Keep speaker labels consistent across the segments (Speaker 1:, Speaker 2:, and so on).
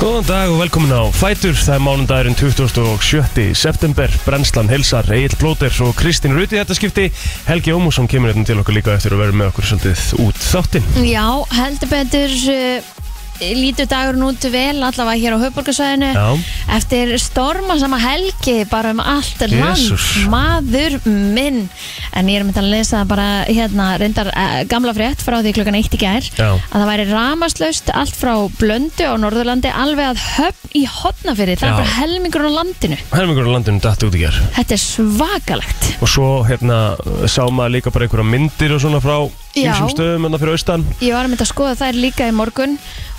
Speaker 1: Góðan dag og velkomin á Fætur. Það er mánundagurinn 27. september. Brennslan hilsar, Egil Blóter og Kristín Ruti þetta skipti. Helgi Ómusson kemur hérna til okkar líka eftir að vera með okkur svolítið út þáttinn.
Speaker 2: Já, heldur betur uh, lítur dagurinn út vel allavega hér á höfborgarsvæðinu
Speaker 1: Já.
Speaker 2: eftir storma sama helgi bara um allt land
Speaker 1: Jesus.
Speaker 2: maður minn en ég er myndið að lesa bara hérna reyndar uh, gamla frétt frá því klukkan eitt í gær
Speaker 1: Já.
Speaker 2: að það væri ramaslaust allt frá Blöndu á Norðurlandi alveg að höfn í hotnafyrir það
Speaker 1: Já.
Speaker 2: er bara helmingur á landinu
Speaker 1: Helmingur á landinu datt út í gerð.
Speaker 2: þetta er svakalegt
Speaker 1: Og svo hérna sá maður líka bara einhverja myndir og svona frá
Speaker 2: Já.
Speaker 1: ímsum stöðum hérna fyrir austan.
Speaker 2: Ég var að mynda að skoða þær líka í morgun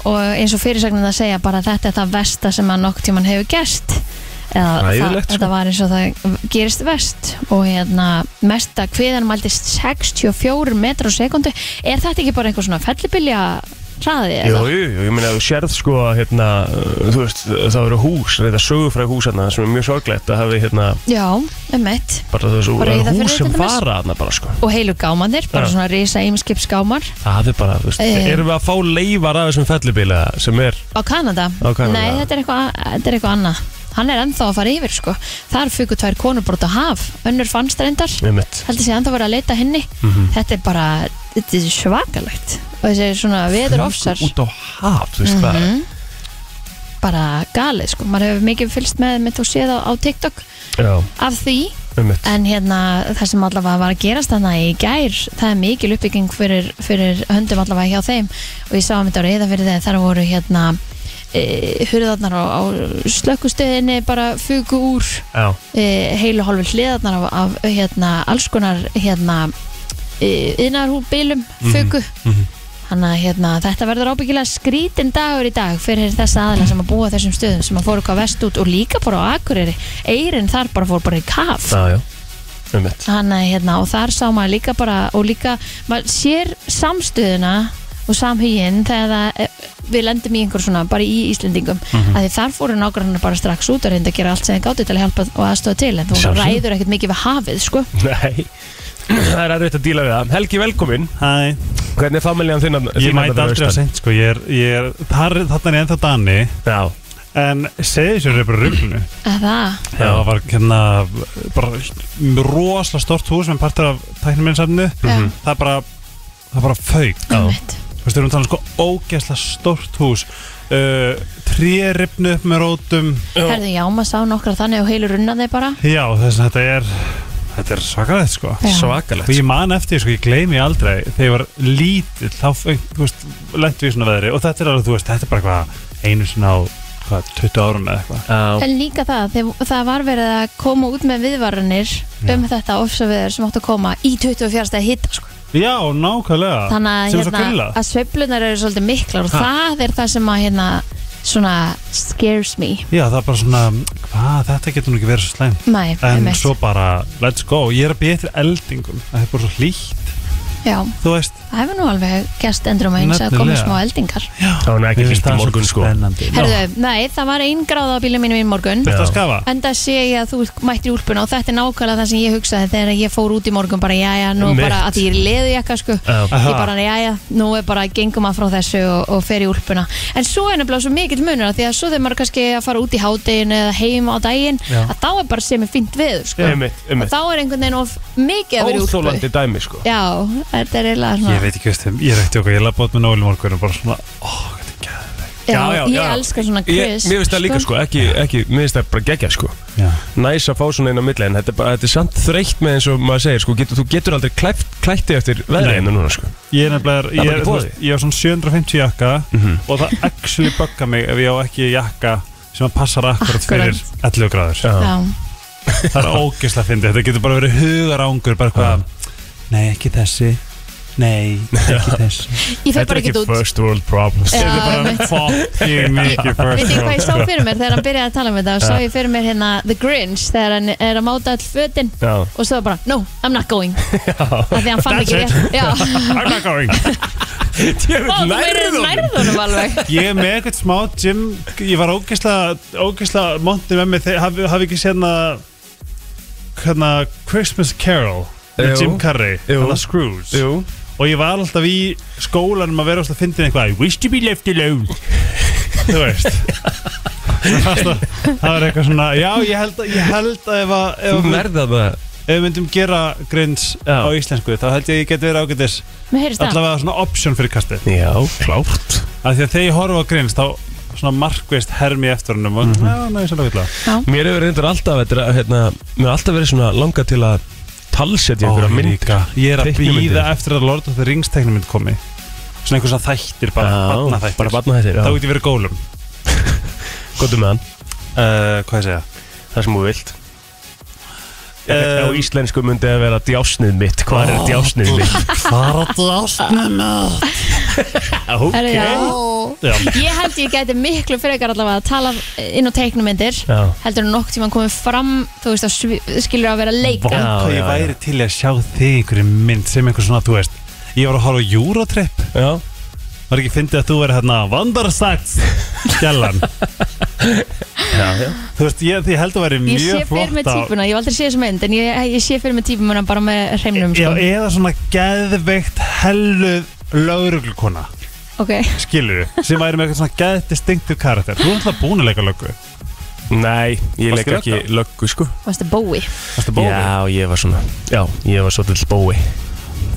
Speaker 2: og eins og fyrirsagnir það segja bara að þetta er það versta sem að nokk tíman hefur gerst eða það,
Speaker 1: Hræðilegt, sko.
Speaker 2: þetta var eins og það gerist vest og hérna mesta hviðan mæltist 64 metrar á sekundu er þetta ekki bara einhver svona fellibilja hraði
Speaker 1: Jú,
Speaker 2: eða?
Speaker 1: jú, jú, ég meina að þú sérð sko að hérna, uh, þú veist, það eru hús, reyða sögufræð hús hérna sem er mjög sorglegt að hafi hérna
Speaker 2: Já, um eitt
Speaker 1: bara þessu
Speaker 2: Bara
Speaker 1: það eru
Speaker 2: Reyðarfirði
Speaker 1: hús sem
Speaker 2: til dæmis.
Speaker 1: fara hérna bara sko.
Speaker 2: og heilu gámanir, bara
Speaker 1: Já.
Speaker 2: svona risa ímskip skámar
Speaker 1: Það er bara, þú veist,
Speaker 2: Eh.
Speaker 1: erum við að fá leifar af þessum fellibíla sem er
Speaker 2: á Kanada,
Speaker 1: Á Kanada.
Speaker 2: nei þetta er eitthvað þetta er eitthvað annað, hann er ennþá að fara yfir sko. þar fugu tvær konur brot á haf önnur fannst reyndar
Speaker 1: með mitt.
Speaker 2: heldur sig ennþá verið að leita henni
Speaker 1: Mhm.
Speaker 2: þetta er bara, þetta er svakalegt og þessi svona veður ofsar Mhm.
Speaker 1: Út á haf, þú veist
Speaker 2: bara galið sko, maður hefur mikið fylst með mitt og séð á, á TikTok
Speaker 1: hvað. Já,
Speaker 2: af því,
Speaker 1: með mitt.
Speaker 2: en hérna það sem allavega var að gerast þarna í gær það er mikil uppbygging fyrir, fyrir höndum allavega hjá þeim og ég sá að mitt á reyða fyrir þegar þar voru hérna e, hurðarnar á, á slökkustöðinni bara fugu úr
Speaker 1: Já,
Speaker 2: e, heilu hálfu hliðarnar af, af hérna, alls konar hérna, e, innarhúbílum fugu
Speaker 1: Mhm.
Speaker 2: þannig að hérna, þetta verður ábyggilega skrítin dagur í dag fyrir þessa aðla sem að búa á þessum stöðum sem að fóru hvað vest út og líka bara á Akureyri Eirin þar bara fór bara í kaf
Speaker 1: já, já, með Um mitt.
Speaker 2: Hanna, hérna, og þar sá maður líka bara og líka, maður sér samstöðuna og samhugin þegar það, eh, við lendum í einhver svona bara í Íslendingum, mm
Speaker 1: Mhm.
Speaker 2: að því þar fóru nágrannar bara strax út að reynda að gera allt sem þeir gátu til að hjálpa og aðstofa til, en þú
Speaker 1: Sjálfsögðu.
Speaker 2: ræður ekkert mikið við hafið, sko
Speaker 1: Nei, það er erfitt að díla við það. Helgi, velkomin.
Speaker 3: Hæ,
Speaker 1: Hvernig er familjan þinn? að-
Speaker 3: ég
Speaker 1: þín
Speaker 3: mæti
Speaker 1: þarna fyrir
Speaker 3: aldrei að
Speaker 1: austan?
Speaker 3: seint sko, ég er, ég er þar, þarna er ég ennþá danni
Speaker 1: Já,
Speaker 3: en segði sér er bara rugglunu
Speaker 2: að það,
Speaker 1: Já.
Speaker 3: það var hérna bara rosalega stort hús með partur af tæknuminsafnu
Speaker 2: Mhm.
Speaker 3: það er bara, það er bara fauk
Speaker 2: einmitt
Speaker 3: þú veist, við erum talað um sko ógeðslega stort hús uh, tréripnu upp með rótum
Speaker 2: herðu, já, maður sá nokkra þannig og heilu runnaði bara
Speaker 3: já, þess að þetta er þetta er svakalegt sko
Speaker 2: Já.
Speaker 3: og
Speaker 1: svakalegt.
Speaker 3: ég man eftir, sko, ég gleymi aldrei þegar ég var lítill, þá feng- þú veist, lendi við í svona veðri og þetta er alveg, þú veist, þetta er bara eitthvað einu svona á, hvað, 20 árum eða eitthvað
Speaker 1: Já,
Speaker 2: en líka það, þegar það var verið að koma út með viðvaranir um þetta ofsaveður sem áttu að koma í 24. hitta, sko
Speaker 3: Já, nákvæmlega,
Speaker 2: þannig
Speaker 3: sem
Speaker 2: að,
Speaker 3: er svo
Speaker 2: hérna,
Speaker 3: grilla
Speaker 2: að sveiflunar eru svolítið miklar og
Speaker 1: Ha.
Speaker 2: það er það sem að hérna, svona scares me
Speaker 3: Já, það er bara svona, hvað, þetta getur nú ekki verið svo slæm
Speaker 2: Nei,
Speaker 3: En
Speaker 2: einmitt.
Speaker 3: svo bara, let's go, ég er að býja eftir eldingum Það er bara svo hlýtt,
Speaker 2: já,
Speaker 3: þú veist
Speaker 2: það hefur nú alveg gerst endur um eins að komið
Speaker 3: Nefnilega.
Speaker 2: smá eldingar
Speaker 1: það var nú ekki
Speaker 3: Mér
Speaker 1: hlýtt
Speaker 3: finnst
Speaker 1: í
Speaker 3: það
Speaker 1: morgun
Speaker 3: svolítið
Speaker 1: sko.
Speaker 3: Spennandi Já.
Speaker 2: Herðu, nei, það var einn gráð á bílum mínum í morgun
Speaker 3: Þetta
Speaker 1: Já.
Speaker 3: að skafa
Speaker 2: en það sé ég að þú mættir í úlpuna og þetta er nákvæmlega það sem ég hugsaði þegar ég fór út í morgun bara jæja, nú
Speaker 1: Mitt.
Speaker 2: bara að því ég er leðu jakka sko
Speaker 1: Já.
Speaker 2: ég bara jæja, nú er bara gengum að frá þessu og, og fer í úlpuna en svo er nefnilega svo mikill munur af því að svo þegar maður er kannski að fara út í hádeginu eða heim á daginn
Speaker 3: Já.
Speaker 2: að þá er bara sem er fínt veður sko
Speaker 1: Einmitt,
Speaker 2: og
Speaker 1: einmitt.
Speaker 2: þá er einhvern veginn of mikið að vera í úlpu
Speaker 1: Óþólandi dæmi sko.
Speaker 2: Já, þetta er eiginlega
Speaker 3: Ég
Speaker 2: svona
Speaker 3: veit ekki veist þeim, ég er ekkert okkur, ég laði bótt með Nóli morgun og bara svona, oh. ó, þetta er gæðveik
Speaker 1: Já, já,
Speaker 2: Ég
Speaker 1: já.
Speaker 2: elska svona
Speaker 1: Ég,
Speaker 2: quiz
Speaker 1: mér finnst það líka sko, ekki, ekki, mér finnst það bara gegja sko.
Speaker 3: Já,
Speaker 1: næs að fá svona inn á milli en þetta er, bara, þetta er samt þreytt með eins og maður segir sko, getur, þú getur aldrei klæft, klætti eftir
Speaker 3: Nei.
Speaker 1: veðriðinu núna sko.
Speaker 3: Ég er nefnilega,
Speaker 1: er
Speaker 3: ég
Speaker 1: bara
Speaker 3: er,
Speaker 1: ekki
Speaker 3: þú
Speaker 1: boðið.
Speaker 3: veist, ég er svona 750 jakka
Speaker 2: Mhm.
Speaker 3: og það actually bugga mig ef ég á ekki jakka sem að passar akkurat fyrir
Speaker 2: Akkúrat.
Speaker 3: 11 gráður.
Speaker 2: Já,
Speaker 3: Það er ógeðslega fyndið, þetta getur bara verið hugarángur, bara hvað, nei ekki þessi, nei ekki þessi.
Speaker 2: ég fer bara ekki út
Speaker 1: first world problems
Speaker 2: Já,
Speaker 3: Þetta er
Speaker 2: einmitt.
Speaker 3: bara fucking mikið
Speaker 2: Veit
Speaker 3: first
Speaker 2: ég hvað ég sá
Speaker 3: world.
Speaker 2: fyrir mér þegar hann byrjaði að tala um þetta og sá ég fyrir mér hérna The Grinch þegar hann er að máta all fötin
Speaker 1: Já.
Speaker 2: og svo bara, no, I'm not going af því hann fann
Speaker 3: That's
Speaker 2: ekki
Speaker 3: it.
Speaker 2: rétt Já,
Speaker 3: I'm not going.
Speaker 1: Djöfull,
Speaker 2: Ó, þú
Speaker 1: nærðu
Speaker 2: verður
Speaker 1: honum.
Speaker 2: nærðunum alveg
Speaker 3: Ég er með eitthvað smá gym, ég var ógeðslega, ógeðslega montið með mig þegar, hafi, hafi ekki séð hérna, hérna Christmas Carol
Speaker 1: Jú.
Speaker 3: með Jim Carrey,
Speaker 1: Jú.
Speaker 3: hérna Scrooge.
Speaker 1: Jú,
Speaker 3: og ég var alltaf í skólanum að vera alltaf að fyndin eitthvað I wish to be left alone þú veist Mér fannst það það var eitthvað svona já ég held að, ég held að ef, að, ef,
Speaker 4: Þú
Speaker 3: að,
Speaker 4: nærðað með það
Speaker 3: ef við myndum gera grins
Speaker 1: Já.
Speaker 3: á íslensku þá held ég að ég geti verið ágætis
Speaker 2: Mér heyrist það
Speaker 3: allavega svona option fyrir kastið
Speaker 1: Já, klárt
Speaker 3: af því að þegar ég horfa á grins þá svona markvist hermi eftir honum
Speaker 1: Mhm.
Speaker 3: og já, næ, svolítið vilja
Speaker 4: Mér hefur reyndur alltaf þetta er að, hérna, Mér hefur alltaf verið svona langa til að Talsetja ykkur að mynda
Speaker 3: ég er að
Speaker 4: Teiknimyndir.
Speaker 3: býða eftir að Lord of the Rings teknumynd komi svona einhversa þættir bara, barna
Speaker 4: Bara
Speaker 3: þættir
Speaker 4: batna þættir
Speaker 3: þá
Speaker 4: já.
Speaker 3: get ég verið gólum
Speaker 1: Góttu með hann,
Speaker 3: uh, hvað ég segja
Speaker 1: það sem þú vilt
Speaker 3: Eh,
Speaker 1: Á íslensku myndi að vera djásnið mitt Hvað er djásnið mitt?
Speaker 3: farðu ástnum
Speaker 2: Herri,
Speaker 3: Já.
Speaker 2: já. Ég held ég gæti miklu frekar allavega að tala inn á teiknumyndir
Speaker 1: Já,
Speaker 2: heldur en nokk tíma komið fram þú veist að skilur að vera að leika
Speaker 1: Vá.
Speaker 3: hvað
Speaker 1: Já,
Speaker 3: ég
Speaker 1: já,
Speaker 3: væri til í að sjá þig í einhverju mynd sem einhver svona, þú veist ég var að horfa á Eurotrip
Speaker 1: já
Speaker 3: var ekki fyndið að þú verið hérna Vandarsats skjallan já, já. þú veist, ég, ég held að væri
Speaker 2: Ég
Speaker 3: mjög
Speaker 2: sé fyrir með
Speaker 3: flott á-
Speaker 2: típuna, ég hef aldrei séð þessu mynd en ég, ég sé fyrir með típuna bara með hreimnum
Speaker 3: já,
Speaker 2: sko.
Speaker 3: eða svona geðveikt helluð lauruglukona
Speaker 2: Ok,
Speaker 3: skilur sem væri með eitthvað svona geðt distinktiv karakter þú er alltaf búin að leika löggu
Speaker 1: Nei, ég
Speaker 3: Varstu
Speaker 1: leik ekki
Speaker 3: lögga?
Speaker 1: löggu sko
Speaker 2: varstu bói
Speaker 3: Varstu bóði?
Speaker 1: Já, ég var svona Já, ég var svo til bói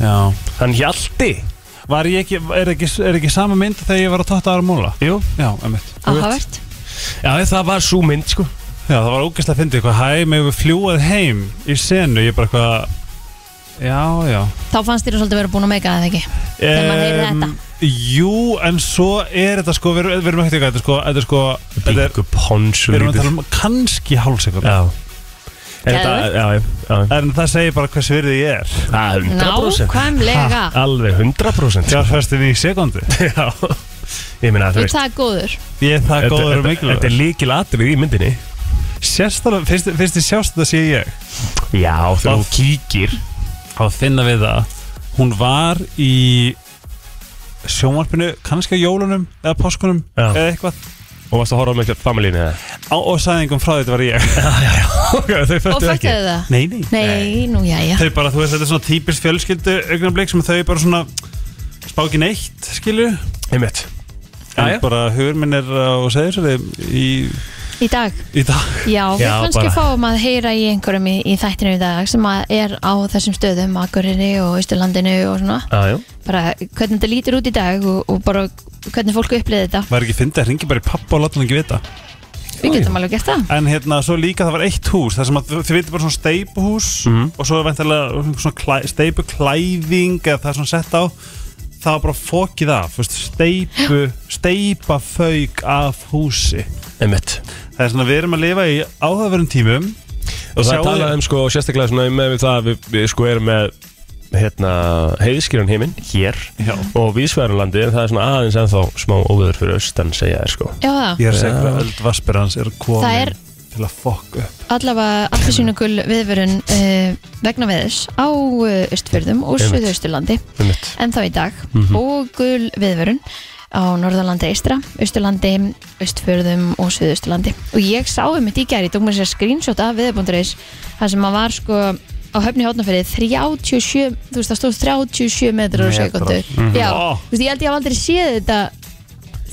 Speaker 3: Já.
Speaker 1: Hann Hjalti
Speaker 3: Var ég ekki, er ekki, er ekki sama mynd þegar ég var að totta ára múla?
Speaker 1: Jú
Speaker 3: Já, emitt
Speaker 2: áhugavert
Speaker 1: Já, það var svo mynd sko
Speaker 3: Já, það var ógæslega að fyndi eitthvað Hæ, mig við fljúað heim í senu Ég bara eitthvað Já, já
Speaker 2: Þá fannst þér svolítið vera búin að meika það ekki Þegar maður heyrir
Speaker 3: Em,
Speaker 2: þetta.
Speaker 3: Jú, en svo er þetta sko Við, við erum ekkert eitthvað Þetta er sko, þetta er sko þetta er,
Speaker 1: Bingo Pons
Speaker 3: Við erum að tala um kannski hálsekund
Speaker 1: Já En þetta,
Speaker 2: Geðveikt.
Speaker 1: já, já, já
Speaker 3: En það segir bara hvers virði ég er
Speaker 1: Það er 100%
Speaker 2: Nákvæmlega
Speaker 1: Alveg 100%
Speaker 3: Fjárfæstin í sekundu
Speaker 1: já Ég meina, þú
Speaker 2: Þú
Speaker 1: veist
Speaker 2: það er góður
Speaker 3: Ég er það
Speaker 1: þetta-
Speaker 3: góður
Speaker 1: þetta- Þetta
Speaker 3: og
Speaker 1: er
Speaker 3: mikilvægur
Speaker 1: líkil atrið í myndinni
Speaker 3: Sérstálega, fyrst, fyrst ég sjást þetta sé ég
Speaker 1: Já,
Speaker 3: þú
Speaker 1: þú kíkir
Speaker 3: að finna við það hún var í sjónvarpinu, kannski á jólunum eða páskunum
Speaker 1: Já.
Speaker 3: eða eitthvað
Speaker 1: Og varst að horfa með eitthvað familíinu eða
Speaker 3: á, og sagði einhverjum frá þetta var ég
Speaker 1: Ok, þau
Speaker 2: Og
Speaker 1: föttu ekki
Speaker 2: fættuðu það?
Speaker 3: nei, nei.
Speaker 2: Nei, nú jæja
Speaker 3: þau bara, þú veist, þetta er svona típist fjölskyldu augnablik sem þau bara svona spá ekki neitt, skilju
Speaker 1: Einmitt
Speaker 3: en
Speaker 1: Jæja.
Speaker 3: bara hugur minn er á seðisverði í,
Speaker 2: Í dag,
Speaker 3: í dag
Speaker 2: já, við
Speaker 1: Já,
Speaker 2: kannski
Speaker 1: bara-
Speaker 2: fáum að heyra í einhverjum í, í þættinu í dag sem að er á þessum stöðum Akureyri og Ísturlandinu og svona
Speaker 1: Já, já
Speaker 2: bara hvernig þetta lítur út í dag og, og bara hvernig fólk upplýði þetta
Speaker 3: var ekki fyndið að ringi bara í pappa og láta hann ekki vita
Speaker 2: Við getum alveg gert það
Speaker 3: en hérna, svo líka það var eitt hús þar sem að þau veitir bara svona steipuhús
Speaker 1: Mhm.
Speaker 3: og svo er vantilega svona klæ, steipuklæðing eða það er svona sett á það var bara fokið af þú veist, steipu, steipafauk af húsi
Speaker 1: Einmitt
Speaker 3: það er svona, við erum að lifa í áhugaverðum tímum
Speaker 1: Og það
Speaker 3: Sjáu-
Speaker 1: er talað um sko sérstaklega svona með við það að við, við sko erum með hérna heiðskýrun heiminn hér
Speaker 3: Já.
Speaker 1: og vísverðarlandi en það er svona aðeins ennþá smá óveður fyrir austan segja þér sko
Speaker 2: Já, það,
Speaker 3: ég er að segja hvað öll vaspirans er komin
Speaker 2: Það er-
Speaker 3: til að fokka upp
Speaker 2: allavega allir sínugul viðvörun uh, vegna veðis á uh, Östfjörðum og
Speaker 1: Einmitt.
Speaker 2: Suðausturlandi
Speaker 1: einmitt Mhm.
Speaker 2: en þá í dag og gul viðvörun á Norðalandi eistra, Östurlandi, Östfjörðum og Suðausturlandi og ég sá um þetta í gæri, tók mér sér screenshot af viðbúndureis þar sem maður var sko á höfni hótnafyrir 37, þú veist það stóð 37 metrar á
Speaker 3: Metrar.
Speaker 2: sekundu
Speaker 1: Mhm.
Speaker 2: Já,
Speaker 3: Ó.
Speaker 2: þú veist ég held ég haf aldrei séð þetta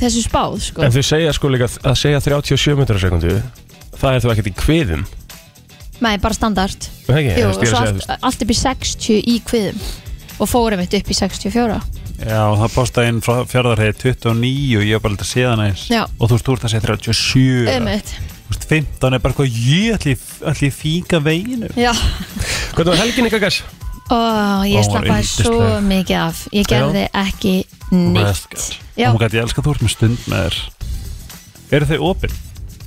Speaker 2: þessu spáð sko
Speaker 1: En þau segja sko líka að segja 37 metrar á sekundu það er þú ekkert í kviðum
Speaker 2: Nei, bara standart
Speaker 1: er það ekki?
Speaker 2: Jú, og
Speaker 1: Þú veist, ég er
Speaker 2: svo
Speaker 1: að
Speaker 2: allt,
Speaker 1: segja,
Speaker 2: allt upp í 60 í kviðum og fórum eitt upp í 64
Speaker 3: já, og það postaði inn frá fjörðarhegi 29 og ég var bara eitthvað að séða næst
Speaker 2: Já.
Speaker 3: og þú veist, þú ert að segja 37
Speaker 2: Ömut,
Speaker 3: Þú veist, 15 er bara eitthvað, ég ætli, ætli ég fíka veginu
Speaker 2: já
Speaker 1: þú veist. Hvernig var helgin ykkar gæs?
Speaker 2: Og
Speaker 3: Ó,
Speaker 2: ég
Speaker 3: hún var
Speaker 2: slappaði svo
Speaker 3: yndisleg.
Speaker 2: mikið af Ég gerði ekki neitt Já,
Speaker 3: Og hún gæti, Oh ég elska að þú ert með stund með þér Eru þau opinn?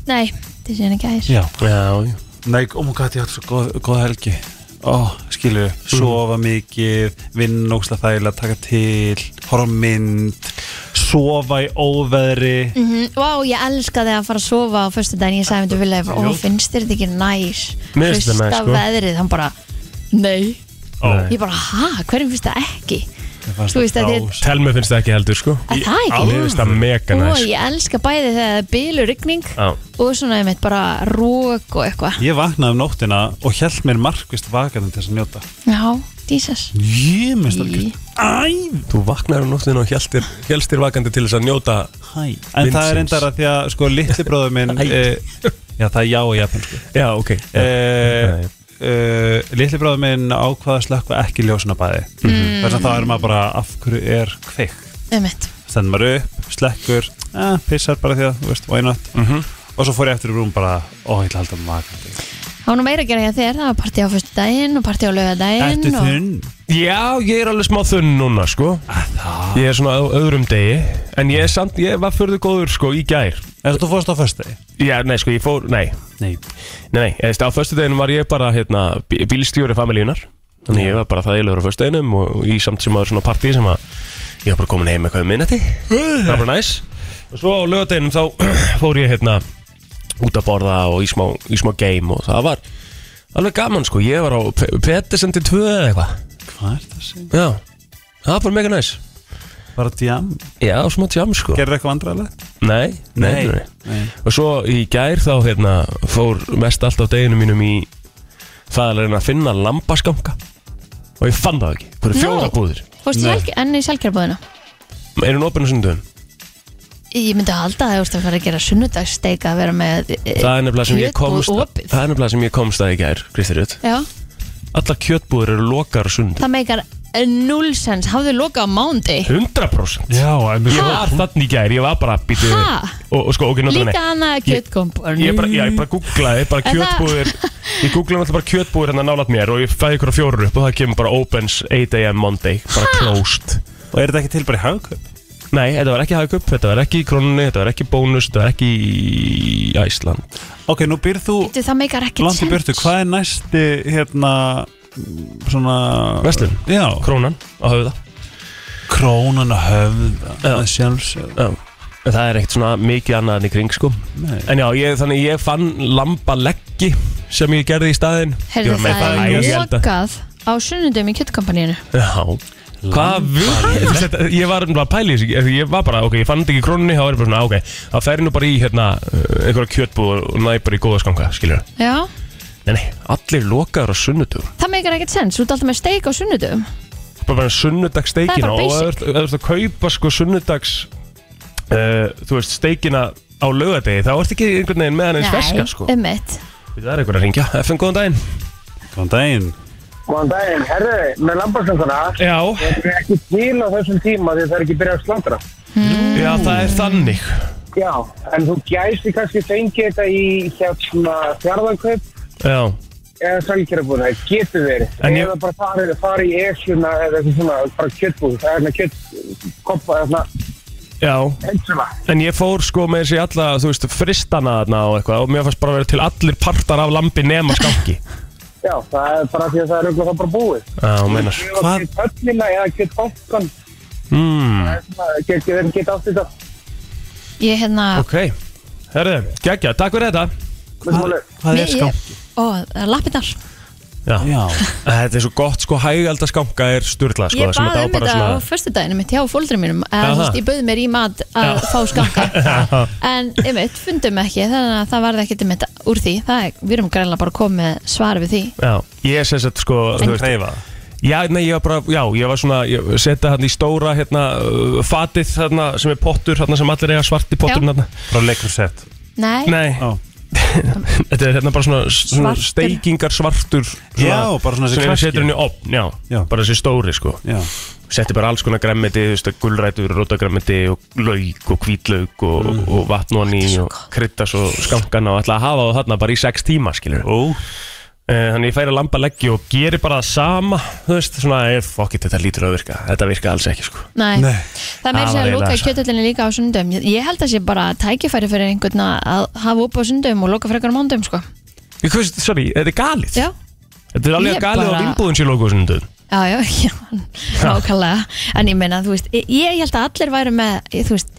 Speaker 2: nei, þetta sé henni gæðis
Speaker 3: Já
Speaker 1: Já, já.
Speaker 3: Nei, og hún gæti, ég átti svo góð, góð helgi Ó, skilu, sofa mikið Vinn ógsta þægilega, taka til Horfa á mynd Sofa í óveðri
Speaker 2: Mm Vá, ég elskaði að fara að sofa á föstu daginn Ég sagði myndi vilja, ég bara, ó, finnst þér þetta ekki næs
Speaker 1: Mér finnst þetta næs,
Speaker 2: Hlusta
Speaker 1: sko.
Speaker 2: veðrið, hann bara, nei
Speaker 3: Ó,
Speaker 1: Nei.
Speaker 2: Ég bara, hæ, hverjum finnst það ekki?
Speaker 3: mér fannst
Speaker 2: Þú veist að þið-
Speaker 3: dás-
Speaker 1: Telmi finnst það ekki heldur sko
Speaker 2: Er það ekki?
Speaker 1: Mér finnst það mega
Speaker 2: Ó,
Speaker 1: næs
Speaker 2: ég elska bæði þegar það er bylur rigning
Speaker 1: Já.
Speaker 2: og svona einmitt bara rók og eitthvað
Speaker 3: Ég vaknaði um nóttina og held mér markvist vakandi til þess að njóta
Speaker 2: Já, Jesus
Speaker 3: Ég minnst
Speaker 2: Í.
Speaker 3: það Æ,
Speaker 1: Þú vaknar um nóttinu og hélstir vakandi til þess að njóta
Speaker 3: hæ En það er
Speaker 1: Vinsins.
Speaker 3: reyndar að því að sko litli bróður minn
Speaker 1: Hæ.
Speaker 3: e, Já, það er já og japansku
Speaker 1: Já, ok
Speaker 3: e,
Speaker 1: Já, já.
Speaker 3: e, Litli bróður minn ákvaða slökva ekki ljósuna bæði mm. Þess að þá er maður bara af hverju er kveik
Speaker 2: Einmitt.
Speaker 3: Stendur maður upp, slekkur, eh, pissar bara því að, þú veist, why not
Speaker 1: Mhm.
Speaker 3: Og svo fór ég eftir í rúm bara, ó, ég ætla að halda maður
Speaker 2: Það var nú meira að gera hjá þér, það var partí á fyrstu daginn og partí á lögadaginn
Speaker 3: Ertu
Speaker 2: og...
Speaker 3: þunn? Ah,
Speaker 1: Já, ég er alveg smá þunn núna, sko Ég er svona á öðrum degi En ég er samt, ég var förðu góður, sko, í gær
Speaker 3: Er þú fórst á föstu?
Speaker 1: Já, nei, sko, ég fór, nei
Speaker 3: Nei
Speaker 1: Nei, nei, eða, á föstu deginu var ég bara, hérna, bí- bílstjóri familíunar Þannig ég var bara það eiginlega á föstu deginum Og og í samt sem aður svona partí sem að Ég var bara komin heim eitthvað um minnati Það var bara næs Og svo á lögadeginum þá fór ég, hérna, út að borða og í smá, í smá game Og það var alveg gaman, sko Ég var á Pettersendi 2 eða eitthvað
Speaker 3: Hvað er það að segja?
Speaker 1: Já, það var bara mega næs
Speaker 3: Bara djam
Speaker 1: Já, smá tjám sko
Speaker 3: Gerðu eitthvað vandrarlegt?
Speaker 1: nei, nei, nei,
Speaker 3: Nei
Speaker 1: Og svo í gær þá hérna, fór mest allt af deginu mínum í það að reyna að finna lambaskanka og ég fann það ekki Hvað er
Speaker 2: Nú.
Speaker 1: fjóra búðir?
Speaker 2: Fórstu
Speaker 3: Nei.
Speaker 2: sjálf- enn í sjálfgerðarbúðina?
Speaker 1: Er hún opinn á sundum?
Speaker 2: Ég myndi að halda að það, þú veist að fara að gera sunnudagssteik að vera með... e,
Speaker 1: Það er nefnilega sem ég
Speaker 2: kjötbúð
Speaker 1: komst
Speaker 2: opið.
Speaker 1: Það er nefnilega sem ég komst að í gær, Kristi Rutt
Speaker 2: Já,
Speaker 1: Allar kjötbúðir eru lokar á sundum
Speaker 2: það meikar nullsens, hafðu lokað á mándi.
Speaker 1: 100%
Speaker 3: Já, en
Speaker 1: Ég var þannig í gær, ég var bara býtu
Speaker 2: Ha?
Speaker 1: og, og sko, ok, náttúrulega
Speaker 2: Líka hana kjötkomporn.
Speaker 1: Ég bara, já, ég bara googlaði, bara
Speaker 2: En það-
Speaker 1: kjötbúðir Ég googlaði alltaf bara kjötbúðir hérna nálat mér Og ég fæði ykkur á fjóru upp og það kemur bara Opens 8am Monday, bara closed
Speaker 3: Og er þetta ekki til bara í hagkaup?
Speaker 1: Nei, þetta var ekki Hagkup, þetta var ekki í Krónunni Þetta var ekki í Bónus, þetta var ekki í Æsland
Speaker 3: Ok, nú býrð þú
Speaker 2: Það meikar ekkert
Speaker 3: langt í
Speaker 2: sens.
Speaker 3: burtu Hvað er næsti, hérna, mm, svona
Speaker 1: Verslun?
Speaker 3: Já
Speaker 1: Krónan á höfða
Speaker 3: Krónan að höfða
Speaker 1: Já.
Speaker 3: Það sjálfsög
Speaker 1: Já En Það er ekkert svona mikið annað en í kring sko
Speaker 3: Nei
Speaker 1: En já, ég, þannig ég fann lambaleggi sem ég gerði í staðinn Ég
Speaker 2: Herðu
Speaker 1: var með
Speaker 2: það
Speaker 1: bara
Speaker 2: er
Speaker 1: í elda.
Speaker 2: lokað á sunnundum í kjöttkompaníinu.
Speaker 1: Já Hvað vil þetta? Ég var bara að pæli þessu Ég var bara, ok, ég fann þetta ekki í krónunni Þá er ég bara svona, ok, þá fer ég nú bara í hérna uh, einhverja kjötbúð og næ bara í góða skanga Skiljur það?
Speaker 2: Já,
Speaker 1: Nei, nei, allir lokaður á sunnudum
Speaker 2: það meikar ekkert sens, þú ert alltaf með steik á sunnundum.
Speaker 1: Bara bara
Speaker 2: Það er
Speaker 1: sunnudagssteikina
Speaker 2: bara
Speaker 1: Og ef
Speaker 2: basic.
Speaker 1: þú ert- ef þú ert að kaupa sko sunnudags uh, Þú veist, steikina á laugardegi Þá ert ekki einhvern veginn með hann eins ferska sko
Speaker 2: um mitt.
Speaker 1: Við það er einhvern að ringja FM, góðan daginn
Speaker 3: Góðan daginn
Speaker 5: Góðan daginn, herðu, með lambarsönguna
Speaker 1: Já,
Speaker 5: Það er ekki til á þessum tíma því að það er ekki byrjað að slandra
Speaker 1: já það er þannig
Speaker 5: Já, en þú gæsti kannski fengið þetta í hérna fjárðankaup
Speaker 1: Já,
Speaker 5: eða selgerabúna, það getur verið
Speaker 1: En ég-
Speaker 5: eða bara farið, farið í esjuna eða eitthvað svona, bara kjöttbúð það er hérna kjöttkoppa, eða svona
Speaker 1: já
Speaker 5: hensula
Speaker 1: En ég fór sko með þessi alla, þú veist, fristana þarna og eitthvað og mér fannst bara að vera til allir partar af lambi nema skanki.
Speaker 5: Já, það er bara því að það er auðvitað bara búið
Speaker 1: Já, meinar.
Speaker 3: Hvað-
Speaker 5: Hvað? Höllina eða kjöttbankan
Speaker 1: Mm,
Speaker 5: getur verið geta átt þetta
Speaker 2: Ég hérna...
Speaker 1: ok. Herðu, geggja, takk fyrir þetta.
Speaker 5: Með máli.
Speaker 3: Hvað er
Speaker 2: Mér-
Speaker 3: skam?
Speaker 2: ég- Ó, það er lappirnar.
Speaker 1: Já.
Speaker 3: Já
Speaker 1: Þetta er svo gott sko, hægalda skanka er styrla sko.
Speaker 2: Ég
Speaker 1: sem
Speaker 2: baði
Speaker 1: á
Speaker 2: um
Speaker 1: bara
Speaker 2: þetta á
Speaker 1: svona-
Speaker 2: föstudaginu mitt hjá fólkdurinn mínum eða,
Speaker 1: Aha.
Speaker 2: þú veist, ég bauði mér í mat að fá skanka en einmitt, fundum ekki þannig að það varði ekkert einmitt úr því það er, við erum greinlega bara að koma með svar við því
Speaker 1: Já, ég sé þetta sko, þú
Speaker 3: Þú
Speaker 1: veist,
Speaker 3: reyfa
Speaker 1: já, nei, ég var bara, já, ég var svona, ég setja hann í stóra, hérna, uh, fatið, þarna, sem er pottur, þarna sem allir eiga svarti pottur,
Speaker 2: Já.
Speaker 1: þarna.
Speaker 3: Frá leikur sett
Speaker 2: Nei,
Speaker 1: Nei,
Speaker 3: Já
Speaker 1: þetta er hérna bara svona, svona
Speaker 2: Svartur.
Speaker 1: steikingar svartur, svona,
Speaker 3: Já, bara svona þessi
Speaker 1: sem við
Speaker 3: klaski.
Speaker 1: setjum henni opn, já,
Speaker 3: Já.
Speaker 1: bara þessi stóri, sko.
Speaker 3: Já
Speaker 1: setti bara alls konar græmmiti, þú veist, gulrætur, rótagræmmiti og lauk og hvítlauk og,
Speaker 3: Mm.
Speaker 1: og vatn og ný og krytta svo skankan og ætla að hafa það þarna bara í sex tíma, skilur.
Speaker 3: Ó
Speaker 1: Þannig ég færi að lamba leggja og geri bara það sama, þú veist, svona, eh, fuck it, þetta lítur að virka, þetta virka alls ekki, sko.
Speaker 2: nei.
Speaker 3: Nei.
Speaker 2: það meir sér
Speaker 1: Það var
Speaker 2: að loka
Speaker 1: eiginlega-
Speaker 2: kjötöllinni líka á sundum ég held að sé bara tækifæri fyrir einhvern að- að hafa upp á sundum og loka frekar á mándum sko.
Speaker 1: Ég veist, sorry, þetta er galið.
Speaker 2: já,
Speaker 1: Þetta er
Speaker 2: Ég
Speaker 1: alveg galið
Speaker 2: bara-
Speaker 1: á vinnbúðum sér lókuðum stundum.
Speaker 2: já, já, já nákvæmlega, en ég meina þú veist, ég, ég held að allir væru með þú veist,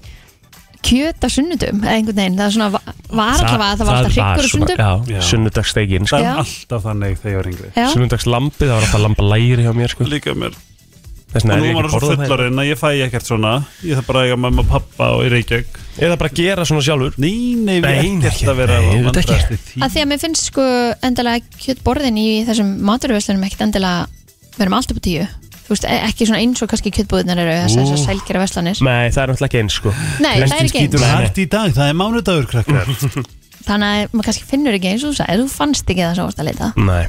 Speaker 2: kjöt á sunnudum eða einhvern veginn, það er svona va- var allavega að það var alltaf hryggur á sunnudum
Speaker 1: Já,
Speaker 3: Já.
Speaker 1: sunnudagssteigin, sko.
Speaker 3: Það
Speaker 2: Já.
Speaker 3: er alltaf þannig þegar ég var yngri
Speaker 2: Já.
Speaker 1: Sunnudagslambið, það var alltaf lamba læri hjá mér, sko.
Speaker 3: Líka mér
Speaker 1: Þess
Speaker 3: Og
Speaker 1: vegna er
Speaker 3: nú
Speaker 1: ég
Speaker 3: var
Speaker 1: ekki
Speaker 3: það svo
Speaker 1: borðað það.
Speaker 3: fullorinn að ég fæ ekkert svona Ég þarf bara að eiga mamma og pappa og í Reykjavík
Speaker 1: Eða bara gera svona sjálfur.
Speaker 3: Nei, nei, við
Speaker 1: Nei,
Speaker 3: erum
Speaker 1: ekki.
Speaker 3: ekkert að vera
Speaker 1: Nei, auðvitað ekki.
Speaker 3: vandræðast í því
Speaker 2: að því að mér finnst sko endilega kjötborðin í þessum maturvöslunum ekkit endilega við erum alltaf på tíu þú þú veist, e- ekki svona eins og kannski kjötbúðunar eru þessar þessar sælgera verslanir
Speaker 1: Nei, það er náttúrulega ekki eins sko
Speaker 2: Nei, það er ekki eins
Speaker 3: Skýtur hart í dag, það er mánudagur krakkar
Speaker 2: Þannig að maður kannski finnur ekki eins og þú sagði, þú fannst ekki það sem þú varst að leita
Speaker 1: Nei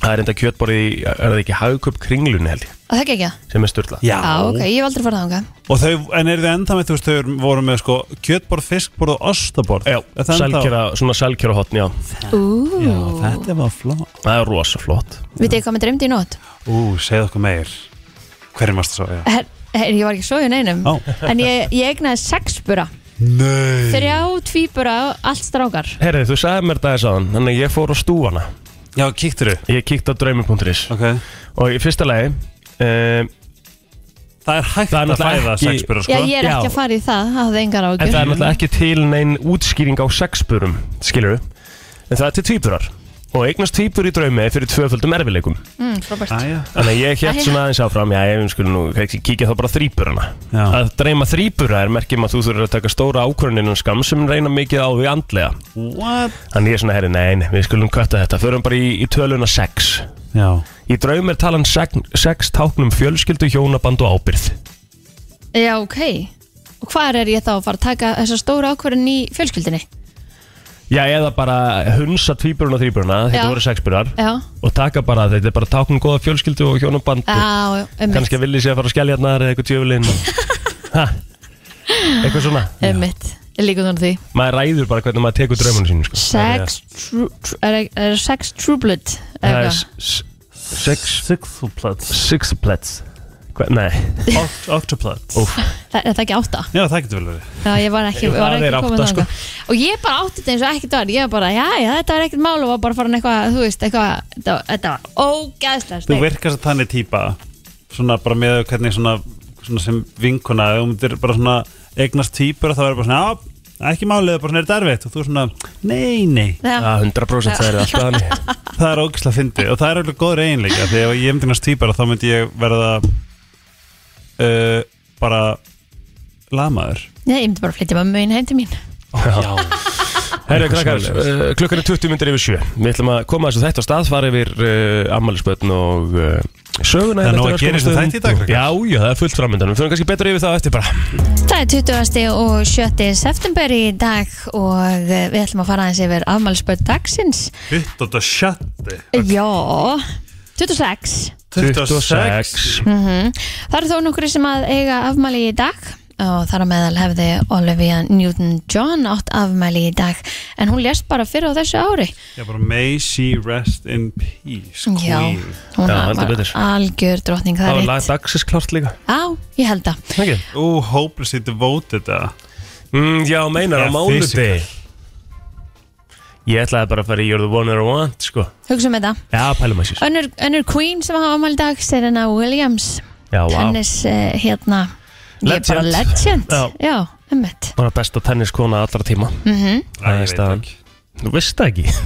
Speaker 1: Það er enda kjötborið í, er það ekki hagköp kringlunni held ég,
Speaker 2: Og það ekki ekki það?
Speaker 1: sem er styrla
Speaker 3: Já,
Speaker 2: Já, ok, ég hef aldrei farið þangað
Speaker 3: Og þau, en eru þau enda með, þú veist, þau voru með sko kjötborð, fiskborð og ostaborð
Speaker 1: Já,
Speaker 3: Er það ennþá-
Speaker 1: sælkjöra, svona sælkjöra hotn, já
Speaker 3: Já,
Speaker 2: Ú,
Speaker 3: þetta var flott
Speaker 1: Það er rosa flott
Speaker 2: vitið þið hvað með dreymdi í nótt?
Speaker 3: Ú, segð okkur meir Hverjum varst það svo? Já.
Speaker 2: Her, her, ég var ekki svo í neinum
Speaker 3: Ó.
Speaker 2: En ég, ég egnaði sex bura
Speaker 3: Nei
Speaker 2: Þrjá tvíbura, allt strákar
Speaker 1: Herri, þú sagði mér þetta þess aðan, þannig að ég fór á stúana
Speaker 3: Já, kíktur þau
Speaker 1: Ég kíkti á draumi.is
Speaker 3: okay.
Speaker 1: Og í fyrsta lagi um,
Speaker 3: Það er hægt
Speaker 1: Það er
Speaker 3: að
Speaker 1: náttúrulega
Speaker 3: fæða
Speaker 1: ekki-
Speaker 3: sexbyrra
Speaker 2: Já,
Speaker 3: sko
Speaker 2: ég er ekki
Speaker 1: Já.
Speaker 2: að fara í það, það hafði engar
Speaker 1: En
Speaker 2: ágjur
Speaker 1: það er náttúrulega ekki til neinn útskýring á sexburum, skilur við En það er til tvíburar Og eignast tvíbur í draumi er fyrir tvöföldum erfileikum
Speaker 2: mm, frábært.
Speaker 3: Æja,
Speaker 1: Þannig að ég
Speaker 2: Æ,
Speaker 1: hétt
Speaker 2: já.
Speaker 1: svona aðeins áfram Já, ég skulle nú kannski kíkja þá bara á þríburana
Speaker 3: Já.
Speaker 1: Að dreyma þríbura er merkjum að þú þurfir að taka stóra ákvörðunin og skam sem reyna mikið á því andlega
Speaker 3: what?
Speaker 1: Þannig ég er svona, herri, nei, nei, við skulum kvötta þetta Förum bara í, í töluna sex
Speaker 3: Já,
Speaker 1: Í draum er talan sex, sex táknum fjölskyldu, hjónaband og ábyrð
Speaker 2: Já, ok Og hvað er ég þá að fara að taka þessa stóra ákvörðin í fjölskyldinni?
Speaker 1: Já, eða bara hunsa tvíburuna og þríburuna Þetta
Speaker 2: Já.
Speaker 1: voru sexburar
Speaker 2: Já,
Speaker 1: Og taka bara, þetta er bara táknum góða fjölskyldu og hjónaband og
Speaker 2: já, um mitt
Speaker 1: Kannski að villi sé að fara að skellja hérna eða eitthvað tjöfulinn Ha, Eitthvað svona
Speaker 2: Um mitt, ég líka þannig því
Speaker 1: Maður ræður bara hvernig maður tekur draumunum sínum sko.
Speaker 2: Sex, trú, trú, er, er sex trúblet
Speaker 1: Það er s- sex
Speaker 3: sexuplats
Speaker 1: Sixplets Hva- Nei,
Speaker 3: Octoplats
Speaker 1: Úf.
Speaker 2: Það er það ekki átta
Speaker 3: Já, það getur vel verið
Speaker 2: Já, ég var ekki,
Speaker 1: Jú,
Speaker 2: var
Speaker 1: það
Speaker 2: ekki
Speaker 1: er
Speaker 2: komin
Speaker 1: átta,
Speaker 2: átta,
Speaker 1: sko.
Speaker 2: Og ég bara átti þetta eins og ekkert var Ég var bara, já, já, þetta var ekkert mál og var bara farin eitthvað, þú veist, eitthvað Þetta, þetta var ógæðslega
Speaker 3: Þú
Speaker 2: steik
Speaker 3: virkast að þannig típa Svona bara með hvernig svona, svona sem vinkona Ef þú myndir bara svona eignast típur Það verður bara svona, já, ekki málið Bara svona er þetta erfitt Og þú svona, nei, nei
Speaker 1: ah, 100% það er alltaf þannig
Speaker 3: Það er ógislega fyndið og það er alveg góður eiginleika Þegar ef ég myndi næst týpara þá myndi ég verða uh, bara lamaður
Speaker 2: Nei, ég myndi bara að flytja mamma mín heim til mín
Speaker 1: Herru krakkar, uh, klukkan er 20 myndir yfir 7 Við ætlum að koma þessu þetta á stað fara yfir uh, ammælisbötn og uh, söguna
Speaker 3: Það er
Speaker 1: hérna
Speaker 3: nóg
Speaker 1: eftir
Speaker 3: að gera í þessu
Speaker 1: örskamma
Speaker 3: þætti í dag,
Speaker 1: stund.
Speaker 3: krakkar.
Speaker 1: Já, já, það er fullt framöndan Við fyrir kannski betur yfir það á eftir bara
Speaker 2: Það er 20. og 7. september í dag og eh, við ætlum að fara aðeins yfir afmælspöld dagsins
Speaker 3: Hitt og það sjötti
Speaker 2: Já, 26 Mhm. Það eru þó nokkri sem að eiga afmæli í dag og þar á meðal hefði Olivia Newton-John átt afmæli í dag en hún lést bara fyrir á þessu ári
Speaker 3: Já bara may she rest in peace
Speaker 2: Já,
Speaker 3: queen.
Speaker 2: hún
Speaker 1: Já, heldur
Speaker 2: var
Speaker 1: betur.
Speaker 2: algjör drotning
Speaker 1: Það
Speaker 2: það
Speaker 1: var
Speaker 2: er
Speaker 1: lag
Speaker 2: rétt
Speaker 1: dagsins klart líka
Speaker 2: Já, ég held að
Speaker 1: Ekki?
Speaker 3: Ú, hopelessly devoted að
Speaker 1: Mm, já, meinar á
Speaker 3: Já,
Speaker 1: mánudegi
Speaker 3: physical.
Speaker 1: Ég ætlaði bara að fara í You're the one I want sko.
Speaker 2: hugsa um þetta
Speaker 1: Já, pælum að sér
Speaker 2: önnur, önnur queen sem hafa afmæli í dag Serena Williams
Speaker 1: Já, vá
Speaker 2: tennis uh, hérna ég er bara
Speaker 1: Legend.
Speaker 2: legend
Speaker 1: Já.
Speaker 2: Já, Mhm. emmitt
Speaker 1: Bara besta tenniskona allra tíma Það er staðan. Þú veist það ekki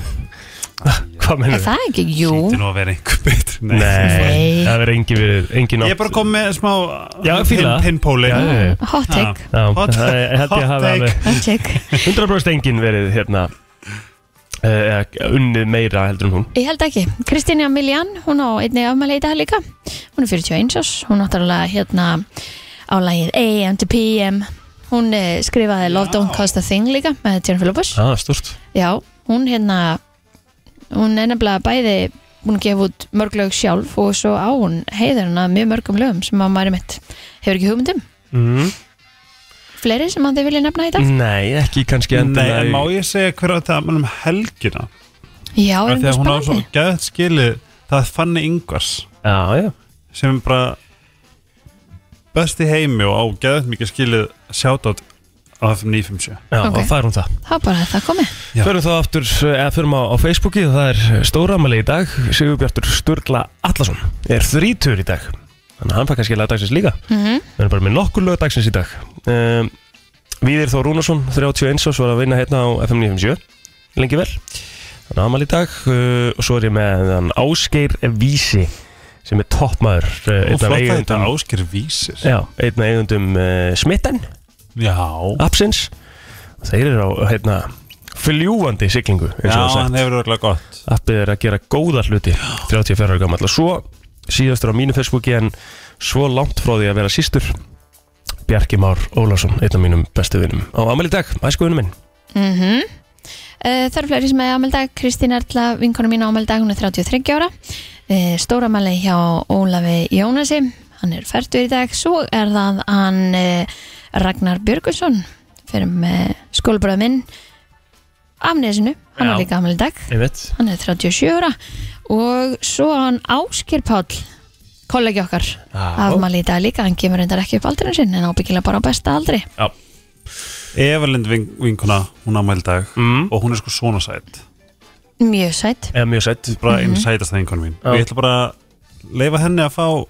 Speaker 1: Hvað
Speaker 2: Er
Speaker 1: mennur
Speaker 2: það ekki? Jú
Speaker 3: Þetta nú að vera einhver betri Nei,
Speaker 1: Nei,
Speaker 2: Nei.
Speaker 1: það verður engin við engin
Speaker 3: Ég er bara kom með smá uh,
Speaker 1: Já, ég fíla það.
Speaker 3: pinpóli
Speaker 1: Já, já, já.
Speaker 2: Hot take
Speaker 1: Já,
Speaker 3: Hot-
Speaker 1: það er- held ég að
Speaker 3: hot
Speaker 1: hafa
Speaker 3: take.
Speaker 1: alveg
Speaker 2: Hot take
Speaker 1: 100% engin verið hérna eh, eh, unnið meira heldur en hún
Speaker 2: Ég held ekki. Kristín Jamiljan, hún á einni afmæli í dag líka. Hún er 41 árs. Hún náttúrulega hérna á lagið AM to PM. Hún eh, skrifaði Love Don't Cost a Thing líka með Jennifer Lopez.
Speaker 1: Já, ah, stort
Speaker 2: Já, hún hérna hún er nefnilega bæði búin að gefa út mörg lög sjálf og svo á hún heiður hann að mjög mörgum lögum sem að maður mitt hefur ekki hugmyndum
Speaker 1: mm.
Speaker 2: Fleiri sem að þið vilja nefna í dag?
Speaker 3: Mm.
Speaker 1: Nei, ekki kannski
Speaker 3: Nei, en
Speaker 1: endilega
Speaker 3: má
Speaker 1: í-
Speaker 3: ég segja hver á þetta um helgina?
Speaker 2: Já, er
Speaker 3: Af
Speaker 2: einhver
Speaker 3: því að hún á svo
Speaker 2: spennandi?
Speaker 3: gæðt skilið það fanni yngvars
Speaker 1: Já, já
Speaker 3: sem er bara best í heimi og á gæðt mikið skilið sjátátt á FM 957
Speaker 1: Já,
Speaker 2: Ok.
Speaker 1: og það er hún það
Speaker 2: Þá bara það komi
Speaker 3: Já.
Speaker 1: Förum þá aftur, eh, eða förum á, á Facebooki Það er stóramæli í dag Sigurbjartur Sturla Allarsson Er þrítur í dag Þannig að hann fær kannski lagdagsins líka
Speaker 2: mm -hmm.
Speaker 1: Við erum bara með nokkur lög dagsins í dag um, Víðir Þór Rúnarsson 31 árs var að vinna hérna á FM 957 Lengi vel Þannig amal í dag uh, Og svo er ég með hann Ásgeir Vísi Sem er toppmaður uh, Einn
Speaker 3: og
Speaker 1: af
Speaker 3: flott að þetta
Speaker 1: eigundum
Speaker 3: ásker vísir
Speaker 1: Já, einn af eigundum uh, Smitten
Speaker 3: já,
Speaker 1: Absins Þeir eru á hérna fljúandi siglingu eins og
Speaker 3: já
Speaker 1: það er sagt.
Speaker 3: hann hefur verið gott
Speaker 1: Appið er að gera góða hluti 34 ára gammal og svo síðastur á mínu Facebooki en svo langt frá því að vera sístur Bjarki Már Ólásson, einn af mínum bestu vinum á Amal í dag, æskuðunum minn
Speaker 2: mm -hmm. Eh, Það eru fleiri sem er ámeldag Kristín Erla, vinkonu mín ámeldag hún er 33 ára Stóramæli hjá Ólafi Jónasi hann er færtur í dag svo er það hann eh, Ragnar Björgusson fyrir með skólbröð minn Amnesinu, hann er
Speaker 1: Já.
Speaker 2: líka ámeldag
Speaker 1: Ég veit
Speaker 2: hann er 37 ára og svo á hann Ásker Páll kollegi okkar afmæli í dag líka, hann kemur reyndar ekki upp aldrinu sinn en ábyggilega bara á besta aldri
Speaker 3: Evalind vin- vinkona, hún ámæli dag
Speaker 1: mm.
Speaker 3: og hún er sko svona sætt
Speaker 2: mjög sætt
Speaker 1: Eða mjög sætt
Speaker 3: bara einn sætast það vinkona mín
Speaker 1: Já.
Speaker 3: og ég ætla bara að leifa henni að fá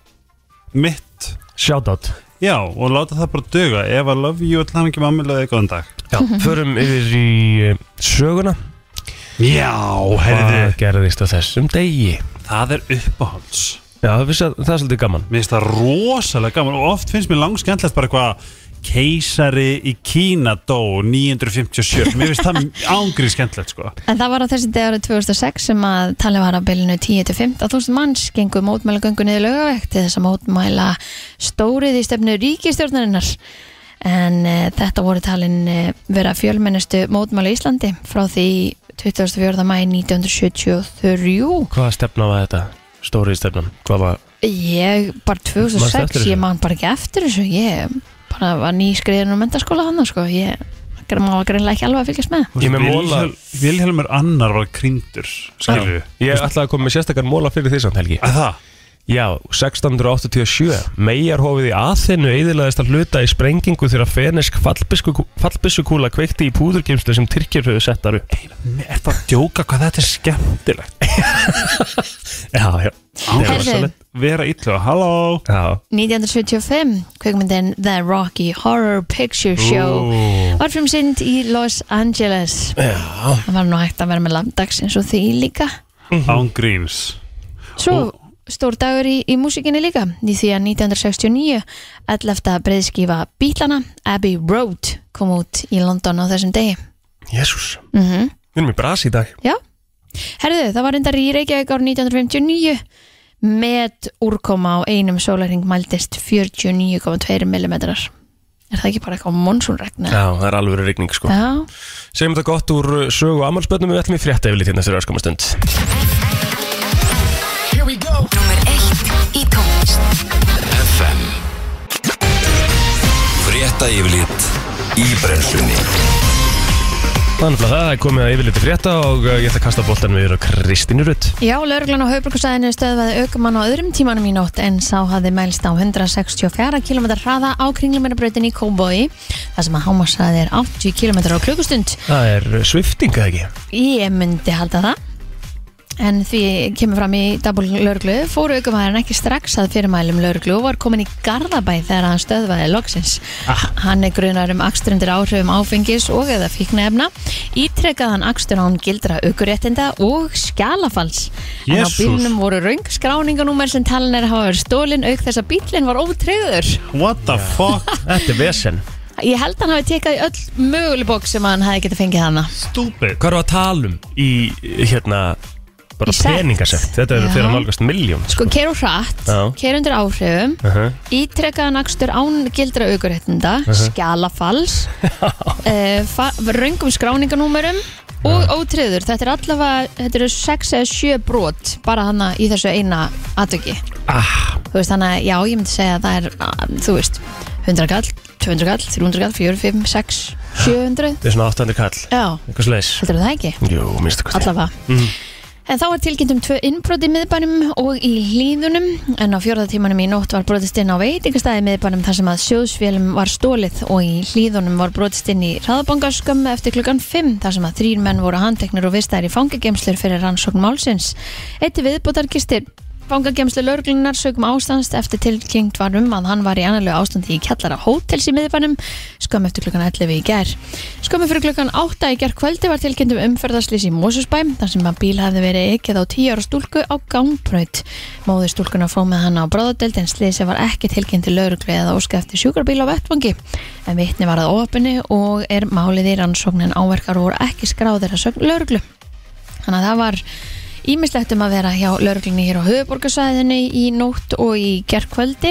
Speaker 3: mitt
Speaker 1: Shoutout
Speaker 3: já og láta það bara duga Eva love you og hann ekki með ámæli dag góðan dag
Speaker 1: Já, förum yfir í eh, söguna
Speaker 3: já,
Speaker 1: Hvað gerðist á þessum degi?
Speaker 3: það er uppáhalds
Speaker 1: Já, það vissi að það er svolítið gaman
Speaker 3: mér finnst það rosalega gaman og oft finnst mér langskendlegt bara eitthvað keisari í Kína dó 957, mér finnst það ángrið skemmtilegt sko
Speaker 2: en það var á þessi dag árið 2006 sem að talið var að bylinu 10-15.000 manns gengur mótmæla göngu niður laugavegt til þess að mótmæla stórið í stefnu ríkistjórnarinnar en uh, þetta voru talin uh, vera fjölmennistu mótmæla í Íslandi frá því 24. mæ 1973
Speaker 1: Hvaða stefna var þetta? Stórið stefnan Hvað var
Speaker 2: Ég, bara
Speaker 1: Manstu eftir
Speaker 2: 2006,
Speaker 1: þessu?
Speaker 2: ég man bara ekki eftir þessu Ég bara var nýskriðin og mentaskóla hann sko. Ég má greinlega ekki alveg að fylgjast með
Speaker 1: Ég er með móla-
Speaker 3: Vilhjál- Vilhjálmur annar var krýndur skilur við
Speaker 1: Ég ætlaði að koma með sérstakar móla fyrir því samt helgi
Speaker 3: að það
Speaker 1: Já, 1687 Meijarhófið í Aþenu eðilaðist að hluta í sprengingu þegar fenesk fallbissukúla kveikti í púðurkimslu sem Tyrkjur höfðu sett þar upp
Speaker 3: Mér er það að djóka hvað þetta er skemmtilegt
Speaker 1: Já, já
Speaker 3: Það
Speaker 2: Herðu.
Speaker 3: rosalegt. Vera illu og halló
Speaker 1: Já,
Speaker 2: 1975, kvikmyndin The Rocky Horror Picture Show var frumsynd í Los Angeles Það var nú hægt að vera með langdags eins og því líka
Speaker 3: Án gríns
Speaker 2: Svo stór dagur í, í músikinni líka í því að 1969 11. breiðskífa Bítlana Abbey Road kom út í London á þessum degi
Speaker 1: jésús
Speaker 2: Mhm
Speaker 1: Við erum í brasi í dag
Speaker 2: Já, herðu, það var reyndar í Reykjavík árið 1959 með úrkoma á einum sólarhing mældist 49,2 mm Er það ekki bara eitthvað monsunregna?
Speaker 1: Já, það er alveg rigning sko
Speaker 2: Já,
Speaker 1: Segjum þetta gott úr uh, sögu og ammálspönnum Við ætlum í frétta hérna yfir lítið næstur öskumastund
Speaker 6: Númer eitt í tónlist
Speaker 7: FM Frétta yfirlit í brennslunni
Speaker 1: Þannig að það er komið að yfirliti frétta og uh, ég ætla að kasta boltan við á Kristínu Rutt
Speaker 2: Já lauruglan á Hauðbrukusæðinu stöðvaði aukumann á öðrum tímanum í nótt en sá hafði mælst á 164 km hraða á kringlumirabrautin í Kóboi þar sem að hámarsaði er 80 km á klukkustund
Speaker 1: Það er uh, svifting, eða ekki?
Speaker 2: Ég myndi halda það En því kemur fram í double lauruglu fóru aukumæðurinn ekki strax að fyrirmælum lauruglu og var komin í Garðabæ þegar hann stöðvaði loksins.
Speaker 3: Ah.
Speaker 2: Hann er grunar um akstur undir áhrifum áfengis og eða fíknefna. Ítrekkað hann akstur án gildra aukuréttinda og skjalafals. En á
Speaker 3: Jesús.
Speaker 2: bílnum voru röng skráninganúmer sem talin er að hafa verið stólin auk þess að bílinn var ótreyður.
Speaker 3: What the fuck
Speaker 1: Þetta er vesen
Speaker 2: Ég held hann hafi tekað í öll möguleg bók sem hann hefði getið fengið hana.
Speaker 3: Stupid
Speaker 1: Hvað eru að tala um í, hérna, bara
Speaker 2: Í sekt.
Speaker 1: peningasekt? Þetta
Speaker 2: Já.
Speaker 1: eru fyrir að nálgast miljón
Speaker 2: Sko, keir og hratt,
Speaker 1: Já.
Speaker 2: keir undir áhrifum,
Speaker 1: Mhm.
Speaker 2: ítrekkaðan akstur án gildra aukuréttinda, skjalafals, uh, fa- röngum skráninganúmerum og ótriður. Þetta er allavega, þetta eru 6 eða 7 brot bara hana í þessu eina atviki.
Speaker 1: ah,
Speaker 2: Þú veist, þannig að já, ég myndi segja að það er, að, þú veist, 100 kall, 200 kall, 300 kall, 4, 5, 6, 700.
Speaker 1: Þetta er svona 800 kall
Speaker 2: Já,
Speaker 1: Eitthvað slæs
Speaker 2: heldur það ekki?
Speaker 1: Jú, minnstu hvað
Speaker 2: allavega
Speaker 1: Mhm.
Speaker 2: En þá var tilkynnt um tvö innbrot í miðbænum og í hlýðunum en á fjórða tímanum í nótt var brotist inn á veitingastæði í miðbænum þar sem að sjóðsvélum var stólið og í hlýðunum var brotist inn í hraðabangaskömm eftir klukkan 5 þar sem að þrýr menn voru handteknir og vistaðir í fangagemslur fyrir rannsókn málsins. Eitt viðbútar gistir fangagemslu lauruglunar sögum ástandst eftir tilkynnt var um að hann var í annarlegu ástandi í kjallara hótels í miðbænum skömmu eftir klukkan 11 í gær skömmu fyrir klukkan 8 í gær kvöldi var tilkynnt um umferðarslýs í Mósusbæ þar sem að bíl hafði verið ekkið á 10 ára stúlku á gangbraut móður stúlkuna fóð með hann á bráðadelt en slýsi var ekki tilkynnt til lauruglu eða óska eftir sjúkrabíl á vettvangi en vitni var að óöpunni og er málið í rannsóknin áverkar voru ekki skráðir að sögn lauruglu þannig að það var ímislegt um að vera hjá lauruglunni hér á höfuborgarsvæðinu í nótt og í gerkvöldi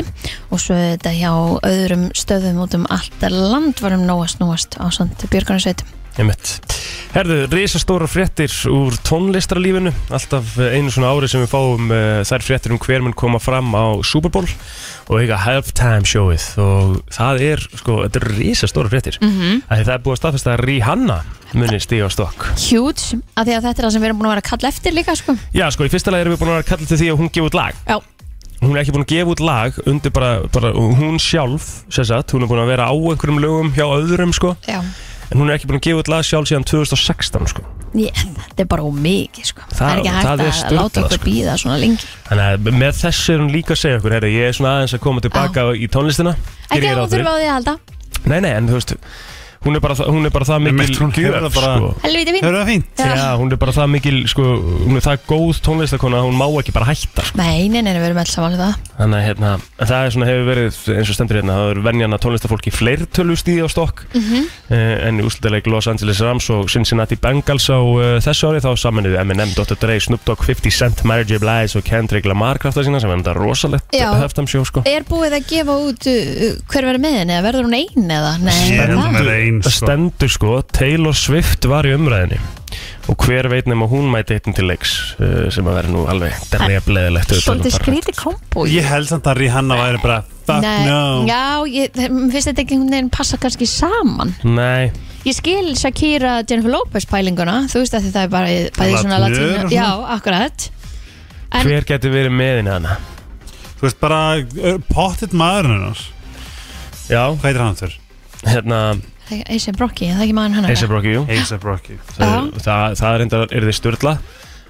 Speaker 2: og svo er þetta hjá öðrum stöðum út um allt land varum nóg að snúast á samt björgunarsveitum.
Speaker 1: Einmitt. Herðu, risastóra fréttir úr tónlistarlífinu Alltaf eh, einu svona ári sem við fáum uh, þær fréttir um hver mun koma fram á Super Bowl og eiga halftime showið og það er, sko, þetta er risastóra fréttir mm
Speaker 2: Mhm.
Speaker 1: -hmm. Það er búið að staðfesta að Rihanna munir stíga á stokk
Speaker 2: Huge, af því að þetta er það sem við erum búin að vera að kalla eftir líka sko.
Speaker 1: Já, sko, í fyrsta lagi erum við búin að vera að kalla til því að hún gefa út lag
Speaker 2: Já,
Speaker 1: Hún er ekki búin að gefa út lag undir bara, bara hún sjálf, sem sagt Hún er búin að vera á einhverjum lögum hjá öðrum, sko
Speaker 2: já.
Speaker 1: En hún er ekki búin að gefa út lag sjálf síðan 2016, sko
Speaker 2: Ég, þetta er bara ómikið sko. Það,
Speaker 1: Það-
Speaker 2: er ekki
Speaker 1: það
Speaker 2: hægt
Speaker 1: er
Speaker 2: að
Speaker 1: sturlað,
Speaker 2: láta okkur
Speaker 1: sko.
Speaker 2: býða svona lengi.
Speaker 1: Þannig að með þessu er hún líka að segja okkur herri, Ég er svona aðeins að koma tilbaka í tónlistina Geri
Speaker 2: Ekki
Speaker 1: ég
Speaker 2: að
Speaker 1: ráð
Speaker 2: hún þurfa á því að halda.
Speaker 1: fyrir. Nei, nei, en þú veist Hún er bara, þa- hún er bara það mikil
Speaker 3: mitt, hún hefur
Speaker 1: gjöf,
Speaker 3: það bara-
Speaker 1: sko.
Speaker 2: Helviti fín.
Speaker 3: Hefur það fínt?
Speaker 2: Já.
Speaker 1: Já, hún er bara það mikil sko, Hún er það góð tónlistakona að Hún má ekki bara hætta sko.
Speaker 2: Nei, nei, nei, við erum alls samanlega það.
Speaker 1: Þannig að hérna, en það er svona hefur verið eins og stendur hérna Það er venjan að tónlistafólki fleirtölu stíði á stokk mm
Speaker 2: Mhm.
Speaker 1: -hmm. En í úrslutaleg Los Angeles Rams og Cincinnati Bengals á uh, þessu ári Þá saminuðu Eminem, Dr. Dre, Snoop Dogg, 50 Cent, Mary J. Blige og Kendrick Lamar krafta sína sem er þetta rosalegt
Speaker 2: Já.
Speaker 1: höftamsjó sko.
Speaker 2: Er búið að gefa út uh, hver verður með henni eða verður hún ein eða? Nei,
Speaker 3: Stendur
Speaker 2: það?
Speaker 3: með einn
Speaker 1: Það
Speaker 3: sko.
Speaker 1: stendur sko, Taylor Swift var í umræðinni og hver veit nema hún mæti eittin til leiks uh, sem að vera nú alveg derlega bleðilegt
Speaker 2: Svolítið skrítið kombo
Speaker 3: Ég held samt að Rihanna væri bara Fuck no
Speaker 2: Já, ég mér finnst þetta ekki einhvern veginn passa kannski saman
Speaker 1: Nei,
Speaker 2: Ég skil Shakira Jennifer Lopez pælinguna Þú veist að það er bara bæði svona
Speaker 3: Latínu og
Speaker 2: latínu
Speaker 3: svona.
Speaker 2: Já, akkurat En-
Speaker 1: hver getur verið með henni hana?
Speaker 3: Þú veist bara uh, Pottit maðurinn hennar
Speaker 1: Já,
Speaker 3: Hvað heitir hann þurr?
Speaker 1: hérna
Speaker 2: Það er A$AP Rocky, er það ekki maður hann
Speaker 1: A$AP Rocky, jú
Speaker 3: A$AP Rocky
Speaker 1: það, það, það er reyndar, er þið styrla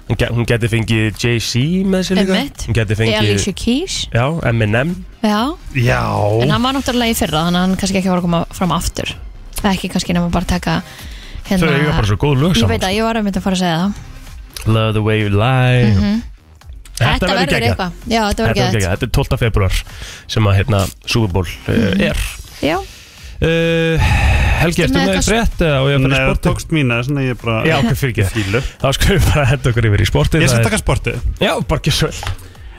Speaker 1: Hún geti fengið Jay-Z með sér líka
Speaker 2: Einmitt.
Speaker 1: Hún geti
Speaker 2: Er
Speaker 1: fengið
Speaker 2: Alicia Keys
Speaker 1: Já, Eminem
Speaker 2: Já,
Speaker 3: Já
Speaker 2: en hann var náttúrulega í fyrra Þannig að hann kannski ekki var að koma fram aftur Það er ekki kannski nema bara að taka
Speaker 1: Þau
Speaker 2: hérna,
Speaker 1: eru bara svo góð lög
Speaker 2: Ég
Speaker 1: saman
Speaker 2: veit að ég var að mynda að fara að segja það
Speaker 1: sko. Love the way you lie
Speaker 2: Mhm. Þetta verður
Speaker 1: geggjað.
Speaker 2: eitthvað Já, þetta verður
Speaker 1: Þetta er,
Speaker 2: ekki
Speaker 1: þetta er 12. februar sem að hérna Super Bowl uh,
Speaker 2: Mhm.
Speaker 1: er
Speaker 2: Já,
Speaker 1: uh, Helgi,
Speaker 2: Ertu
Speaker 1: ertu
Speaker 2: með
Speaker 1: með
Speaker 2: eitthvað-
Speaker 1: frétt eða á ég að
Speaker 3: Nei,
Speaker 1: fara í
Speaker 3: það
Speaker 1: sportið?
Speaker 3: tókst mína Svona ég bara
Speaker 1: Já, ok, fyrir ekki
Speaker 3: Fílu
Speaker 1: Þá skulum við bara henda okkur yfir í sportið
Speaker 3: Ég
Speaker 1: það
Speaker 3: skal
Speaker 1: er-
Speaker 3: taka sportið
Speaker 1: Já, bara ekki svo vel.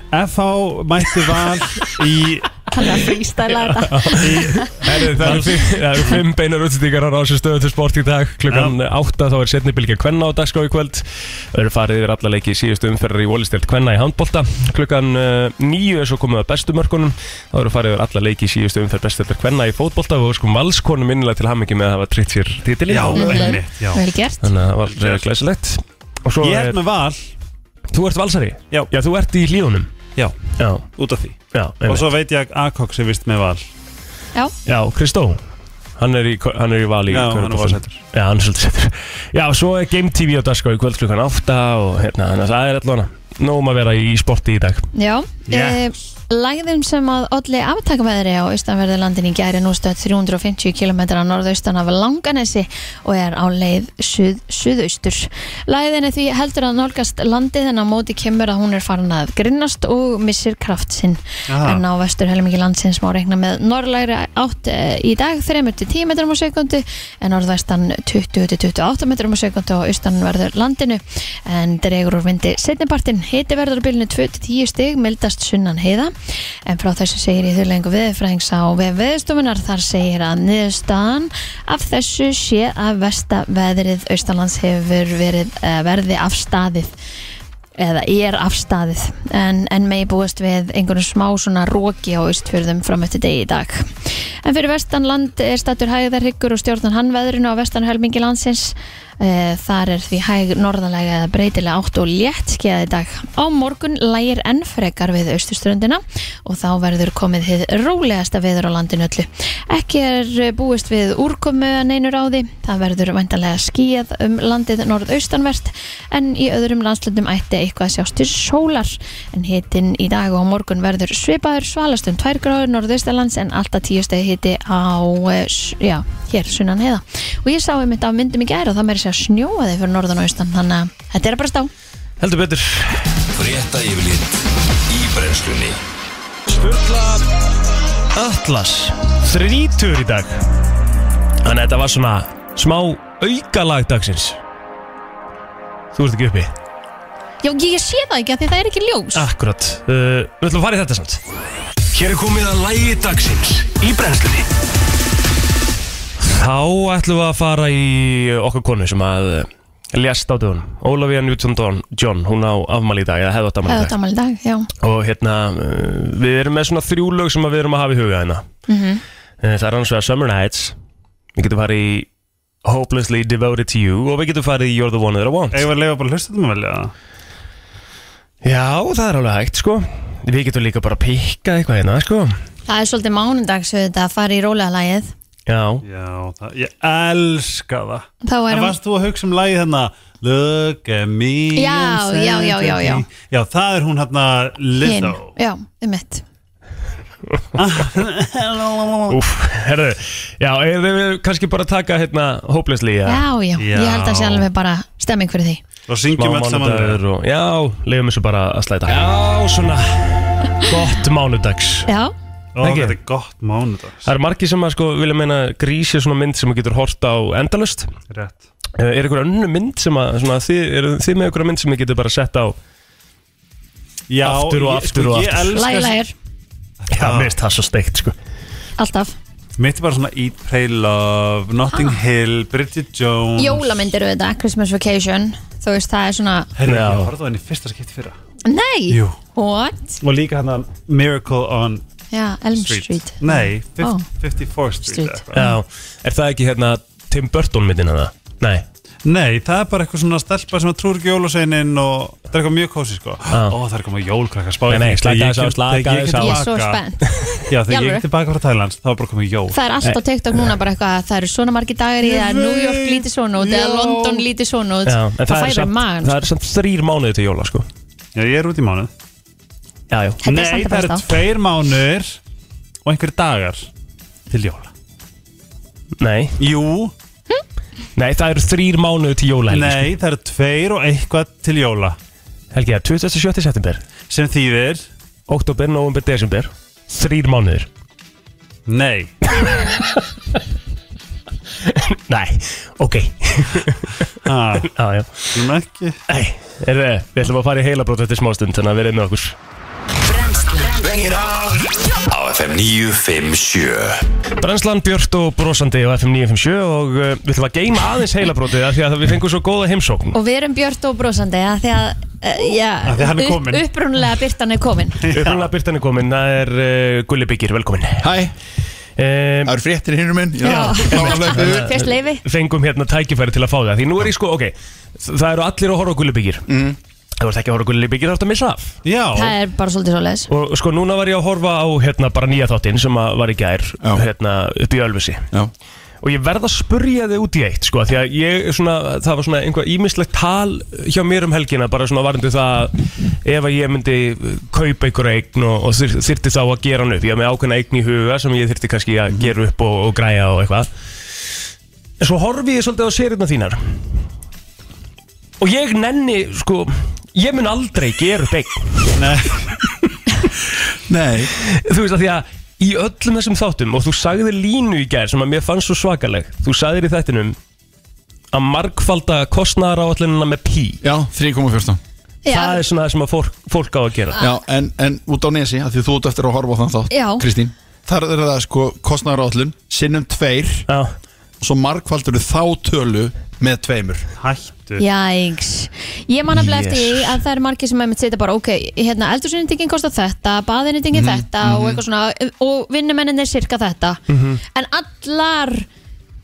Speaker 3: FH mætti val í
Speaker 2: hann er að freestyla þetta
Speaker 1: Herri, Það eru fimm- það eru fimm beinar útsendingar á rásu stöðu til sport í dag Klukkan 8 þá er setni bylgja kvenna á dagskrá í kvöld Það eru farið yfir alla leiki í síðustu umferðar í volistelt kvenna í handbolta Klukkan 9 er svo komið að bestu mörkunum Það eru farið yfir alla leiki í síðustu umferð besteltar kvenna í fótbolta Og sko valskonum innilega til hammingi með að hafa tritt sér titilin
Speaker 3: Já, einmitt já.
Speaker 2: Vel gert
Speaker 1: Þannig að það var reyða glæsilegt Og svo
Speaker 3: Ég
Speaker 1: er,
Speaker 3: er með val
Speaker 1: þú ert valsari
Speaker 3: Já.
Speaker 1: Já, þú ert í hlíðunum
Speaker 3: Já,
Speaker 1: Já,
Speaker 3: út af því
Speaker 1: já,
Speaker 3: Og
Speaker 1: einmitt
Speaker 3: svo veit ég að Akox er vist með val
Speaker 2: Já,
Speaker 1: Já, Kristó Hann er í, hann er í val í
Speaker 3: Já, hann er
Speaker 1: körfuboltanum.
Speaker 3: valsætur.
Speaker 1: Já, hann er svolítið setur Já, svo er Game TV á dagskrá í kvöld klukkan 8 og hérna, þannig að það er allan Nóum að vera í sporti í dag
Speaker 2: Já,
Speaker 3: Yes.
Speaker 2: yes. lægðum sem að olli aftakveðri á austanverðilandin í gæri nú stöð 350 km norðaustan af Langanesi og er á leið suð, suðaustur. Læðin er því heldur að nálgast landið en á móti kemur að hún er farin að grinnast og missir kraft sinn.
Speaker 3: Aha.
Speaker 2: En á vestur helmingi landsins má reikna með norðlægri átt eh, í dag 3-10 metrum á sekundu en norðvestan 20-28 metrum á sekundu og austanverður landinu en dregur úr vindi setnipartin hiti verður á bylnu 2-10 stig mildast sunnan heiða en frá þessu segir í þurrlengu viðfræðings á vef viðstofunar þar segir að niðurstaðan af þessu sé að vesta veðrið austalands hefur verið eh, verði afstaðið eða er afstaðið en, en megi búist við einhvern smá svona róki á austfjörðum fram eftir degi í dag. En fyrir vestanland er statur hægðarhyggur og stjórnan hannveðrinu á vestanhelmingi landsins Eh, þar er því hæg norðalega eða breytilega átt og létt skeið í dag. Á morgun lægir enn frekar við austurströndina og þá verður komið hið rólegasta veður á landinu öllu. Ekki er eh, búist við úrkomu að neinu ráði, það verður væntanlega skíð um landið norðaustanvert en í öðrum landslöndum ætti eitthvað að sjást til sólar en hitin í dag og á morgun verður svipaður svalast um 2 gráður norðaustalands en alltaf 10 stegi hiti á eh, s- já, hér sunnan heiða og ég sá einmitt af myndum í gæri og það meiri sér að snjóaði fyrir norðan og austan þannig að þetta er að bara stá
Speaker 1: Heldur betur
Speaker 7: Frétta yfirlit í brennslunni
Speaker 1: Atlas Þrítur í dag Þannig að þetta var svona smá aukalag dagsins Þú ert ekki uppi
Speaker 2: Já, ég sé það ekki af því að það er ekki ljós
Speaker 1: Akkurat, uh, við ætlum að fara í þetta samt
Speaker 7: Hér er komið að lægi dagsins í brennslunni
Speaker 1: Þá ætlum við að fara í okkar konu sem að uh, lést á dögun Ólafía Newton-John, John, hún á afmæli í dag eða hefði átt afmæli í
Speaker 2: Það
Speaker 1: dag
Speaker 2: er damal í dag, já
Speaker 1: og hérna uh, við erum með svona þrjú lög sem að við erum að hafa í huga hérna mm það er annars vegar Summer Nights við getum farið í Hopelessly Devoted to You og við getum farið í You're the One That I Want
Speaker 3: Eða leifa bara hlustandum að velja það
Speaker 1: já það er alveg hægt sko við getum líka bara pikkað eitthvað hérna sko
Speaker 2: Það er svolítið mánundags auðvitað að fara í rólega lagið
Speaker 1: já
Speaker 3: Já, það, ég elska það
Speaker 2: Þá
Speaker 3: En
Speaker 2: erum
Speaker 3: varst þú að hugsa um lagið hérna Look at me
Speaker 2: Já,
Speaker 3: and say
Speaker 2: já, já, já,
Speaker 3: to
Speaker 2: já.
Speaker 3: me. Já, það er hún hérna
Speaker 2: hinn
Speaker 3: Lizzo
Speaker 2: Já, um mitt
Speaker 1: Úf, herðu, já, eða við kannski bara taka hérna Hopelessly
Speaker 2: já.
Speaker 1: ja.
Speaker 2: já, ég held að sé
Speaker 3: Já.
Speaker 2: alveg bara stemming fyrir því
Speaker 3: Þá syngjum við alls saman
Speaker 1: og, já, leiðum þessu bara að slæta já, svona gott mánudags
Speaker 2: Já,
Speaker 3: Ó,
Speaker 1: Ekki?
Speaker 3: þetta er gott mánudags
Speaker 1: Það eru margir sem að sko vilja meina grísi er svona mynd sem að getur hort á endalust
Speaker 3: Rétt
Speaker 1: Er eitthvað önnu mynd sem að svona, þið, er, þið með eitthvað mynd sem þið getur bara sett á
Speaker 3: Já,
Speaker 1: Aftur og
Speaker 3: ég-
Speaker 1: aftur
Speaker 3: sko,
Speaker 1: og
Speaker 3: ég
Speaker 1: aftur.
Speaker 3: elska-
Speaker 2: lagi lagir,
Speaker 1: Já, mér finnst það svo steikt sko
Speaker 2: alltaf
Speaker 3: Mitt er bara svona Eat, Pray, Love,
Speaker 2: Ah.
Speaker 3: Notting Hill, Bridget Jones
Speaker 2: Jólamyndir auðvitað, Christmas Vacation Þú veist, það er svona
Speaker 3: Herri,
Speaker 1: Já.
Speaker 3: ég horfði á henni í fyrsta skipti fyrra
Speaker 2: Nei,
Speaker 3: Jú.
Speaker 2: what?
Speaker 3: Og líka hérna Miracle on
Speaker 2: Já, Elm
Speaker 3: Street,
Speaker 2: Street,
Speaker 3: Nei, fif-
Speaker 2: Ó.
Speaker 3: 54 Street,
Speaker 2: Street.
Speaker 3: eða eitthvað.
Speaker 1: Já, er það ekki hérna Tim Burton myndin hana? Nei,
Speaker 3: Nei, það er bara eitthvað svona stelpa sem að trúr ekki jólaseinin og það er eitthvað mjög kósi sko
Speaker 1: Já.
Speaker 3: Ó, það er eitthvað jólkrakka spáði
Speaker 1: Nei, nei, slaka þessu á, slaka þessu
Speaker 2: Ég
Speaker 1: á.
Speaker 2: er svo spennt
Speaker 3: Já,
Speaker 2: Í
Speaker 3: þegar ég
Speaker 2: alvöru?
Speaker 3: er tilbaka frá Thailand, þá er bara komið jól
Speaker 2: Það er alltaf tekt á núna bara eitthvað að það eru svona margi dagir í það New York lítið svona út eða
Speaker 3: Já.
Speaker 2: London lítið svona út
Speaker 1: já, en
Speaker 2: Það sko.
Speaker 1: er
Speaker 2: fæður
Speaker 1: samt,
Speaker 2: magan
Speaker 1: það er samt þrýr mánuði til jóla sko
Speaker 3: Já, ég er út í mánuð
Speaker 1: Já, já,
Speaker 2: Þetta er
Speaker 3: Nei,
Speaker 2: samt að
Speaker 3: það eru
Speaker 2: besta
Speaker 3: tveir mánuðir og einhverjir dagar til jóla
Speaker 1: nei,
Speaker 3: Jú,
Speaker 1: nei, það eru þrýr mánuði til jóla Helgi,
Speaker 3: nei, það eru tveir og eitthvað til jóla
Speaker 1: sko. Helgi, það er 27. september
Speaker 3: sem þýðir,
Speaker 1: Oktober, november, desember Þrýr mánuðir
Speaker 3: nei
Speaker 1: Nei, ok,
Speaker 3: Það
Speaker 1: já, já
Speaker 3: er Ah. ekki
Speaker 1: Nei, er við ætlum að fara í heilabrót eftir smástund Þannig að verið með okkur
Speaker 6: Brennslan
Speaker 7: Bengir á Á FM 957
Speaker 1: Brennslan, Björn og Brósandi á FM 957 og uh, við ætlum að geima aðeins heilabrótið af því að við fengum svo góða heimsókn
Speaker 2: Og við erum björt og brosandi að því að uh, já,
Speaker 3: Af því að hann er
Speaker 2: upp,
Speaker 3: kominn.
Speaker 2: upprúnulega byrtan er komin
Speaker 1: Upprunalega Byrtan er komin, það er uh, Gulli Byggir, velkomin
Speaker 8: Hæ,
Speaker 1: um,
Speaker 8: það eru fréttir hinnur minn
Speaker 2: Já.
Speaker 8: Já,
Speaker 2: Fyrst leifi
Speaker 1: Fengum hérna tækifæri til að fá það Því nú er ég sko, ok, það eru allir að horfa á Gulli Byggir mm. Það voru ekki að horfa á Gulli Byggir, það ertu að missa af
Speaker 3: Já,
Speaker 2: Það er bara svolítið svoleiðis
Speaker 1: Og sko, núna var ég að horfa á hérna bara nýja þáttinn sem að var í gær
Speaker 8: Já.
Speaker 1: hérna, upp í Ölfusi og ég verð að spurja þig út í eitt sko, því að ég, svona, það var svona einhvað ímislegt tal hjá mér um helgina bara svona varandi það að ef að ég myndi kaupa einhver eign og, og þyr, þyrti þá að gera hann upp ég haf með ákveðna eign í huga sem ég þyrti kannski að gera upp og, og græja og eitthvað en svo horfi ég svolítið á sérina þínar og ég nenni sko, ég mun aldrei gera upp eign
Speaker 8: Nei,
Speaker 1: þú veist að því að í öllum þessum þáttum og þú sagði línu í gær sem að mér fannst svo svakaleg þú sagðir í þættinum að markfalda kostnara áallinuna með pí
Speaker 8: já, 3,14
Speaker 1: það er svona það sem að fólk, fólk á að gera
Speaker 8: Já, en, en út á nesi, af því þú ert eftir að horfa á þann þátt
Speaker 2: Já.
Speaker 8: Kristín, þar er það sko kostnæðarállun, sinnum tveir
Speaker 1: Já,
Speaker 8: og svo markvaldur þá tölu með tveimur
Speaker 3: hættu
Speaker 2: Jæks Ég man að
Speaker 1: Yes.
Speaker 2: eftir því að það er margir sem einmitt setja bara ok, hérna eldursynningin kostar þetta
Speaker 3: Mhm,
Speaker 2: baðinnitingin þetta og eitthvað svona og vinnumennin er cirka þetta
Speaker 1: Mhm.
Speaker 2: en allar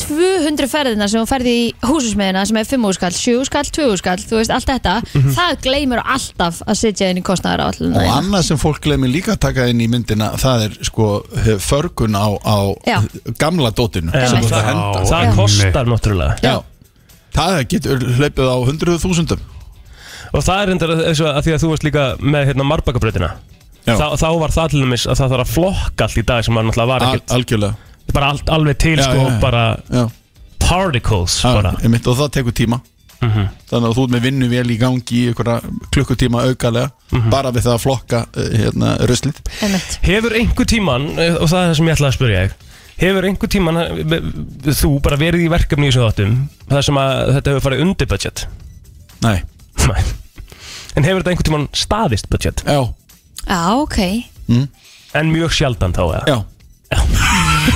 Speaker 2: 200 ferðina sem hún ferði í húsusmiðina sem er 5 úrskall, 7 úrskall, 2 úrskall þú veist allt þetta,
Speaker 3: Mhm.
Speaker 2: það gleymur alltaf að setja inn í kostnæðar á allir
Speaker 8: Og annað sem fólk glemir líka að taka inn í myndina það er sko eh, förgun á, á
Speaker 2: Já.
Speaker 8: gamla dótinu
Speaker 1: Já.
Speaker 8: sem þú ert að
Speaker 3: Já.
Speaker 8: henda
Speaker 1: það
Speaker 3: einmitt.
Speaker 1: kostar náttúrulega
Speaker 8: Já. Það getur hlaupið á hundruðu þúsundum
Speaker 1: og það er endar eins og að því að þú varst líka með hérna marbakabröðina
Speaker 8: Já.
Speaker 1: Þá, þá var það til dæmis að það þarf að flokka allt í dag sem að náttúrulega var
Speaker 8: Al,
Speaker 1: ekkert
Speaker 8: Algjörlega
Speaker 1: bara allt, alveg til
Speaker 8: Já,
Speaker 1: sko
Speaker 8: já, já.
Speaker 1: bara
Speaker 8: Já.
Speaker 1: particles
Speaker 8: Já,
Speaker 1: bara. Mhm.
Speaker 8: einmitt, og það tekur tíma þannig að þú ert með vinnu vel í gangi í einhverja klukkutíma aukalega
Speaker 1: Mhm.
Speaker 8: bara við það að flokka eh, hérna, ruslið
Speaker 2: Einmitt.
Speaker 1: Hefur einhver tíman, og það er það sem ég ætlaði að spyrja þig Hefur einhver tíman þú bara verið í verkefni í þessu þáttum þar sem að þetta hefur farið undir budget
Speaker 8: Nei,
Speaker 1: Nei. En hefur þetta einhvern tímann staðist budget?
Speaker 8: Já, Mm.
Speaker 2: Já, ok
Speaker 1: En mjög sjaldan þá eða?
Speaker 8: já,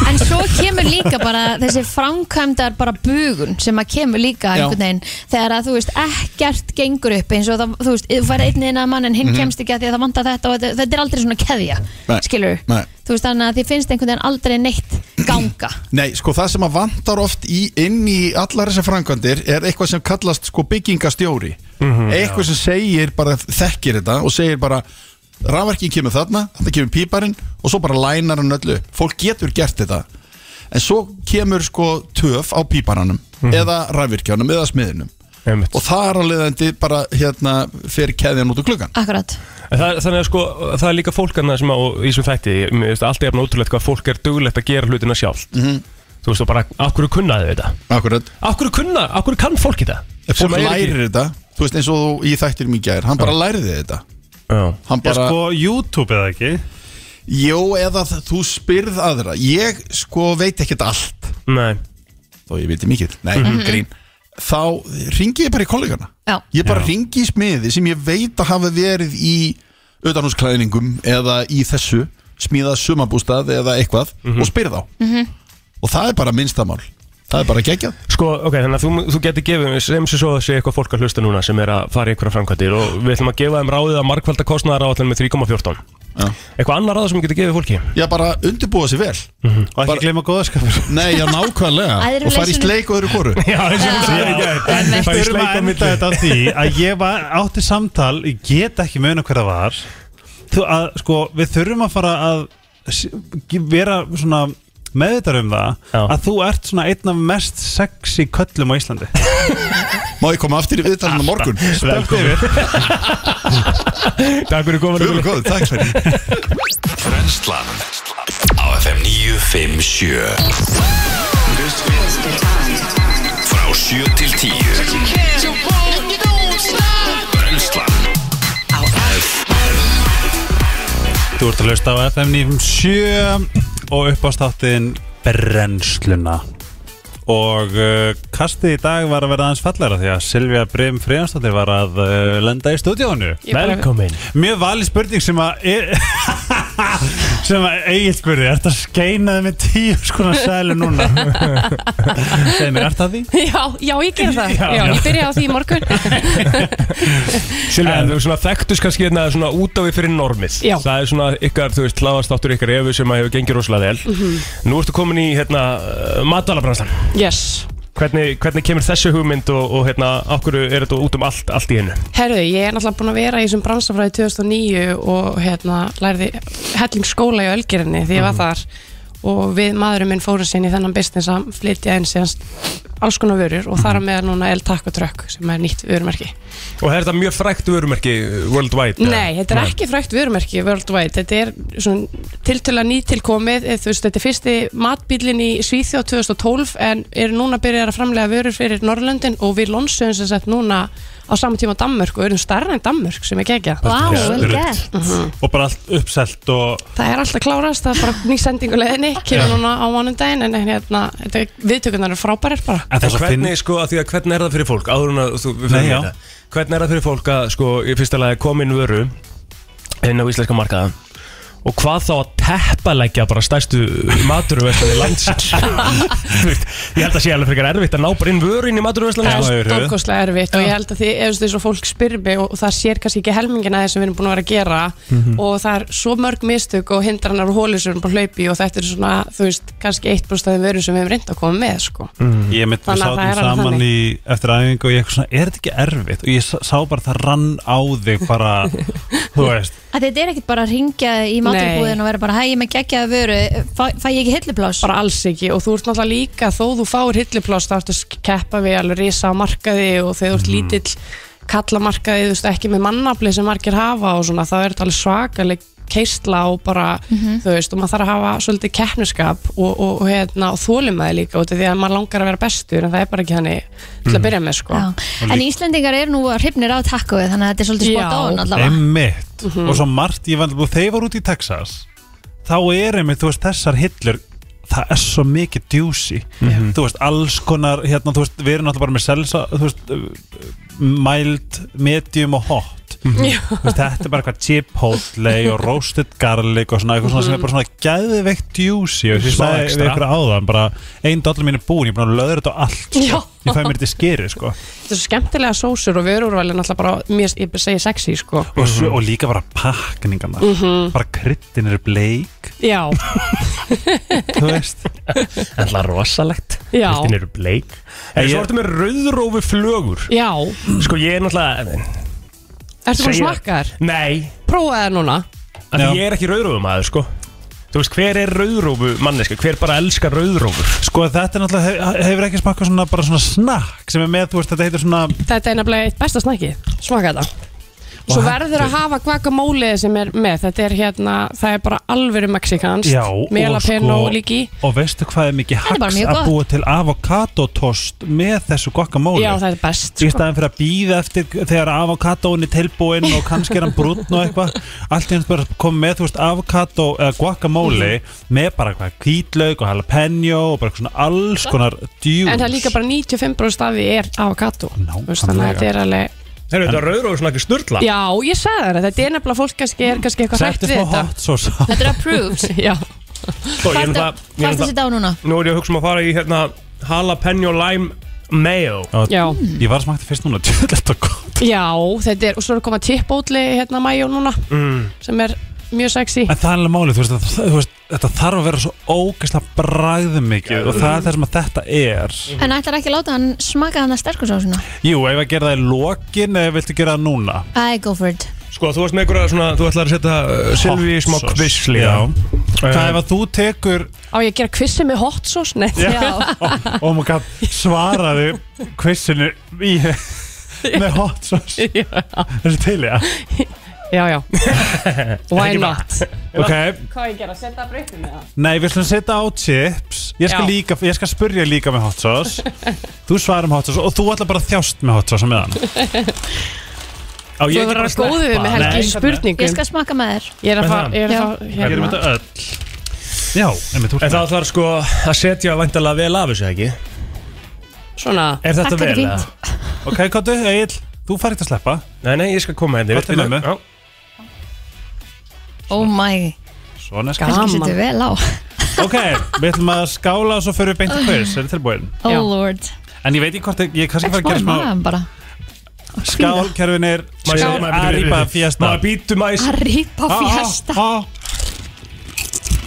Speaker 2: En svo kemur líka bara þessi framkvæmdar bara bugun sem að kemur líka
Speaker 8: Já.
Speaker 2: einhvern veginn þegar að þú veist ekkert gengur upp eins og það, þú veist, þú fær einn inn að mann en hinn kemst ekki að því að það vantar þetta og þetta, þetta er aldrei svona keðja,
Speaker 8: Nei.
Speaker 2: skilur
Speaker 8: Nei.
Speaker 2: þú veist þannig að þið finnst einhvern veginn aldrei neitt ganga
Speaker 8: nei, sko það sem að vantar oft í, inn í allar þessar framkvæmdir er eitthvað sem kallast sko byggingastjóri
Speaker 5: Mhm.
Speaker 8: eitthvað sem segir bara, þekkir þetta og segir bara rafverkin kemur þarna, þarna kemur píparinn og svo bara lænar hann öllu upp. fólk getur gert þetta en svo kemur sko töf á píparanum eða rafvirkjanum eða smiðinum
Speaker 1: Einmitt.
Speaker 8: og það er að leiðandi bara hérna fyrir keðjan út úr klukkan
Speaker 2: Akkurat,
Speaker 1: En Það, er- þannig að sko, það er líka fólk annað sem á í þessum þætti, mér finnst alltaf jafn ótrúlegt hvað fólk er duglegt að gera hlutina sjálf Þú veist þú bara, af hverju kunnaði þetta?
Speaker 8: Mhm. Akkurat
Speaker 1: Af hverju kunna, af hverju kann fólk þetta?
Speaker 8: Ef
Speaker 1: Sem
Speaker 8: fólk
Speaker 1: að er ekki-
Speaker 8: lærir þetta Þú veist eins og þú í þættir mikið gær Hann bara læriði þetta
Speaker 1: Já,
Speaker 8: Hann
Speaker 3: Ég
Speaker 8: bara,
Speaker 3: sko YouTube eða ekki
Speaker 8: Jó eða það- þú spyrð aðra Ég sko veit ekkert allt
Speaker 1: nei,
Speaker 8: Þó ég veit mikið Nei, grín Þá ringi ég bara í kollegana
Speaker 2: já,
Speaker 8: Ég bara ringi í smiði sem ég veit að hafa verið í utanhúsklæðningum eða í þessu smíðað sumabústað eða eitthvað
Speaker 1: Mhm.
Speaker 8: og spyrð á og það er bara minnstamál það er bara geggjað
Speaker 1: sko, ok, þannig að þú, þú getur gefið mér sem sem svo að sé eitthvað fólk að hlusta núna sem er að fara í einhverja framkvæmdir og við ætlum að gefa þeim ráðið að markvalda kostnaðar áallin með 3,14
Speaker 8: Já.
Speaker 1: Eitthvað annar ráð sem við getur gefið fólki? Mhm.
Speaker 8: ég bara undirbúa sér vel
Speaker 3: Og ekki
Speaker 8: Bara-
Speaker 3: gleyma góðaskapur
Speaker 8: nei, já nákvæmlega
Speaker 2: Æðrum
Speaker 8: og fara í
Speaker 2: leysunum.
Speaker 8: sleik og öðru koru
Speaker 1: Já, eins og þú segir í gær.
Speaker 2: einmitt.
Speaker 1: Það
Speaker 3: Við
Speaker 1: er
Speaker 3: erum
Speaker 1: sleik
Speaker 3: að
Speaker 1: á
Speaker 3: enda
Speaker 1: milli.
Speaker 3: þetta á því að ég var átti samtal Ég get ekki muna hver það var Þú að sko við þurfum að fara að s- vera svona meðvitað um það
Speaker 1: Já.
Speaker 3: að þú ert svona einn af mest sexy köllum á Íslandi
Speaker 8: Má ég koma aftur í viðtalinu á morgun?
Speaker 3: Velkomin
Speaker 1: Takk fyrir komin
Speaker 8: Guður góður, takk fyrir
Speaker 7: Brennslan Á FM 957 Frá 7 til 10 Brennslan
Speaker 3: Þú ert að hlusta á FM 957 og uppástáttin Brennsluna og uh, kastið í dag var að verða aðeins fallara því að Silvija Brim Friðansdóttir var að uh, lenda í stúdíónu
Speaker 1: Velkomin
Speaker 3: Mjög vali spurning sem að er, sem að eigin spurði Er þetta skeinaði með tíu skona sælu núna? Segir mér, er þetta því?
Speaker 9: Já, já, ég ger það. Já, ég byrja á því í morgun.
Speaker 1: Silvia, þú svona þekktust kannski hérna svona út á við fyrir normið
Speaker 9: Já.
Speaker 1: Það er svona ykkar, þú veist, hláðastáttur ykkar efu sem að hefur gengið rosalega vel
Speaker 9: Mhm.
Speaker 1: Nú ertu komin í hérna uh, matvalabranslan
Speaker 9: Yes.
Speaker 1: hvernig, hvernig kemur þessu hugmynd og, og hérna, okkur er þetta út um allt, allt í hennu?
Speaker 9: Herðu, ég er náttúrulega búin að vera í þessum bransafræði 2009 og hérna lærði helling skóla í Ölgerinni því ég var þar og við maðurinn minn fórum sín í þennan business að flytja inn síðan alls konar vörur og þar að meða núna El Taco Truck sem er nýtt vörumerki.
Speaker 1: Og er þetta mjög frækt vörumerki uh, worldwide?
Speaker 9: Nei, þetta er ekki frækt vörumerki worldwide, þetta er svona tiltöla nýtilkomið, eh, þú veist, þetta er fyrsti matbílinn í Svíþjóð 2012 en er núna byrjar að framlega vörur fyrir Norrlöndin og við lonsum sem sagt núna á saman tíma Danmörk og erum starra en Danmörk sem er gegja.
Speaker 2: vá, vel
Speaker 3: Rutt.
Speaker 2: gert Mhm.
Speaker 3: Og bara allt uppselt og
Speaker 9: Það er alltaf klárast, það er bara ný sendinguleginni, kemur núna á mánundaginn en hérna, þetta er- viðtökurnar eru frábærir bara.
Speaker 3: En
Speaker 1: En
Speaker 3: svo
Speaker 1: hvernig, sko, að því að hvernig er það fyrir fólk? Áður en að þú, við
Speaker 3: Nei,
Speaker 1: fyrir
Speaker 3: já.
Speaker 1: þetta Hvernig er það fyrir fólk að, sko, í fyrsta lagi komin vöru inn á íslenska markaða og hvað þá að teppalækja bara stærstu maturverðslan í landsins Þú veist, ég held að sé alveg frekar erfitt að ná bara inn vöru inn í Sko, maturverðslan
Speaker 9: það
Speaker 3: Já,
Speaker 9: er
Speaker 3: yfir höfuð.
Speaker 9: stórkostlega erfitt og ég held að því ef þess að fólk spyrmi og, og það sér kannski ekki helmingin að sem við erum búin að vera að gera og það er svo mörg mistök og hindranar og hóli sem við erum búin að hlaupi í og þetta er svona, þú veist, kannski eitt brústaðin vörun sem við erum reynd að koma með, sko.
Speaker 3: Ég mitt við
Speaker 9: Þannig að það
Speaker 3: sátum
Speaker 9: er alveg
Speaker 3: saman
Speaker 9: þannig.
Speaker 3: í, eftir æfingu og ég eitthvað svona, er þetta ekki erfitt? Og ég sá- sá bara það rann á þig bara, þú veist
Speaker 2: Að þetta er ekkert bara að ringja í maturbúðin
Speaker 9: Nei.
Speaker 2: og vera bara, hæ, ég er með geggjaða vöru fæ, fæ ég ekki hillipláss?
Speaker 9: Bara alls ekki og þú ert náttúrulega líka, þó þú fáir hilliplást, þá ertu að keppa við alveg risa á markaði og þegar þú ert
Speaker 3: Mm.
Speaker 9: lítill kallamarkaði, þú veist, ekki með mannafli sem margir hafa og svona, þá er þetta alveg svakaleg keistla og bara,
Speaker 2: Mhm.
Speaker 9: þú veist, og maður þarf að hafa svolítið keppniskap og, og, og, hérna, og þólimaði líka út af því að maður langar að vera bestur en það er bara ekki þannig til
Speaker 3: Mm.
Speaker 9: að byrja með, sko.
Speaker 2: Já. En Íslendingar eru nú hrifnir á takkóið þannig að þetta er svolítið spot
Speaker 9: Já.
Speaker 2: on allavega Mhm.
Speaker 3: Emmitt Og svo margt, ég var alveg, þeir var út í Texas Þá er einmitt, þú veist, þessar hillur Það er svo mikið djúsi
Speaker 1: Mhm.
Speaker 3: Þú veist, alls konar hérna, Þú veist, við erum náttúrulega bara með selsa Þú veist, uh, mild, medium og hot
Speaker 2: Mhm.
Speaker 9: Já.
Speaker 3: Þú veist, þetta er bara eitthvað chipotle og roasted garlic og svona eitthvað svona sem
Speaker 2: Mhm.
Speaker 3: er bara svona gæðveikt juicy og ég
Speaker 1: Smá
Speaker 3: sagði
Speaker 1: extra.
Speaker 3: við ykkur áðan bara ein dollar mín er búin, ég er búin að löðra þetta á allt
Speaker 9: Já.
Speaker 3: sko. ég fæ mér þetta í skeri sko.
Speaker 9: Þetta er svo skemmtilega sósur og vörurvæli náttúrulega bara, mér, ég segi sexy sko
Speaker 3: og, svo, og líka bara pakningarna bara kryddin eru bleik
Speaker 9: Já,
Speaker 3: þú veist
Speaker 1: Ætla rosalegt
Speaker 9: Já.
Speaker 1: Kristín eru bleik En
Speaker 3: Ég-
Speaker 1: svo ertu með rauðrófi flögur
Speaker 9: já,
Speaker 1: Sko ég er náttúrulega
Speaker 9: ertu búin að
Speaker 1: Segir-
Speaker 9: smakka þær?
Speaker 1: Nei,
Speaker 9: Prófa þær núna
Speaker 1: af því
Speaker 3: Já.
Speaker 1: ég er ekki rauðrófum aður sko Þú veist hver er rauðrófu manneska Hver bara elskar rauðrófur
Speaker 3: sko þetta er náttúrulega hef, hefur ekki smakkað svona bara svona snakk sem er með, þú veist, þetta heitir svona
Speaker 9: Þetta er nefnilega eitt besta snakki, smakka þetta Svo verður að hafa guacamole sem er með, þetta er hérna, það er bara alvöru mexikanskt
Speaker 3: Já, og
Speaker 9: Melapenó
Speaker 3: sko-
Speaker 9: líki
Speaker 3: og veistu hvað er mikið
Speaker 2: er bara
Speaker 3: hacks
Speaker 2: mjög
Speaker 3: að
Speaker 2: gott.
Speaker 3: búa til avokadotost með þessu guacamole
Speaker 9: Já, það er best
Speaker 3: í
Speaker 9: sko.
Speaker 3: staðan fyrir að býða eftir þegar avokadóin er tilbúin og kannski er hann brún og eitthvað allt í hans bara komið með, þú veist, avokadó eða guacamole
Speaker 9: Mhm.
Speaker 3: með bara hvað, kvítlaug og jalapeno og bara svona alls konar djús
Speaker 9: En það er líka bara 95% af því er avokado
Speaker 3: Nákvæmlega.
Speaker 9: Þú veist, Þannig að þetta er alveg
Speaker 1: Þeir eru þetta rauðrófur svona ekki snurla
Speaker 9: Já, ég sagði þær að þetta er nefnilega fólk kannski er kannski eitthvað hrætt
Speaker 3: Settu
Speaker 9: við
Speaker 3: smá
Speaker 9: þetta
Speaker 3: hot sauce á
Speaker 2: Þetta er approved
Speaker 9: Já,
Speaker 2: Hvað
Speaker 1: Sko ég er náttúrulega ég er
Speaker 2: er
Speaker 1: náttúrulega-
Speaker 2: þetta á núna?
Speaker 1: Nú er ég að hugsa um að fara í hérna Jalapeno Lime Mayo
Speaker 9: já,
Speaker 3: Ég var að smakta fyrst núna, djúðlegt og gott
Speaker 9: já, þetta er, og svo er að koma tippótli hérna mæjó núna
Speaker 1: mm.
Speaker 9: sem er mjög sexy
Speaker 3: En það er alveg málið, þú veist, það, þú veist þetta þarf að vera svo ógeðslega bræðmikið og það er það sem að þetta er
Speaker 2: En ætlar ekki að láta hann smaka hann að sterkur sósuna?
Speaker 3: Jú, ef að gera það í lokin eða viltu gera það núna
Speaker 2: I go for it
Speaker 1: Sko þú varst með einhverja svona Þú ætlar að setja uh, Silvi í smá Eh.
Speaker 3: Hot sauce.
Speaker 1: kvisli
Speaker 3: Já. Hvað ef að þú tekur
Speaker 9: Á ég að gera kvissi með hot sauce? Nei,
Speaker 2: Já,
Speaker 3: Oh my god, svaraðu quizinu í með hot sauce Þessu til, já
Speaker 9: já, já Why not?
Speaker 3: Ok,
Speaker 9: Hvað á ég að gera, setja að breytum með það?
Speaker 3: nei, við slum setja á chips Ég skal,
Speaker 9: Já.
Speaker 3: líka, ég skal spurja líka með hot sauce Þú svarar með hot sauce og þú ætla bara að þjást með hot sauce á meðan
Speaker 1: Á,
Speaker 9: Þú
Speaker 1: ég
Speaker 9: verður
Speaker 1: bara
Speaker 9: að góðu við mig helgi í
Speaker 1: Nei.
Speaker 2: ég
Speaker 9: spurningum
Speaker 2: skal smaka með þér
Speaker 9: Ég er að
Speaker 1: Með
Speaker 9: fara, ég er
Speaker 2: Já.
Speaker 9: að fara
Speaker 3: Við gerum
Speaker 9: hérna.
Speaker 3: þetta öll Já, emi, þú
Speaker 1: En
Speaker 3: ert
Speaker 1: það þarf sko að setja væntalega vel af þessu ekki
Speaker 9: Svona,
Speaker 1: Er þetta
Speaker 2: Takk, þetta er
Speaker 1: vel?
Speaker 2: fínt.
Speaker 1: eða?
Speaker 3: Ok, Kottu, Egil, þú fær ekkert að sleppa
Speaker 1: Nei, nei, ég skal koma henni
Speaker 3: Þetta er mömmu.
Speaker 2: Oh my,
Speaker 3: Svona skal
Speaker 2: kannski
Speaker 9: gaman
Speaker 2: setur vel á
Speaker 3: Ok, við ætlum að skála og svo fyrir við beint að quiz Er þið tilbúin?
Speaker 2: Oh
Speaker 9: Já.
Speaker 2: lord
Speaker 3: En ég veit ekki hvort, ég er kannski fara að
Speaker 2: Smá
Speaker 3: gera smá
Speaker 2: maður bara
Speaker 3: Skálkerfinir
Speaker 1: Skál.
Speaker 3: Aripa Fiesta
Speaker 1: Maður býtum aðeins
Speaker 2: Að rýpa fjasta
Speaker 3: ah.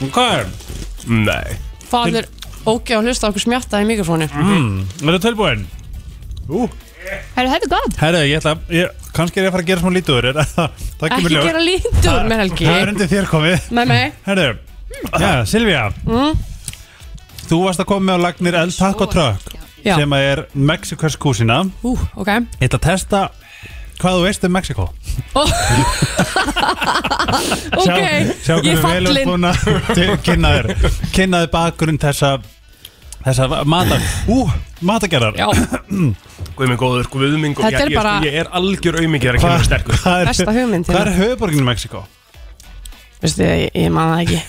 Speaker 3: Ok
Speaker 1: Nei
Speaker 9: faður ógeð að hlusta á okkur smjatta í mikrofónu
Speaker 3: Mm-hmm. Er það tilbúin?
Speaker 2: Herru, þetta er gott
Speaker 3: Herru, ég ætla að ég- Kannski er ég að fara að gera smá lítur er, Það
Speaker 9: Ekki
Speaker 3: kemur ljós
Speaker 9: gera lítur með helgi
Speaker 3: Það er undir þér komið
Speaker 9: Með mig Mm.
Speaker 3: Herru Já, Silvía Þú varst að koma með á lagnir El Taco Truck
Speaker 9: Já,
Speaker 3: sem að er Mexikars kúsina
Speaker 9: ú, ok
Speaker 3: Ég ætla að testa hvað þú veist um Mexiko
Speaker 9: Ok,
Speaker 3: Sjá hvernig vel
Speaker 9: ég
Speaker 3: er
Speaker 9: fallin
Speaker 3: búin að kynna þér Kynna þér bakgrunn þessa þessa matar Ú, matagerðar
Speaker 9: Já,
Speaker 1: Guð minn góður, guð minn góður
Speaker 9: Þetta er
Speaker 1: Ég- ég-
Speaker 9: bara-
Speaker 1: Ég er algjör aumingi þegar að
Speaker 3: Hva-
Speaker 1: kemur sterkur
Speaker 3: Hvað er,
Speaker 9: besta hugmynd
Speaker 3: hvað er
Speaker 9: hérna.
Speaker 3: höfuborgin í Mexiko?
Speaker 9: Veistu, ég, ég man það ekki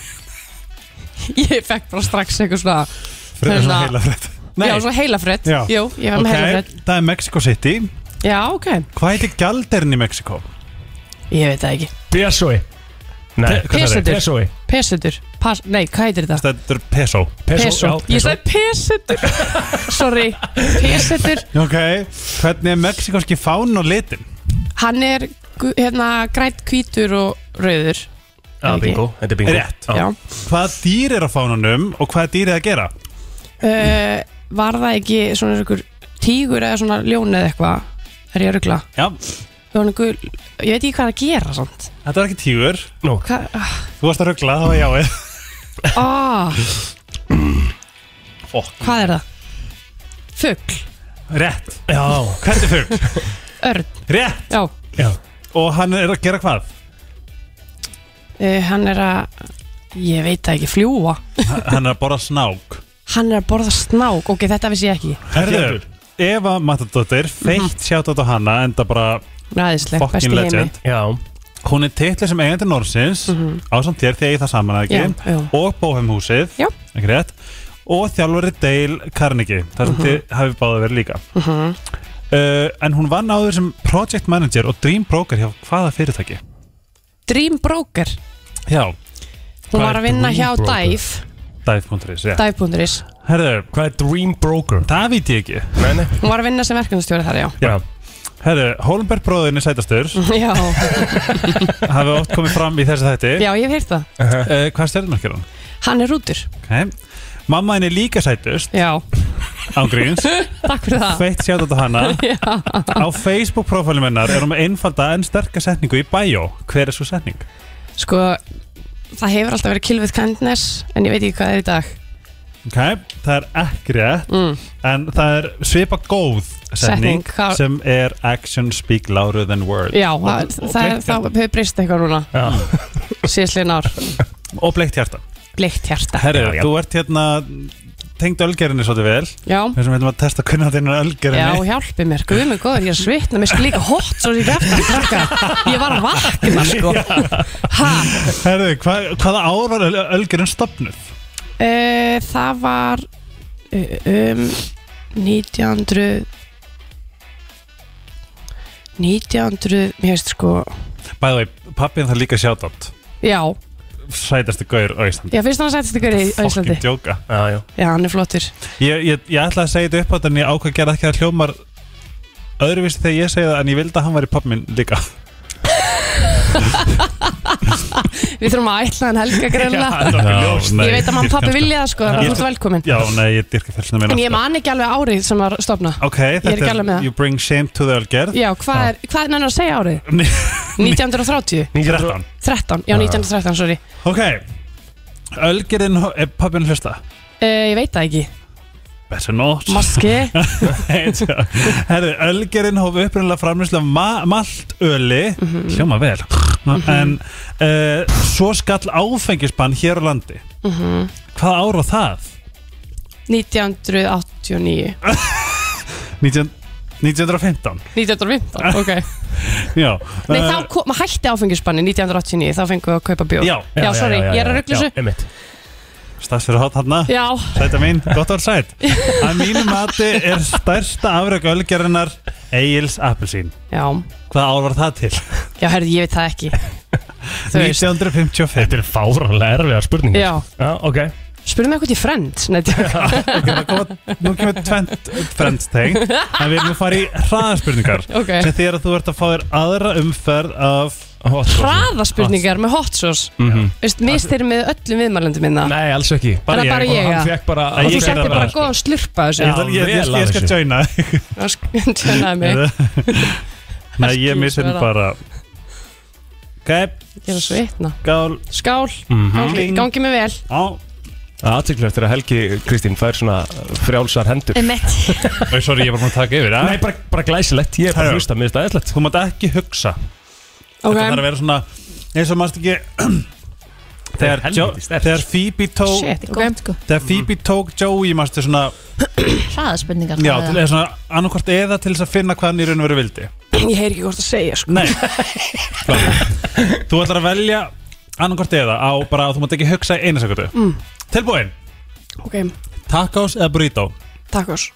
Speaker 9: Ég fekk bara strax eitthvað svona
Speaker 3: Fyrir
Speaker 9: Hérna.
Speaker 3: svona heila frétt Nei,
Speaker 9: Já, svona heilafrett
Speaker 3: Já.
Speaker 9: Jú, ég var með
Speaker 3: ok,
Speaker 9: heilafrett
Speaker 3: það er Mexico City
Speaker 9: Já, ok
Speaker 3: Hvað heitir gjalderinn í Mexiko?
Speaker 9: Ég veit það ekki
Speaker 1: Pesoi E. Nei,
Speaker 3: Pe-
Speaker 1: hvað það er?
Speaker 9: pesetur.
Speaker 1: Pesoi
Speaker 9: Pesetur Pas, Nei, hvað heitir þetta?
Speaker 3: Þetta er peso
Speaker 1: E,
Speaker 9: Peso Ég sagði pesetur Sorry Pesetur
Speaker 3: Ok, hvernig er mexikanski fán og litin?
Speaker 9: Hann er gu- hérna grænt hvítur og rauður
Speaker 1: Já, bingo, þetta er bingo
Speaker 3: Rétt.
Speaker 1: Já.
Speaker 9: Já
Speaker 3: Hvaða dýr er á fánunum og hvaða dýr er að gera?
Speaker 9: uh, Var það ekki svona einhver tígur eða svona ljón eða eitthvað Er ég að rugla?
Speaker 3: Já,
Speaker 9: Það var einhver Ég veit ekki hvað er að gera samt
Speaker 3: þetta var ekki tígur
Speaker 9: Hvað
Speaker 3: Þú varst að ruggla, það var jáið
Speaker 9: ah,
Speaker 3: Fokk.
Speaker 9: Hvað er það? Fugl
Speaker 3: Rétt Já Hvernig fugg?
Speaker 9: Örn
Speaker 3: Rétt
Speaker 9: Já
Speaker 3: Og hann er að gera hvað?
Speaker 9: uh, Hann er að Ég veit það ekki Fljúa
Speaker 3: Hann er að borða snák
Speaker 9: Hann er að borða snák, ok, þetta vissi ég ekki
Speaker 3: Herðu Eva Matadóttir,
Speaker 9: Mhm.
Speaker 3: feitt sjátt á hana enda bara
Speaker 9: Ræðisleg, besti
Speaker 3: fucking
Speaker 9: í heimi
Speaker 3: legend Hún er titli sem eigandi Norsins mm -hmm. ásamt þér því að ég það saman eða ekki
Speaker 9: Mhm. Já, já.
Speaker 3: og Bóheimhúsið
Speaker 9: Já.
Speaker 3: ekki
Speaker 9: Mhm.
Speaker 3: rétt og þjálfari Dale Carnegie þar sem þið hafið báða verið líka uh, en hún vann áður sem project manager og dream broker hjá hvaða fyrirtæki?
Speaker 9: Dream Broker,
Speaker 3: Já,
Speaker 9: hún
Speaker 1: Hvað
Speaker 9: var
Speaker 1: er
Speaker 9: að vinna
Speaker 1: Dream
Speaker 9: hjá
Speaker 1: Broker?
Speaker 9: Dive
Speaker 3: dive.is yeah.
Speaker 9: Dive.is,
Speaker 3: Herðu,
Speaker 1: Hvað er Dream Broker?
Speaker 3: það veit ég ekki
Speaker 1: Nei, nei
Speaker 9: hún var að vinna sem verkefnastjóri þar, já
Speaker 3: Já Herðu, Holmberg bróðurinn er sætastur
Speaker 9: Já,
Speaker 3: hafi oft komið fram í þessi þætti
Speaker 9: já, ég hef heyrt það
Speaker 3: uh, Hvað stjörnumörkir hann?
Speaker 9: Hann er rútur,
Speaker 3: Okay. Mamma henni er líka sætust
Speaker 9: já,
Speaker 3: ángríns
Speaker 9: takk fyrir það
Speaker 3: Feitt sjátt á hana Á Facebook profilum hennar er hún með einfalda en sterka setningu í bæjó Hver er svo setning?
Speaker 9: Sko, það hefur alltaf verið kill with kindness En ég veit ekki hvað það er í dag
Speaker 3: Ok, það er ekki rétt
Speaker 9: mm.
Speaker 3: En það er svipa góð setning,
Speaker 9: Setning, hvað-
Speaker 3: sem er Action speak louder than words
Speaker 9: Já, það,
Speaker 3: og
Speaker 9: það,
Speaker 3: bleikt
Speaker 9: það
Speaker 3: hjarta.
Speaker 9: hefur breyst eitthvað núna
Speaker 3: Já.
Speaker 9: Síðsliðin ár,
Speaker 3: Og bleikt hjarta
Speaker 9: bleikt hjarta
Speaker 3: Herru,
Speaker 1: Já, já.
Speaker 3: þú ert hérna tengd ölgerinni svolítið vel
Speaker 9: Já,
Speaker 3: Þessum við ætlum að testa kunna þinn
Speaker 9: já,
Speaker 3: ölgerinni
Speaker 9: hjálpi mér, guð mig góður, ég er að svitna Mér skal líka hot svo ég eftir að krakka Ég var að vakna, sko ha,
Speaker 3: Herru, hva, hvaða ár var öl- ölgerin stopnud?
Speaker 9: uh, Það var uh, um 1900 1900, mér veist sko
Speaker 3: Bæði vei, pappin það líka sjátt átt
Speaker 9: Já,
Speaker 3: Sætasti gaur á Íslandi
Speaker 9: já, fyrst hann sættist ykkur í á Íslandi
Speaker 3: Fokkin djóka
Speaker 1: Já, já
Speaker 9: Já, hann er flottur
Speaker 3: Ég, ég, ég ætlaði að segja þetta upp á þetta en ég ákvað að gera ekki að hljómar öðruvísi þegar ég segi það en ég vildi að hann væri pappi minn líka
Speaker 9: Við þurfum að ætla hann helga greinlega
Speaker 3: það
Speaker 1: Já,
Speaker 9: Ég veit að mann pappi vilja það sko, þannig að þú ert velkomin
Speaker 3: Já, nei, ég dyrka fjölsina mín
Speaker 9: En ég man ekki alveg árið sem var stofna
Speaker 3: Ok,
Speaker 9: er ekki
Speaker 3: þetta er,
Speaker 9: alveg með það.
Speaker 3: You bring shame to the ölgerð
Speaker 9: Já, hvað er, hvað er nennið að segja árið? 1930?
Speaker 3: 13
Speaker 9: 13, já 1913, sorry
Speaker 3: Ok, ölgerðin, er pappi minn að hlusta?
Speaker 9: uh, Ég veit það ekki
Speaker 3: Better not
Speaker 9: Maski,
Speaker 3: Herðu, Ölgerinn hóf upprunalega framlýslu af ma maltöli
Speaker 9: Mhm.
Speaker 3: Hljóma vel En uh, svo skall áfengisbann hér á landi Hvað ár var það?
Speaker 9: 1989
Speaker 3: 19 1915
Speaker 9: 1915, ok
Speaker 3: Já
Speaker 9: Nei,
Speaker 3: eh,
Speaker 9: þá kom, maður hætti áfengisbanni 1989, þá fengum við að kaupa bjór
Speaker 3: Já,
Speaker 9: já, sorry, ég er að ruggla þessu
Speaker 1: Einmitt
Speaker 3: stærst fyrir hát hana
Speaker 9: Já,
Speaker 3: Sæta mín, gott var sæt Að mínu mati er stærsta afrök ölgerinnar Egil's Appelsín
Speaker 9: já,
Speaker 3: Hvað ár var það til?
Speaker 9: já, herði, ég veit það ekki Þú veist,
Speaker 3: 1955
Speaker 1: Þetta er fáranlega erfiðar spurningar
Speaker 9: já
Speaker 1: Já, ok
Speaker 9: Spurðu mig eitthvað til Friends, nei, djók.
Speaker 3: Það koma- Nú kemur tvent frendsteng En við erum að fara í hraðaspurningar
Speaker 9: ok
Speaker 3: sem þýðir að þú ert að fá þér aðra umferð af
Speaker 9: Hraðaspurningar með hot sauce
Speaker 1: Mhm.
Speaker 9: Veist, mistyrir með öllum viðmælendum minna
Speaker 1: Nei, alls ekki
Speaker 9: Bara
Speaker 3: ég.
Speaker 9: bara
Speaker 1: Og
Speaker 9: ég,
Speaker 1: hann
Speaker 9: já
Speaker 1: fekk bara
Speaker 3: Nei, ég
Speaker 9: Og þú
Speaker 3: gerði
Speaker 9: settir
Speaker 3: það
Speaker 9: bara
Speaker 3: bara. sko.
Speaker 9: góð slurpa
Speaker 3: Ég,
Speaker 9: þessu
Speaker 3: ætla- ég, ég,
Speaker 1: vel
Speaker 3: ég,
Speaker 1: að
Speaker 3: ég skal
Speaker 1: þessu.
Speaker 3: joina
Speaker 9: Ná, Tjónaði mig
Speaker 3: Nei, ég missin
Speaker 9: Sverra.
Speaker 3: bara Ok,
Speaker 9: Ég er að svitna
Speaker 3: gál
Speaker 9: Skál, Mhm. gangi,
Speaker 3: Kling.
Speaker 9: gangi mig vel
Speaker 3: á
Speaker 1: Aðtiklu eftir að Helgi Kristín fær svona frjálsar hendur
Speaker 2: Emmett,
Speaker 3: Nei, sorry, ég er bara múin að taka yfir
Speaker 1: Nei, bara, bara glæsilegt Ég er bara
Speaker 3: Herra.
Speaker 1: að hlusta, mér finnst það eðlert
Speaker 3: Þú mátt ekki hugsa
Speaker 9: Ok,
Speaker 3: Þetta þarf að vera svona eins og mást ekki Þegar, jo,
Speaker 1: helviti sterkt.
Speaker 3: þegar Phoebe tók
Speaker 9: shit, ok
Speaker 2: gott sko
Speaker 3: Þegar Phoebe tók Joey mástu svona
Speaker 2: Hraðaspurningar
Speaker 3: Já,
Speaker 2: það
Speaker 3: til, eða svona annarkvort eða til þess að finna hvað hann í raun og veru vildi
Speaker 9: Ég heyr ekki hvort að segja sko
Speaker 3: Nei Þú ætlar að velja annarkvort eða á bara að þú mátt ekki hugsa í einu sekundu mm. Tilbúin
Speaker 9: Ok,
Speaker 3: Tacos eða burrito
Speaker 9: takk ás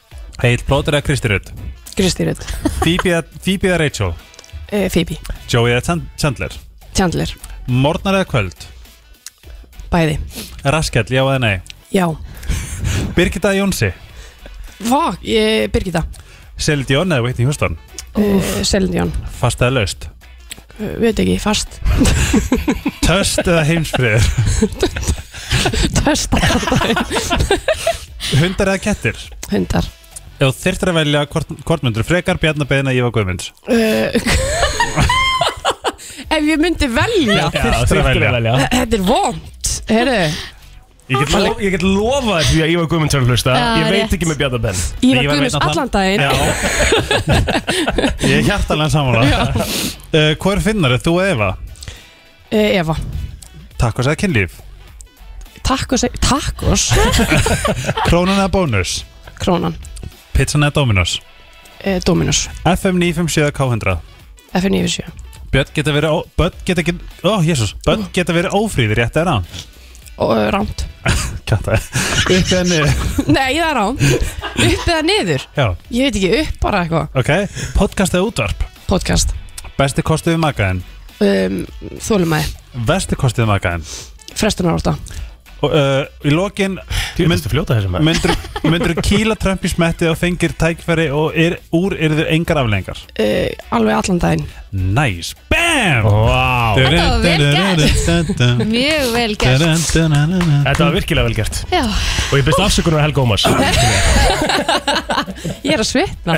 Speaker 3: Egil Plóter eða Kristi Rutt
Speaker 9: Kristi Rödd,
Speaker 3: Phoebe eða- Phoebe eða Rachel
Speaker 9: Eh, Phoebe,
Speaker 3: Joey eða Chan- Chandler
Speaker 9: Chandler,
Speaker 3: Mornar eða Kvöld
Speaker 9: bæði
Speaker 3: Raskell, já eða nei
Speaker 9: Já,
Speaker 3: Birgitta eða Jónsi
Speaker 9: fuck, ég, Birgitta
Speaker 3: Selid Jón eða Whitney Houston
Speaker 9: uh, Selindjón,
Speaker 3: Fast eða laust
Speaker 9: uh, veit ekki, fast
Speaker 3: Töst eða heimsfriður
Speaker 9: Tösta
Speaker 3: Hundar eða kettir
Speaker 9: Hundar
Speaker 3: Ef þú þyrftir að velja hvort, hvort myndur frekar Bjarnabeðina Ívar Guðmunds
Speaker 9: Uh, Ef ég myndi velja
Speaker 3: þyrftir að velja.
Speaker 9: Þetta er vond Herru,
Speaker 1: Ég get, lo ég get lofa því að Ívar Guðmundsson hlusta
Speaker 2: Já,
Speaker 1: Ég veit
Speaker 2: rétt.
Speaker 1: ekki með Bjarnar Ben
Speaker 9: ég
Speaker 3: Ívar veit
Speaker 9: var guðmust
Speaker 3: náttúrulega-
Speaker 9: allan daginn
Speaker 3: Já Ég er hjartalega samanlega uh, Hvor finnar er þú eða Eva?
Speaker 9: Eh, Eva,
Speaker 3: Takkos eða kynlíf?
Speaker 9: takkos Takkos?
Speaker 3: Krónan eða bónus?
Speaker 9: Krónan,
Speaker 3: Pizzan eða Dominos?
Speaker 9: eh, Dominus
Speaker 3: FM 957 K100
Speaker 9: F97
Speaker 3: Björn geta verið ó- Börn geta ekki Ó, oh, jésús Börn geta verið ófríðir rétt eða rann
Speaker 9: og rámt
Speaker 3: Kjatta
Speaker 10: Upp eða niður
Speaker 9: Nei, það er rámt Upp eða niður
Speaker 3: Já,
Speaker 9: Ég veit ekki, upp bara eitthvað
Speaker 3: ok Podcast eða útvarp
Speaker 9: Podcast
Speaker 3: Besti kostið við makaðin
Speaker 9: um, Þólumæði
Speaker 3: Vesti kostið við makaðin
Speaker 9: Frestunar átta
Speaker 3: Og uh, í lokin
Speaker 1: Þú veist að fljóta þessum með
Speaker 3: myndur, myndur kýla Trump í smettið og fengir tækifæri og er, úr eru þau engar aflengar
Speaker 9: uh, Alveg allan daginn
Speaker 3: Nice BAM
Speaker 1: Vá
Speaker 2: Þetta var vel
Speaker 3: gert
Speaker 2: Mjög vel gert
Speaker 1: Þetta var virkilega vel gert
Speaker 2: Já,
Speaker 1: Og ég byrst afsökunar Helga Ómars
Speaker 9: Ég er að svitna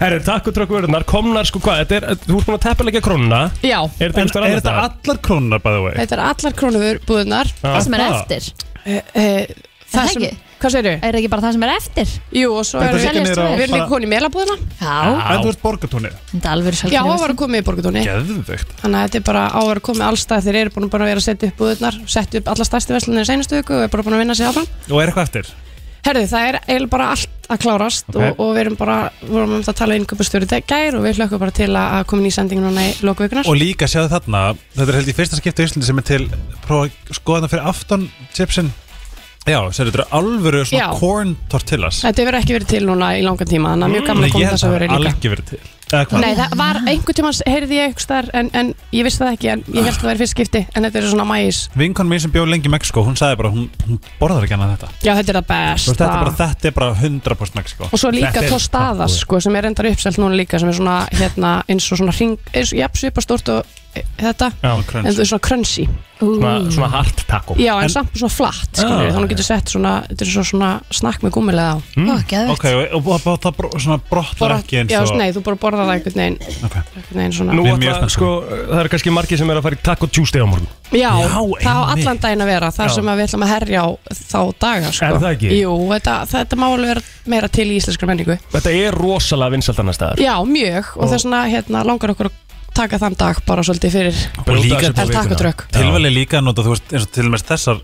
Speaker 1: Herri, takk og trökk vörðunar Komnar sko hvað Þetta er Þú ert búin að teppilegja krónuna
Speaker 9: Já,
Speaker 1: Er þetta
Speaker 3: En
Speaker 1: einhverstað
Speaker 3: er þetta allar krónar by the way?
Speaker 9: þetta er allar krónubúðunar
Speaker 2: það sem er
Speaker 3: það.
Speaker 2: eftir
Speaker 9: uh, uh,
Speaker 2: það
Speaker 9: Það sem
Speaker 2: ekki?
Speaker 9: Hvað segirðu?
Speaker 2: Er það ekki bara það sem er eftir?
Speaker 9: Jú, og svo
Speaker 3: Þetta er
Speaker 9: erum
Speaker 3: ekki
Speaker 9: við
Speaker 2: seljast
Speaker 3: niður á
Speaker 2: vel.
Speaker 9: Við erum líka
Speaker 3: bara-
Speaker 9: konið í meilabúðuna
Speaker 2: Já,
Speaker 3: En þú ert borgartónið
Speaker 2: þetta er alveg
Speaker 9: Já, það var að koma í borgutóni
Speaker 3: Geðvögt
Speaker 9: Þannig að þetta er bara á að vera komið allstað þeir eru búin að bara vera að setja upp búðurnar setja upp alla stærsti verslunir í seinustu viku og er bara búin að vinna sér áfram
Speaker 3: Og er eitthvað eftir?
Speaker 9: Herðu, það er eiginlega bara allt að klárast
Speaker 3: Ok.
Speaker 9: og, og við erum bara, við vorum um þetta að tala innkjöpustjóri gær og við hlökkum bara til að, að koma inn í sendingin núna í lokuveikunar
Speaker 3: Og líka sjáðu þarna, þetta er held í fyrsta skipti í Íslandi sem er til, prófa að skoða það fyrir aftan chipsin Já, sem þetta eru alvöru svona
Speaker 9: Já.
Speaker 3: corn tortillas
Speaker 9: Þetta hefur ekki verið til núna í langan tíma þannig að mjög gaman að
Speaker 3: Ég
Speaker 9: koma
Speaker 3: held
Speaker 9: þess að vera líka
Speaker 3: alveg verið til Eða hvað?
Speaker 9: Nei, það var einhvern tíma heyrði ég einhvers þar en, en ég vissi það ekki en ég held að það væri fyrst skipti en þetta er svona mæs
Speaker 3: Vinkon mín sem bjóð lengi í Mexiko, hún sagði bara hún, hún borðar ekki annað þetta
Speaker 9: Já, þetta er
Speaker 3: Þú
Speaker 9: það
Speaker 3: veist,
Speaker 9: best
Speaker 3: þetta, er bara, þetta er bara 100% Mexiko
Speaker 9: Og svo líka
Speaker 1: Þetta er-
Speaker 9: Tostadas sko, sem er endar uppselt núna líka sem er svona hérna, eins og svona hring, eins, jafn, svipa stórt og e, þetta, en
Speaker 3: Kröns.
Speaker 9: það er svona crunchy
Speaker 1: Svona, svona hart taco
Speaker 9: Já, en,
Speaker 3: En-
Speaker 9: samt svona flatt skilur,
Speaker 1: Ah.
Speaker 9: þannig að getur sett svona, þetta er svo svona snakk með gúmilega á
Speaker 3: Hmm? Mm. Ok, og, og, og, og það bro- svona brottar
Speaker 9: Bara-
Speaker 3: ekki eins
Speaker 9: Já,
Speaker 3: og
Speaker 9: nei, þú bara borðar það einhvern veginn
Speaker 3: Ok.
Speaker 9: einhvern veginn svona
Speaker 1: Nú
Speaker 3: Við erum mjög
Speaker 1: alltaf
Speaker 3: spenntir.
Speaker 1: sko Það eru kannski margir sem er að fara í Taco Tuesday á morgun
Speaker 9: Já,
Speaker 3: Já,
Speaker 9: það á
Speaker 3: einmitt.
Speaker 9: allan daginn að vera þar
Speaker 1: Já.
Speaker 9: sem að við ætlum að herja á þá daga sko.
Speaker 1: Er það ekki?
Speaker 9: Jú, þetta, þetta má alveg vera meira til í íslenskra menningu
Speaker 1: Þetta er rosalega vinsalt annar staðar
Speaker 9: Já, mjög, og þess vegna hérna, langar okkur að taka þann dag bara svolítið fyrir
Speaker 3: Og líka
Speaker 9: El Taco Truck
Speaker 3: Tilvæli líka að nota, þú veist, eins og til og með þessar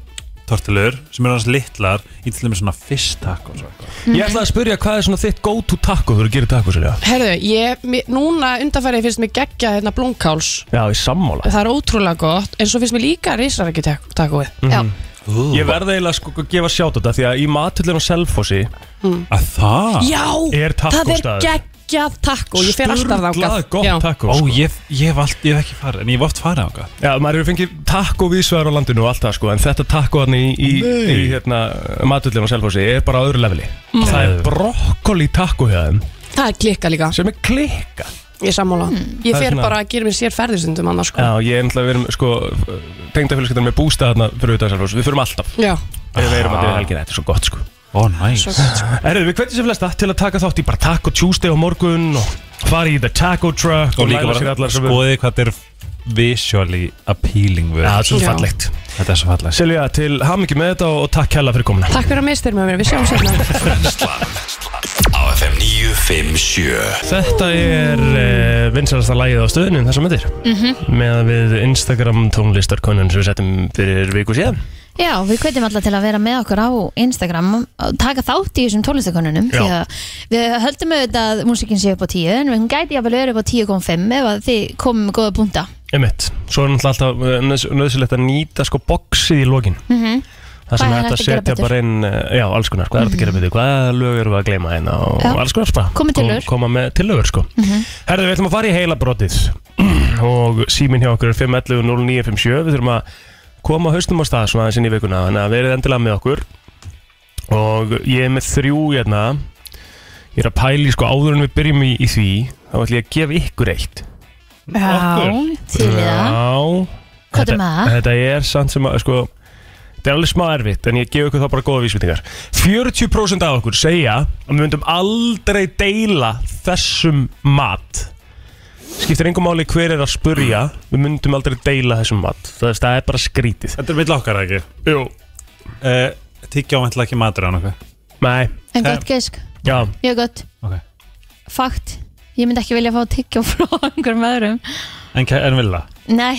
Speaker 3: tortilur sem eru hans litlar í til og með svona fish tacos og eitthvað.
Speaker 1: Ég ætlaði að spyrja hvað er svona þitt go to taco Þú eru að gera taco sérlega
Speaker 9: Herðu, ég, mér, núna undanfærið finnst mér geggja hérna blómkáls
Speaker 1: Já, ég sammála
Speaker 9: Það er ótrúlega gott, en svo finnst mér líka risarækju takkóið
Speaker 1: Mhm.
Speaker 2: Já,
Speaker 3: Mm.
Speaker 1: Ég verði eiginlega sko að gefa sjátt á þetta Því að í matullin og selfossi
Speaker 3: Að það?
Speaker 9: Mm. Já,
Speaker 1: Ah, Er
Speaker 9: það er
Speaker 1: tacostaður.
Speaker 9: geggjað takkó, ég fer alltaf þangað
Speaker 1: Sturlað gott
Speaker 9: Já.
Speaker 1: taco
Speaker 3: Ó,
Speaker 1: sko.
Speaker 3: ég, ég, hef allt, ég hef ekki farið, en ég hef oft farið á hvað.
Speaker 1: Já, maður hefur fengið taco vísvegar á landinu og allt það sko En þetta taco hann í, í, í hérna, matullin og selfossi er bara á öðru leveli
Speaker 9: Mm.
Speaker 1: Það er brokkoli taco hjá þeim
Speaker 9: Það er klikka líka,
Speaker 1: Sem er klikka
Speaker 9: ég sammála
Speaker 1: Það er
Speaker 9: Ég fer
Speaker 1: svona-
Speaker 9: bara að gera mér sér ferðistundum annars sko
Speaker 1: Já, ég er náttúrulega við erum sko Tengdafélskiptar með bústað hérna fyrir utan selfossi Við fyrum alltaf
Speaker 9: Já,
Speaker 1: Þegar við erum að dýra helgina, þetta er svo gott sko
Speaker 3: Ó, næs.
Speaker 9: svo gott sko
Speaker 1: Erðu, við hvernig sem flesta til að taka þátt í bara Taco Tuesday á morgun og fara í The Taco Truck og,
Speaker 3: Og líka
Speaker 1: læra sér
Speaker 3: bara
Speaker 1: allar sem við...
Speaker 3: skoðið hvað þetta er visually appealing við.
Speaker 1: Já, þetta er svo
Speaker 9: Já.
Speaker 1: fallegt.
Speaker 3: Þetta er svo fallegt.
Speaker 1: Silja, til hamingi með þetta og, og takk hella fyrir komuna.
Speaker 9: Takk fyrir að mistir með mér, við sjáum sérna
Speaker 7: Á FM 957
Speaker 1: Þetta er uh, vinsalasta lagið á stöðinu þessum myndir
Speaker 2: Mhm.
Speaker 1: -hmm. með við Instagram tónlistarkonun sem við settum fyrir viku síðan.
Speaker 2: Já, við hvetjum alla til að vera með okkur á Instagram og taka þátt í þessum tónlistakonunum því
Speaker 1: Já.
Speaker 2: að við höldum auðvitað að músikin sé upp á 10 en við gæti jafnvel verið upp á 10.5 ef að þið komum með góða punta
Speaker 1: Emitt, svo er náttúrulega alltaf eh, nauðs- nauðsynlegt að nýta sko boxið í lokin.
Speaker 2: mm -hmm.
Speaker 1: Það sem
Speaker 2: Hvað er hægt
Speaker 1: hægt að
Speaker 2: að gera
Speaker 1: setja
Speaker 2: betur? Mhm.
Speaker 1: bara inn, eh, já, alls konar, hvað er þetta að gera betur, hvaða lög eru við að gleyma hérna og
Speaker 2: Já.
Speaker 1: alls konar bara.
Speaker 2: Komið tillögur. Mhm.
Speaker 1: Kom- Koma með tillögur, sko. Herðu, við ætlum að fara í heila brotið og síminn hjá okkur er 511 0957, við þurfum að koma haustum á stað svona aðeins inn í vikuna, þannig að verið endilega með okkur og ég er með þrjú hérna, ég er að pæli sko áður en við byrjum í, í því, þá ætlum ég að gefa ykkur eitt.
Speaker 2: Já, til í það
Speaker 1: Já.
Speaker 2: Hvað
Speaker 1: Þetta-
Speaker 2: er með það?
Speaker 1: Þetta er samt sem að, sko Þetta er alveg smá erfitt, en ég gef ykkur þá bara góða vísmyndingar 40% af okkur segja að við myndum aldrei deila þessum mat Skiptir engum máli hver er að spurja Við myndum aldrei deila þessum mat Það er, það er bara skrítið
Speaker 3: Þetta er mitt okkar ekki.
Speaker 1: Jú
Speaker 3: Uh, Tiggja ámæntilega ekki matur á nokkuð.
Speaker 1: Nei,
Speaker 2: En gott gæsk,
Speaker 1: já,
Speaker 2: ég er gott
Speaker 3: Ok.
Speaker 2: Fakt, ég myndi ekki vilja fá tyggjó frá einhverjum öðrum
Speaker 3: En, ke- en vilja.
Speaker 2: Nei,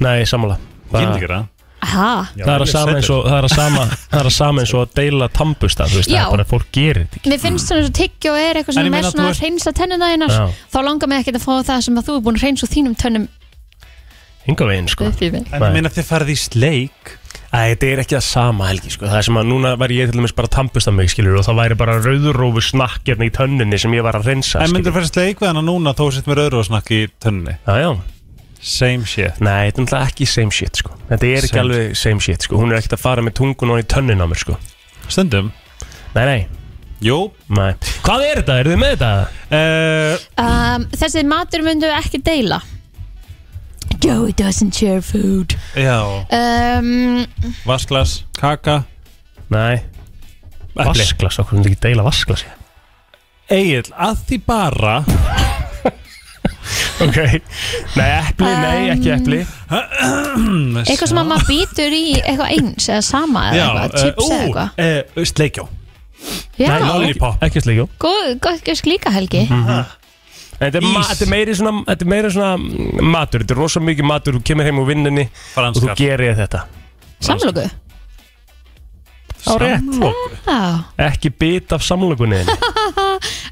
Speaker 1: nei, sammála
Speaker 3: Ég
Speaker 1: Það,
Speaker 3: myndi gera það.
Speaker 2: ha,
Speaker 1: það er að sama eins og Það er að sama, það er að sama eins og að deila tambusta Þú veist, það
Speaker 2: Já.
Speaker 1: er bara að fólk gerir þetta
Speaker 2: mér finnst svona svo tyggjó er eitthvað
Speaker 3: En
Speaker 2: sem
Speaker 3: ég
Speaker 2: er
Speaker 3: meina,
Speaker 2: svona
Speaker 3: þú
Speaker 2: að
Speaker 3: ert-
Speaker 2: reynsa tennina þínar
Speaker 1: Já.
Speaker 2: þá langar mig ekkert að fá það sem að þú er búin að reynsa úr þínum tönnum
Speaker 1: Hinga veginn, sko
Speaker 2: upp í mig
Speaker 3: En
Speaker 1: Nei.
Speaker 3: minna þið farið í sleik.
Speaker 1: Æ, þetta er ekki það sama helgi sko. Það er sem að núna væri ég til dæmis bara að tampust að mig skilur og það væri bara rauðrófu snakk hérna í tönninni sem ég var að reynsa
Speaker 3: En myndir fyrir sleik við hana núna þó sitt með rauðrófsnakk í tönni
Speaker 1: Já, já
Speaker 3: Same shit
Speaker 1: Nei, þetta er náttúrulega ekki same shit sko. Þetta er ekki
Speaker 3: Same
Speaker 1: alveg same shit sko. Hún er ekkert að fara með tungun og í tönnin á mér sko.
Speaker 3: Stundum
Speaker 1: Nei, nei,
Speaker 3: Jú
Speaker 1: nei Hvað er þetta? Eru þið með þetta?
Speaker 3: uh,
Speaker 2: um, Þessi matur myndum við ekki deila Joey doesn't share food
Speaker 3: Já
Speaker 2: um,
Speaker 3: Vasklas Kaka
Speaker 1: Nei, vasklas, okkur myndi ekki deila vasklas
Speaker 3: Egil að því bara
Speaker 1: Ok, nei, epli, nei, ekki epli
Speaker 3: Mm,
Speaker 2: Eitthvað sem að maður býtur í eitthvað eins eða sama eða
Speaker 1: eh,
Speaker 2: eitthvað, chips eða eitthvað
Speaker 3: eitthvað Sleikjó
Speaker 1: Nei,
Speaker 2: Já,
Speaker 3: uh, Lollipop. Mhm.
Speaker 1: Ekki sleikjó
Speaker 2: góð, góð gjösk líka Helgi
Speaker 1: Nei, Þetta er, ma- þetta er meiri svona, þetta er meiri svona mm, matur, þetta er rosa mikið matur, þú kemur heim úr vinnunni og þú
Speaker 3: Franskar
Speaker 1: gerir þetta.
Speaker 2: Samlöku
Speaker 1: Á rétt.
Speaker 2: Já,
Speaker 1: Ekki bit af samlokunni. þinni.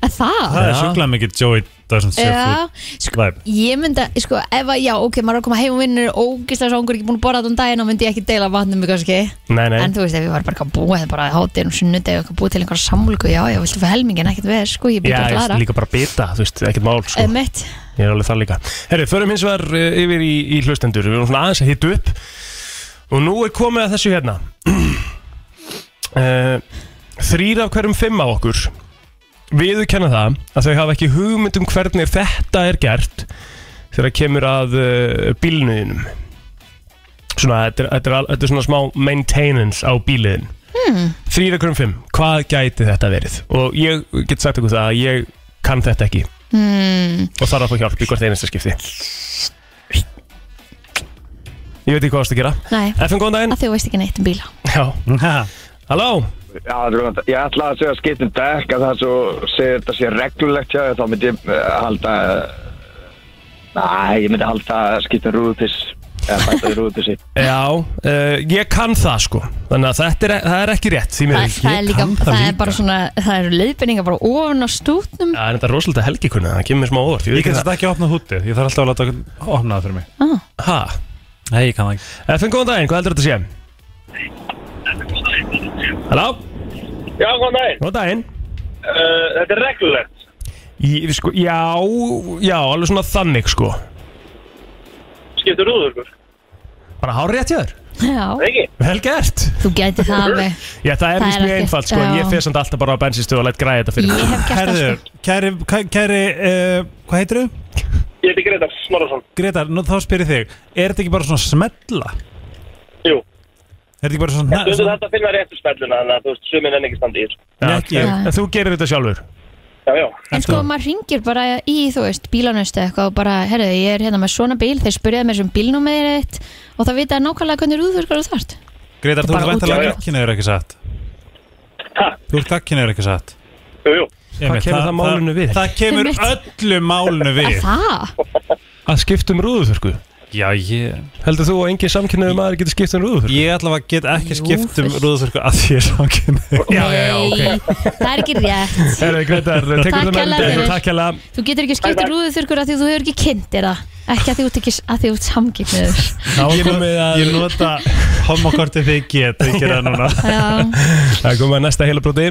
Speaker 2: að það
Speaker 3: Það er
Speaker 1: Já.
Speaker 3: sjúklega mikið Joey doesn't say
Speaker 2: Já,
Speaker 3: food
Speaker 2: sko,
Speaker 3: vibe.
Speaker 2: ég myndi að, sko, ef að, já, ok, maður er að koma heim og vinnur ógislega svo ungur ekki búin að borða þann daginn og myndi ég ekki deila vatnum mig kannski
Speaker 1: Nei, nei.
Speaker 2: En þú veist, ef ég var bara eitthvað búið, eða bara hátir um sunnudegi og eitthvað búið til einhverja samlöku, já, já, viltu fyrir helmingin, ekkert veð, sko, ég
Speaker 1: Já,
Speaker 2: býtur
Speaker 1: ég
Speaker 2: að
Speaker 1: veist,
Speaker 2: flara
Speaker 1: líka bara bita, þú veist, ekkert mál, sko.
Speaker 2: Emmett,
Speaker 1: Ég er alveg það líka. Herri, förum hins vegar eh, yfir í, í hlustendur, við erum svona aðeins að hitta upp og nú er komið að þessu hérna. uh, þrýr af hverjum fimm af okkur viðurkenna það að þau hafa ekki hugmynd um hvernig þetta er gert þegar kemur að uh, bílnuðinum svona, þetta er, þetta, er, al- þetta er svona smá maintenance á bíliðin hmm. þrýr af hverjum fimm, hvað gæti þetta verið og ég get sagt ykkur það að ég kann þetta ekki hmm. og þarf að fá hjálp í hvert einasta skipti ég veit ekki hvað það að gera
Speaker 2: nei,
Speaker 1: FN góðan daginn
Speaker 2: að þú veist ekki neitt um bíla
Speaker 1: Já. Halló
Speaker 5: Já, það er rúnt. Ég ætla að segja að skiptum dekk að það svo segir þetta sé reglulegt hjá þér, þá myndi ég eh, halda Næ, ég myndi halda að skiptum rúðupiss eða bæta í rúðupissi
Speaker 1: Já, uh, ég kann það sko Þannig að þetta er, það er ekki rétt því
Speaker 2: Það,
Speaker 1: miður
Speaker 2: það, er, líka,
Speaker 3: kann það
Speaker 2: það er
Speaker 3: líka.
Speaker 2: bara svona, það eru leiðbendingar bara ofan á stútnum
Speaker 1: Það er þetta rosalega helgi kunna, það kemur mér smá óvart
Speaker 3: Ég get þetta ekki opnað hútið Ég þarf alltaf að láta opna það fyrir mig
Speaker 2: Ah.
Speaker 1: Hæ?
Speaker 3: Nei, ég kann það ekki
Speaker 1: FN góðan daginn, hvað heldur þetta sé? Halló,
Speaker 5: Já, hvað með?
Speaker 1: góðan daginn
Speaker 5: Eh, Þetta er reglulegt
Speaker 1: Ég, sko, já, já, alveg svona þannig sko
Speaker 5: Skiptum rúður,
Speaker 1: Bara hár rétt hjá þér
Speaker 2: Já,
Speaker 5: ekki?
Speaker 1: Vel gert
Speaker 2: þú gæti það alveg
Speaker 1: Já, það er
Speaker 2: Það
Speaker 1: víst
Speaker 2: er
Speaker 1: mjög
Speaker 2: ekki-
Speaker 1: einfalt sko En
Speaker 2: já.
Speaker 1: ég fyrir samt alltaf bara á bensinstu og læt græða þetta fyrir
Speaker 2: Ég
Speaker 1: mig
Speaker 2: hef gert það
Speaker 3: Herður,
Speaker 2: sko
Speaker 3: kæri, kæ- kæri uh, hvað heitir þau?
Speaker 5: Ég heiti Gretar Snorarsson
Speaker 3: Gretar, nú þá spyr ég þig Er þetta ekki bara svona smetla?
Speaker 5: Jú,
Speaker 3: Er þetta ekki bara svona
Speaker 5: stundum þetta finna réttu spelluna þannig að þú veist, sumin enn ekki standi í þessu
Speaker 1: Já,
Speaker 3: Ekki.
Speaker 1: En þú gerir þetta sjálfur
Speaker 5: Já, já,
Speaker 2: En sko, maður ringir bara í, þú veist, bílanustu eitthvað og bara, herru, ég er hérna með svona bíl, þeir spurjaði mér sem bílnúmerið þitt og það vita nákvæmlega hvernig rúðvörkur þú þart.
Speaker 3: Gretar, þú
Speaker 2: Bara
Speaker 3: ert
Speaker 2: út-
Speaker 3: vantilega
Speaker 5: Já, já.
Speaker 3: gagkinegur ekki satt
Speaker 5: Ha?
Speaker 3: Þú ert gagkinegur ekki satt
Speaker 5: jú, jú
Speaker 3: Emil,
Speaker 1: kemur það málinu við?
Speaker 3: Það kemur
Speaker 2: Einmitt.
Speaker 3: öllu málinu við
Speaker 2: Það?
Speaker 1: Að skiptum rúðuþurku
Speaker 3: Já, ég
Speaker 1: Heldur þú að engin samkynnaður maður getur skipt um rúðuþurku?
Speaker 3: Ég ætla að get ekki
Speaker 2: Jú,
Speaker 3: skipt um
Speaker 2: fyrst.
Speaker 3: rúðuþurku að því ég er samkynnegur
Speaker 1: Já, já, já, ok.
Speaker 2: Nei, það er ekki rétt.
Speaker 1: Herra, Gretar,
Speaker 2: Takk
Speaker 1: tekur það með
Speaker 2: hérlega
Speaker 1: undir
Speaker 2: fyrir.
Speaker 1: Takk hérlega
Speaker 2: Þú getur ekki skipt
Speaker 5: Takk, takk.
Speaker 2: rúðvörkur af því að þú hefur ekki kynnt þér það. Ekki að því út ekki, að því út samgifniður.
Speaker 1: Það var komið að
Speaker 3: Ég nota homokortið þegar ég get Ég gera það núna
Speaker 2: Já,
Speaker 1: Það er komið að næsta heilabróti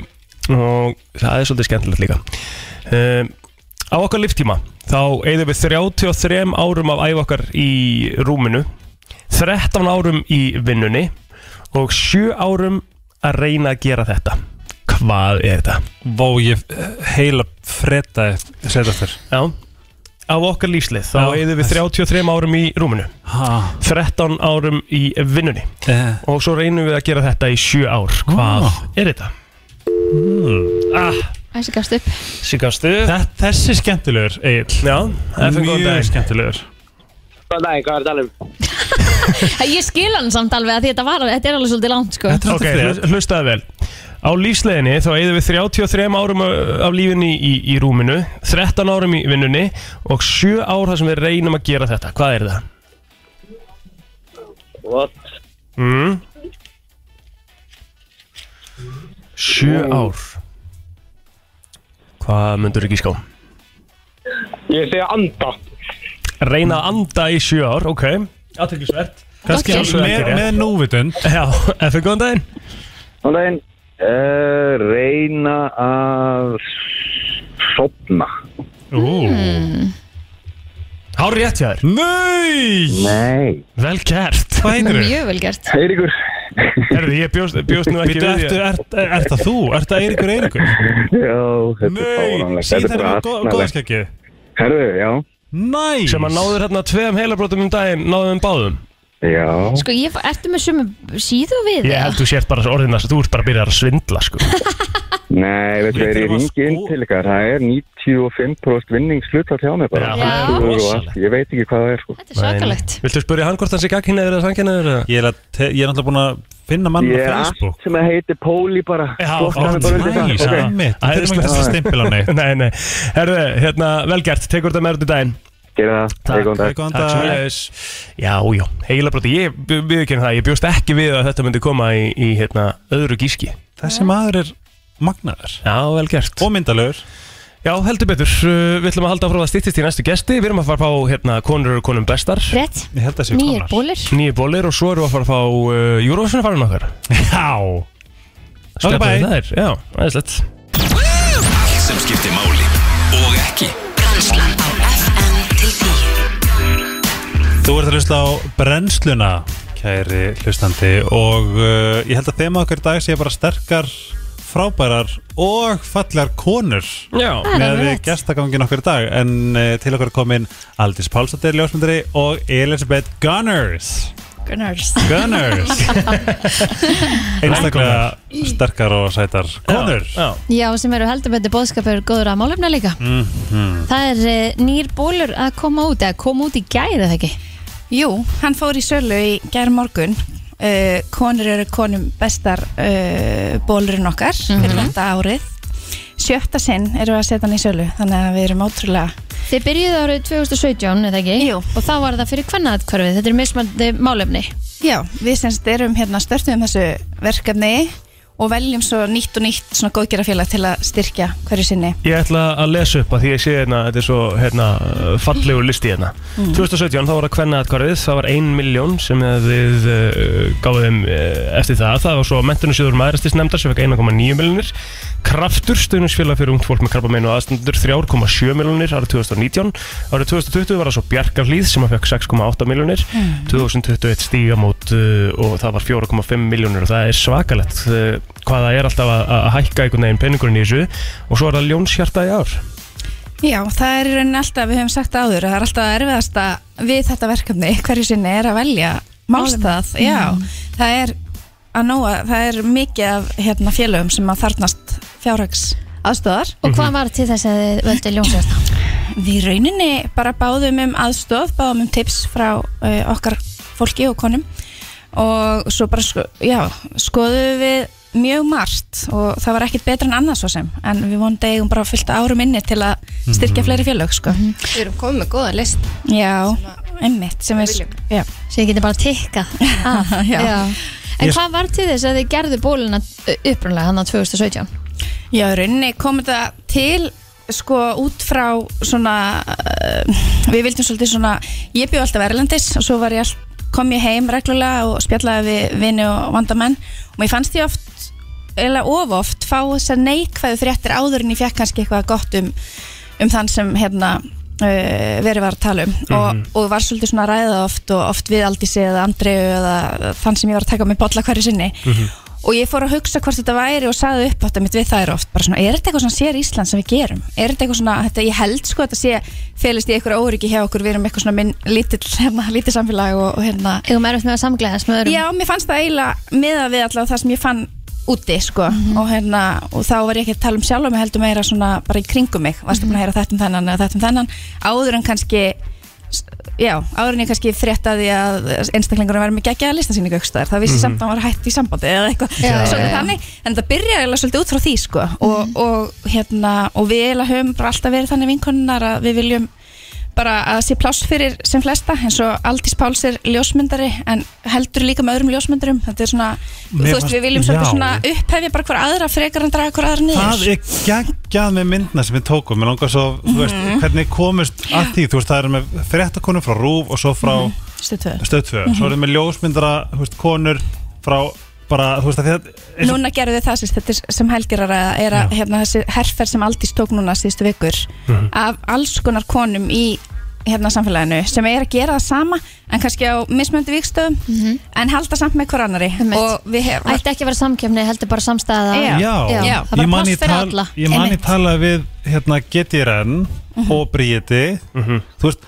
Speaker 1: og það er svolítið skemmtilegt líka um, Á okkar líftíma þá eigðum við 33 árum af æf okkar í rúminu 13 árum í vinnunni og 7 árum að reyna að gera þetta Hvað er þetta?
Speaker 3: Vó, ég eh, heila freda Setast þér
Speaker 1: Já Á okkar lífslið þá
Speaker 3: Já.
Speaker 1: eigðum við 33 árum í rúminu 13 árum í vinnunni
Speaker 3: Eh, Ah.
Speaker 1: og svo reynum við að gera þetta í 7 ár Hvað er þetta?
Speaker 3: Hmm.
Speaker 1: Ah.
Speaker 2: þessi gafst upp.
Speaker 1: Sigastu
Speaker 3: þe- Þessi er skemmtilegur, Egil
Speaker 1: Já, FN góðan
Speaker 3: Mjög
Speaker 1: dag
Speaker 3: skemmtilegur
Speaker 5: Góðan daginn, hvað er að tala um?
Speaker 2: Ég skil hann samt alveg að því þetta, var, þetta er alveg svolítið langt, sko.
Speaker 3: Þetta er
Speaker 1: Ok,
Speaker 3: alltaf frétt.
Speaker 1: hlust- hlustaðu vel Á lífsleginni þá eigðum við 33 árum ö, af lífinni í, í rúminu 13 árum í vinnunni og 7 ár þar sem við reynum að gera þetta Hvað er það?
Speaker 5: What?
Speaker 1: Mm. 7 ár Hvað myndur ekki ská?
Speaker 5: Ég segi anda
Speaker 1: Reyna að anda í 7 ár, ok Aðteklisvert
Speaker 2: Gott
Speaker 3: Kannski
Speaker 2: gert.
Speaker 1: sjálfsögðu
Speaker 3: með,
Speaker 1: ekki rétt.
Speaker 3: með núvitund
Speaker 1: Já, eftir góðan daginn
Speaker 5: Góðan daginn. Uh, reyna að sopna.
Speaker 1: Hár rétt hjá þér
Speaker 3: Nei
Speaker 5: Nei.
Speaker 1: Vel gert
Speaker 3: Hvað heitir þau?
Speaker 2: Mjög vel gert
Speaker 5: Eiríkur.
Speaker 1: Herðu, ég bjóst, bjóst nú ekki
Speaker 3: Býtu
Speaker 1: við
Speaker 3: eftir,
Speaker 1: því að-
Speaker 3: er, er, er það þú? Er það Eiríkur Eiríkur?
Speaker 5: Já, þetta er
Speaker 3: Nei,
Speaker 5: fáránlegt. Þetta
Speaker 3: síðan
Speaker 5: er
Speaker 3: er
Speaker 5: bara
Speaker 3: það
Speaker 5: aðsnalegt.
Speaker 3: góðarskækið
Speaker 5: Herðu, já.
Speaker 3: Næs
Speaker 1: Sem að náður hérna tveim heilabrótum um daginn Náðum báðum
Speaker 5: Já.
Speaker 2: Sko, ég, ertu með sömu síðu við
Speaker 1: Ég held þú sért bara orðin þess að þú ert bara að byrja að svindla sko.
Speaker 5: Nei, veitu
Speaker 3: Ég
Speaker 5: hvað, ég
Speaker 3: þarf að
Speaker 5: ringi inn
Speaker 3: sko-
Speaker 5: til ykkar. Það er 95% vinningslutt hjá mér bara.
Speaker 1: Já,
Speaker 2: Já.
Speaker 5: Þú eru og allt. Ég veit ekki hvað það er, sko.
Speaker 2: Þetta er svakalegt
Speaker 1: Viltu spyrja hann hvort hann sé gagkinnið eða sanginnið eða?
Speaker 3: Ég er, að, te- ég er náttúrulega búin að finna mann
Speaker 5: Ég
Speaker 3: á
Speaker 5: er
Speaker 3: Facebook
Speaker 5: allt sem að heiti Póli bara.
Speaker 1: Já,
Speaker 5: Flokka
Speaker 1: ó,
Speaker 5: mig bara undir það.
Speaker 1: næs,
Speaker 5: Ok.
Speaker 1: já.
Speaker 3: Einmitt, Við þurfum ekki
Speaker 1: Æðislegt.
Speaker 3: að stimpil á neitt
Speaker 1: Nei, nei Herðu, hérna, vel gert, tekur þetta með út í daginn
Speaker 5: Gerið það.
Speaker 1: Takk.
Speaker 5: Góðan dag.
Speaker 3: Góðan
Speaker 1: Takk sem
Speaker 3: dag
Speaker 1: leiðis Já, já, heilabróti, ég viðkynna það Ég bjóst ekki við að þetta myndi koma í, í hérna, öðru gíski
Speaker 3: Þessi maður er magnaður
Speaker 1: Já, vel gert
Speaker 3: Og myndalögur
Speaker 1: Já, heldur betur, uh, við ætlum að halda áfram að stýttist í næstu gesti Við erum að fara að fá hérna, konur og konum bestar
Speaker 2: Rétt,
Speaker 3: Ég held að séu
Speaker 2: nýjir
Speaker 3: komnar.
Speaker 2: bólir
Speaker 1: Nýju bólir og svo erum við að fara að fá uh, Eurovision að fara um okkar
Speaker 3: Já
Speaker 1: Spjalla
Speaker 3: bye.
Speaker 1: við þær, Já, aðeinslegt
Speaker 7: Allt sem skiptir máli og ekki
Speaker 6: Brennslan á FM til 10
Speaker 3: Þú ert að hlusta á brennsluna Kæri hlustandi Og uh, ég held að þema okkar í dag sé bara sterkar frábærar og fallegar konur
Speaker 1: Já,
Speaker 2: Það er
Speaker 3: með
Speaker 2: alveg rétt.
Speaker 3: gestagangin okkar í dag en uh, til okkar er komin Aldís Pálsdóttir, ljósmyndari og Elisabeth Gunners
Speaker 2: Gunnars
Speaker 3: Gunners Einstaklega sterkar og sætar konur
Speaker 1: já.
Speaker 2: Já, sem eru heldur betur bóðskapur góður að málefna líka
Speaker 3: Mhm.
Speaker 2: Það er eh, nýr bólur að koma út eða koma út í gæri eða ekki
Speaker 11: Jú, hann fór í sölu í gær morgun uh, konur eru konum bestar uh, bólurinn okkar fyrir
Speaker 2: Mhm.
Speaker 11: þetta árið sjötta sinn erum við að setja hann í sölu þannig að við erum ótrúlega
Speaker 2: Þið byrjuðu árið 2017 eða ekki
Speaker 11: Jú.
Speaker 2: Og þá var það fyrir hvernaatkvarfið Þetta er mismandi málefni
Speaker 11: já, við semst erum hérna störtum þessu verkefni og veljum svo nýtt og nýtt svona góðgerafélag til að styrkja hverju sinni
Speaker 1: Ég ætla að lesa upp að því ég sé hérna, þetta er svo hérna, fallegur listi hérna. 2017 þá var það kvenna atkvarðið, það var 1 miljón sem að við uh, gáðum uh, eftir það. Það var svo mentunarsjóður maðurastis nefndar sem fekk 1,9 miljonir. Kraftur stuðnusfélag fyrir ungt fólk með krabbamein og aðstandur 3,7 miljonir árið 2019. Árið 2020 var það svo Bjarkarlíð sem að fekk 6,8 miljonir. 2021 stígamót uh, og það var 4,5 miljonir og það er svakalett uh, hvað það er alltaf að, að hækka einhvern veginn peningurinn í þessu og svo er það ljónshjarta í ár
Speaker 11: Já, það er í rauninni alltaf, við höfum sagt það áður, að það er alltaf erfiðasta við þetta verkefni hverju sinni er að velja málstað, já, það er að nóa, það er mikið af hérna, félögum sem að þarnast fjárhags aðstöðar.
Speaker 2: Og hvað var til þess að þið völdu ljónsjörna?
Speaker 11: Við í rauninni bara báðum um aðstöð, báðum um tips frá uh, okkar fólki og konum og svo bara, sko, já, skoðum við mjög margt og það var ekkit betra en annað svo sem, en við vonum eigum bara fullt af árum inni til að styrkja fleiri félög, sko.
Speaker 2: Mhm.
Speaker 12: Við erum komið með góða list
Speaker 11: Já, einmitt sem við
Speaker 12: viljum.
Speaker 11: já.
Speaker 2: Svo ég geti bara tikkað af.
Speaker 11: Já.
Speaker 2: En
Speaker 3: Ég-
Speaker 2: hvað var til þess að þið gerðu bóluna eh, upprunlega hann á 2017?
Speaker 11: já, í rauninni kom þetta til sko út frá svona, uh, við vildum svolítið svona ég bjóð alltaf Erlendis og svo var ég all, kom ég heim reglulega og spjallaði við vini og vandamenn og mér fannst ég oft eða of oft fá þessar neikvæðu fréttir áður en ég fekk kannski eitthvað gott um, um þann sem hérna uh, verið var að tala um og, og var svolítið svona að ræða oft og oft við Aldísi eða Andreu eða þann sem ég var að taka með bolla hverju sinni og ég fór að hugsa hvort þetta væri og saði upp átt að mitt við þær oft bara svona, er þetta eitthvað svona sér Ísland sem við gerum er þetta eitthvað svona, þetta, ég held sko að þetta sé felist í eitthvað óryggi hjá okkur, við erum eitthvað svona minn, lítill, hérna, lítill samfélag og, og hérna,
Speaker 2: Eigum erfitt með að samgleðast með öðrum?
Speaker 11: Já, mér fannst það eiginlega miða við allavega það sem ég fann úti sko
Speaker 2: Mhm.
Speaker 11: og, hérna, og þá var ég ekki að tala um sjálf og mér heldur meira svona bara í kringum mig
Speaker 2: Mhm.
Speaker 11: varstu búin að heyra þetta um þennan eða þetta um þennan áður en kannski s- já, áður en ég kannski fréttaði að einstaklingur var með geggjaða listasýningu aukstaðar þá vissi
Speaker 3: Mhm.
Speaker 11: mm samt að hann var hætt í sambandi eða eitthvað
Speaker 2: Já,
Speaker 11: svolítið
Speaker 2: já, já.
Speaker 11: þannig en það byrjaði eiginlega svolítið út frá því sko
Speaker 3: Mhm.
Speaker 11: og, og hérna og við eiginlega höfum bara alltaf verið þannig vinkonunnar að við viljum bara að sé pláss fyrir sem flesta eins og Aldís Páls er ljósmyndari en heldur líka með öðrum ljósmyndarum þetta er svona,
Speaker 3: Mér
Speaker 11: þú veist,
Speaker 3: fannst-
Speaker 11: við viljum svolítið
Speaker 3: já.
Speaker 11: svona upphefja bara hver aðra frekar en draga hver
Speaker 3: Það
Speaker 11: aðra niður
Speaker 3: er geggjað með myndna sem við tókum Mér langar svo, þú veist,
Speaker 11: Mhm.
Speaker 3: hvernig komist að því, þú veist, það er með fréttakonum frá Rúf og svo frá
Speaker 2: Mhm.
Speaker 3: mm -hmm.
Speaker 11: Stöðtöð.
Speaker 3: stöðtvö,
Speaker 11: Mhm.
Speaker 3: svo erum við ljósmyndara þú veist, konur frá bara, þú veist, að því að eins og-
Speaker 11: Núna gerðu þið það sérst, þetta er sem helgir að ræða er að hérna, þessi herfer sem Aldís tók núna síðustu vikur
Speaker 3: Mhm.
Speaker 11: af alls konar konum í hérna samfélaginu sem er að gera það sama en kannski á mismöndi vikstöðum en halda samt með hver annari og við hefum
Speaker 2: Mhm. Ætti ekki að vera samkjöfni, heldur bara samstæða
Speaker 3: Já,
Speaker 2: Það er
Speaker 3: Ég
Speaker 2: bara
Speaker 3: man ég
Speaker 2: pláss fyrir
Speaker 3: tal-
Speaker 2: alla
Speaker 3: Ég man ég
Speaker 2: Einmitt. Mhm.
Speaker 3: tala við hérna GTRN og Bríeti Þú veist,